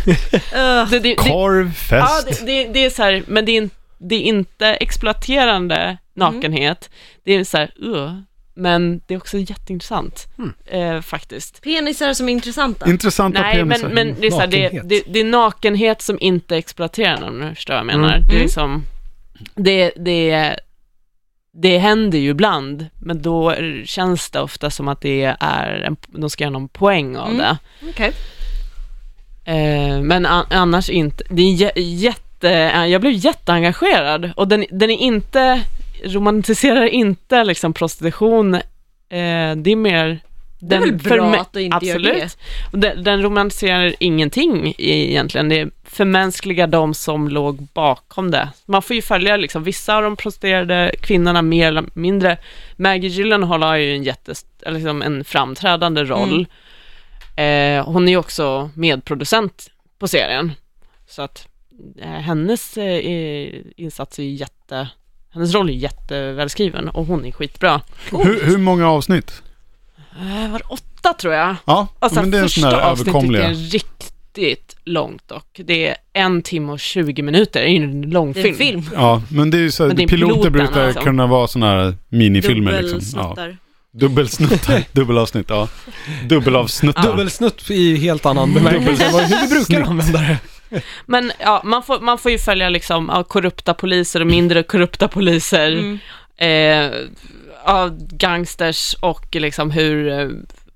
Speaker 5: det, det, det,
Speaker 1: Korv,
Speaker 5: Ja,
Speaker 1: fest.
Speaker 5: det, det, det är så här, men det är, in, det är inte exploaterande nakenhet. Det är så här, uh, men det är också jätteintressant eh, faktiskt.
Speaker 3: Penisar som är intressanta.
Speaker 1: Intressanta
Speaker 5: Nej, men,
Speaker 1: penisar.
Speaker 5: men det, är så här, det,
Speaker 2: Nakenhet.
Speaker 5: det, det är nakenhet som inte är exploaterande, om du förstår vad jag menar. Det är liksom, det, det, det händer ju ibland, men då är- känns det ofta som att det är en, de ska göra någon poäng av det.
Speaker 3: Okej.
Speaker 5: Eh, men an- annars inte. Det är en jä- jätte, eh, jag blev jätteengagerad och den, den är inte, romantiserar inte liksom prostitution. Eh, det är mer...
Speaker 3: är väl bra
Speaker 5: förmä-
Speaker 3: att du inte gör
Speaker 5: absolut.
Speaker 3: det.
Speaker 5: Och Den, den romantiserar ingenting e- egentligen. Det förmänskligar de som låg bakom det. Man får ju följa liksom, vissa av de prostituerade kvinnorna mer eller mindre. Maggie Gyllenhaal har ju en, jättes, eller liksom en framträdande roll. Eh, hon är ju också medproducent på serien. Så att eh, hennes eh, i- insats är ju jätte... Hennes roll är jättevälskriven och hon är skitbra.
Speaker 1: Hur, hur många avsnitt?
Speaker 5: Eh, var det åtta tror jag?
Speaker 1: Ja,
Speaker 5: Alltså
Speaker 1: men det är en sån
Speaker 5: första
Speaker 1: här
Speaker 5: avsnittet
Speaker 1: överkomliga.
Speaker 5: är riktigt långt dock. Det är en timme och 20 minuter, det är ju en lång
Speaker 3: Det är en
Speaker 5: film.
Speaker 3: film.
Speaker 1: Ja, men det är ju så här,
Speaker 5: Men det är
Speaker 1: piloter
Speaker 5: piloten,
Speaker 1: brukar
Speaker 5: alltså.
Speaker 1: kunna vara sådana här minifilmer liksom. Ja. Dubbelsnuttar,
Speaker 3: Dubbelsnuttar.
Speaker 5: [LAUGHS]
Speaker 1: dubbelavsnitt, ja.
Speaker 2: Ah.
Speaker 1: Dubbelavsnuttar.
Speaker 2: Dubbelsnutt i helt annan bemärkelse än vad- hur vi brukar använda det.
Speaker 5: Men ja, man får, man får ju följa liksom ja, korrupta poliser och mindre korrupta poliser.
Speaker 3: Mm.
Speaker 5: Eh, ja, gangsters och liksom hur, eh,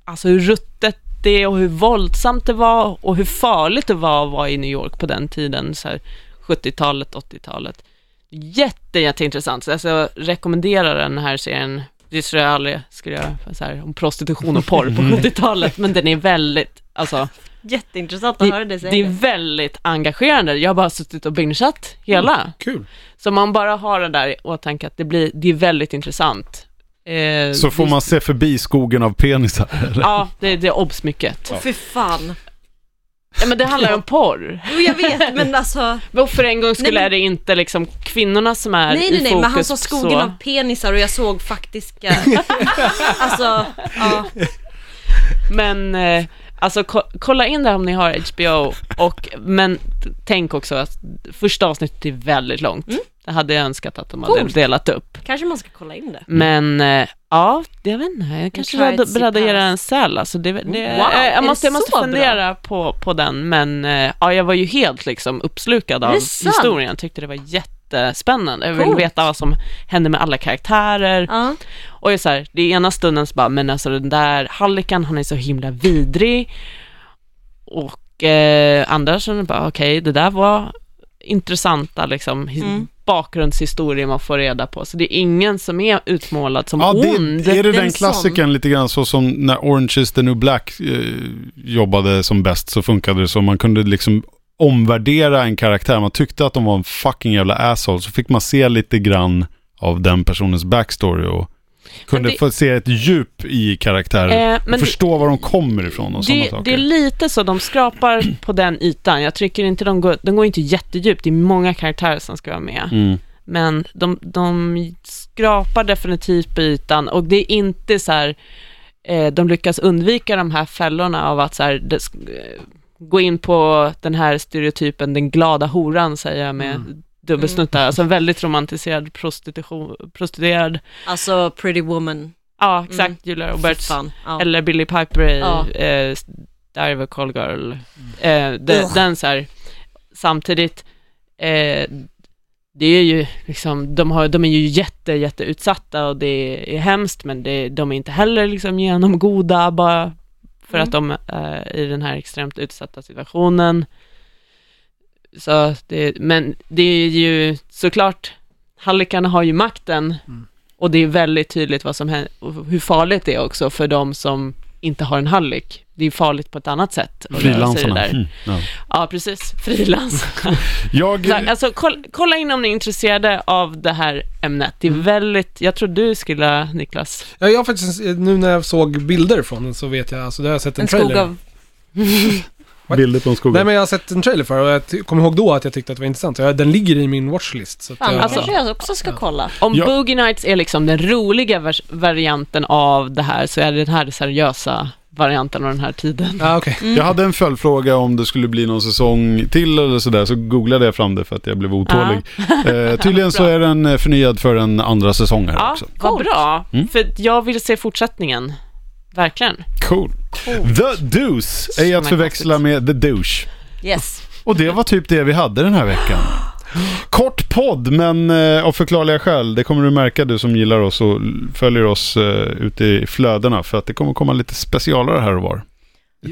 Speaker 5: alltså hur ruttet det är och hur våldsamt det var och hur farligt det var att vara i New York på den tiden, så här 70-talet, 80-talet. Jätte, jätteintressant. Så alltså, jag rekommenderar den här serien. Det tror jag aldrig skulle göra så här, om prostitution och porr på 70-talet, men den är väldigt, alltså
Speaker 3: Jätteintressant att höra dig säga
Speaker 5: det är
Speaker 3: det.
Speaker 5: väldigt engagerande. Jag har bara suttit och bingeat hela.
Speaker 2: Kul.
Speaker 5: Så man bara har det där i åtanke att det, blir, det är väldigt intressant. Eh,
Speaker 1: Så får
Speaker 5: det-
Speaker 1: man se förbi skogen av penisar. eller?
Speaker 5: Ja, det, det är obsmycket.
Speaker 3: Åh, Fy fan.
Speaker 5: Ja, men det handlar ju om porr.
Speaker 3: Jo, jag vet,
Speaker 5: [LAUGHS]
Speaker 3: men alltså.
Speaker 5: Och för en gång skulle
Speaker 3: men-
Speaker 5: är det inte liksom kvinnorna som är
Speaker 3: Nej, nej,
Speaker 5: i
Speaker 3: nej,
Speaker 5: fokus.
Speaker 3: men han sa skogen
Speaker 5: så.
Speaker 3: av penisar och jag såg faktiska...
Speaker 5: [LAUGHS]
Speaker 3: alltså, ja.
Speaker 5: Men eh, alltså ko- kolla in det här om ni har
Speaker 1: [LAUGHS]
Speaker 5: HBO. Och, men t- tänk också att första avsnittet är väldigt långt. Det hade jag önskat att de hade
Speaker 3: Mm. Coolt.
Speaker 5: delat upp.
Speaker 3: Kanske man ska kolla in det.
Speaker 5: Men eh, ja, det- jag vet inte, jag kanske
Speaker 3: Mm. try
Speaker 5: var
Speaker 3: it, see
Speaker 5: beredd att
Speaker 3: pass. Mm.
Speaker 5: göra en säl. Alltså det, det,
Speaker 3: är
Speaker 5: jag, jag
Speaker 3: det
Speaker 5: måste, jag måste
Speaker 3: så bra?
Speaker 5: fundera på, på den, men eh, ja, jag var ju helt liksom uppslukad av
Speaker 3: det sant?
Speaker 5: historien. Jag tyckte det var jättespännande. Jag vill
Speaker 3: Coolt.
Speaker 5: veta vad som hände med alla karaktärer.
Speaker 3: Ja.
Speaker 5: Och jag är så här, det är ena stunden så bara, men alltså den där hallikan, han är så himla vidrig. Och eh, andra stunden bara, okej, det där var intressanta liksom, hi- bakgrundshistorier man får reda på. Så det är ingen som är utmålad som
Speaker 1: Ja,
Speaker 5: ond.
Speaker 1: det, är det
Speaker 3: Det är
Speaker 1: den
Speaker 3: en
Speaker 1: klassikern lite grann så som när Orange is the New Black eh, jobbade som bäst så funkade det så. Man kunde liksom omvärdera en karaktär. Man tyckte att de var en fucking jävla asshole. Så fick man se lite grann av den personens backstory och kunde
Speaker 5: Men det-
Speaker 1: få se ett djup i karaktären.
Speaker 5: Eh, men
Speaker 1: och förstå var de kommer ifrån och sådana
Speaker 5: det, det
Speaker 1: saker.
Speaker 5: är lite så, de skrapar på den ytan. Jag tycker inte de går, de går inte jättedjupt, det är många karaktärer som ska vara med.
Speaker 1: Mm.
Speaker 5: Men de, de skrapar definitivt på ytan och det är inte så här, eh, de lyckas undvika de här fällorna av att så här, det, sk- eh, gå in på den här stereotypen, den glada horan säger jag med dubbelsnuttar, alltså en väldigt romantiserad prostitution, prostituerad,
Speaker 3: Alltså, Pretty Woman.
Speaker 5: ja exakt,
Speaker 3: Mm.
Speaker 5: Julia
Speaker 3: Fy
Speaker 5: Roberts,
Speaker 3: fan. Ja.
Speaker 5: eller Billy Piper i
Speaker 3: Ja.
Speaker 5: eh, Dive a Call Girl. Eh, de,
Speaker 3: Ugh.
Speaker 5: den så här, samtidigt, eh, det är ju liksom, de, har, de är ju jätte, jätteutsatta och det är hemskt, men det, de är inte heller liksom genomgoda bara för att
Speaker 3: Mm.
Speaker 5: de är i den här extremt utsatta situationen. Så det, men det är ju såklart, hallikarna har ju makten och det är väldigt tydligt vad som händer, och hur farligt det är också för de som inte har en hallik. Det är farligt på ett annat sätt. att röra sig
Speaker 1: Frilansarna.
Speaker 5: där.
Speaker 1: Mm, ja.
Speaker 5: Ja, precis. Frilans.
Speaker 1: Jag, eh,
Speaker 5: Så, alltså, kolla, kolla in om ni är intresserade av det här ämnet. Det är väldigt, jag tror du skulle, Niklas.
Speaker 2: Ja, jag har faktiskt, nu när jag såg bilder från den så vet jag, alltså det har jag sett en,
Speaker 3: En
Speaker 2: trailer.
Speaker 3: skog av...
Speaker 1: bilder på en skog.
Speaker 2: Nej men jag har sett en trailer för och jag ty- kommer ihåg då att jag tyckte att det var intressant. Jag, den ligger i min watchlist. Så att
Speaker 3: Fan,
Speaker 2: jag,
Speaker 5: alltså-
Speaker 3: kanske jag också ska kolla.
Speaker 5: Om
Speaker 1: Ja.
Speaker 5: Boogie Nights är liksom den roliga vers- varianten av det här, så är det den här seriösa varianten av den här tiden.
Speaker 2: Ja, okej.
Speaker 1: Jag hade en följdfråga om det skulle bli någon säsong till eller sådär, så googlade jag fram det för att jag blev otålig.
Speaker 5: [LAUGHS]
Speaker 1: Eh, tydligen så
Speaker 5: Bra.
Speaker 1: är den eh, förnyad för en andra säsong här
Speaker 5: Ja,
Speaker 1: också.
Speaker 5: vad bra.
Speaker 1: Mm.
Speaker 5: För jag vill se fortsättningen. Verkligen.
Speaker 1: Cool. The Deuce är
Speaker 5: Som
Speaker 1: att
Speaker 5: är
Speaker 1: förväxla med The Douche.
Speaker 3: Yes.
Speaker 1: Och det var typ det vi hade den här veckan. [GASPS] Kort podd, men eh, av förklarliga skäl. Det kommer du märka du som gillar oss och l- följer oss eh, ute i flödena. För att det kommer komma lite specialare här och var.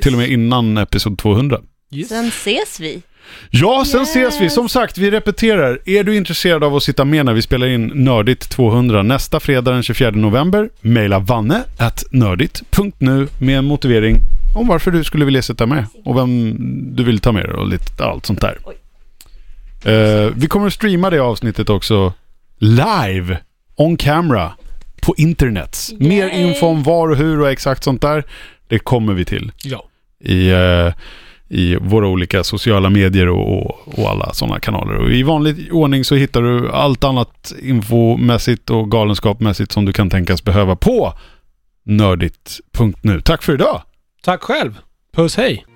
Speaker 1: Till och med innan episod 200.
Speaker 3: Sen ses vi.
Speaker 1: Ja, sen ses vi. Som sagt, vi repeterar. Är du intresserad av att sitta med när vi spelar in Nördigt 200 nästa fredag den 24 november? Maila vanne at nördigt.nu med en motivering om varför du skulle vilja sitta med och vem du vill ta med dig och lite allt sånt där. Eh, vi kommer att streama det avsnittet också live, on camera, på internets. Mer info om var och hur och exakt sånt där, det kommer vi till
Speaker 2: Ja.
Speaker 1: i, eh, i våra olika sociala medier och, och, och alla sådana kanaler. Och I vanlig ordning så hittar du allt annat infomässigt och galenskapmässigt som du kan tänkas behöva på nördigt.nu. Tack för idag!
Speaker 2: Tack själv. Puss hej.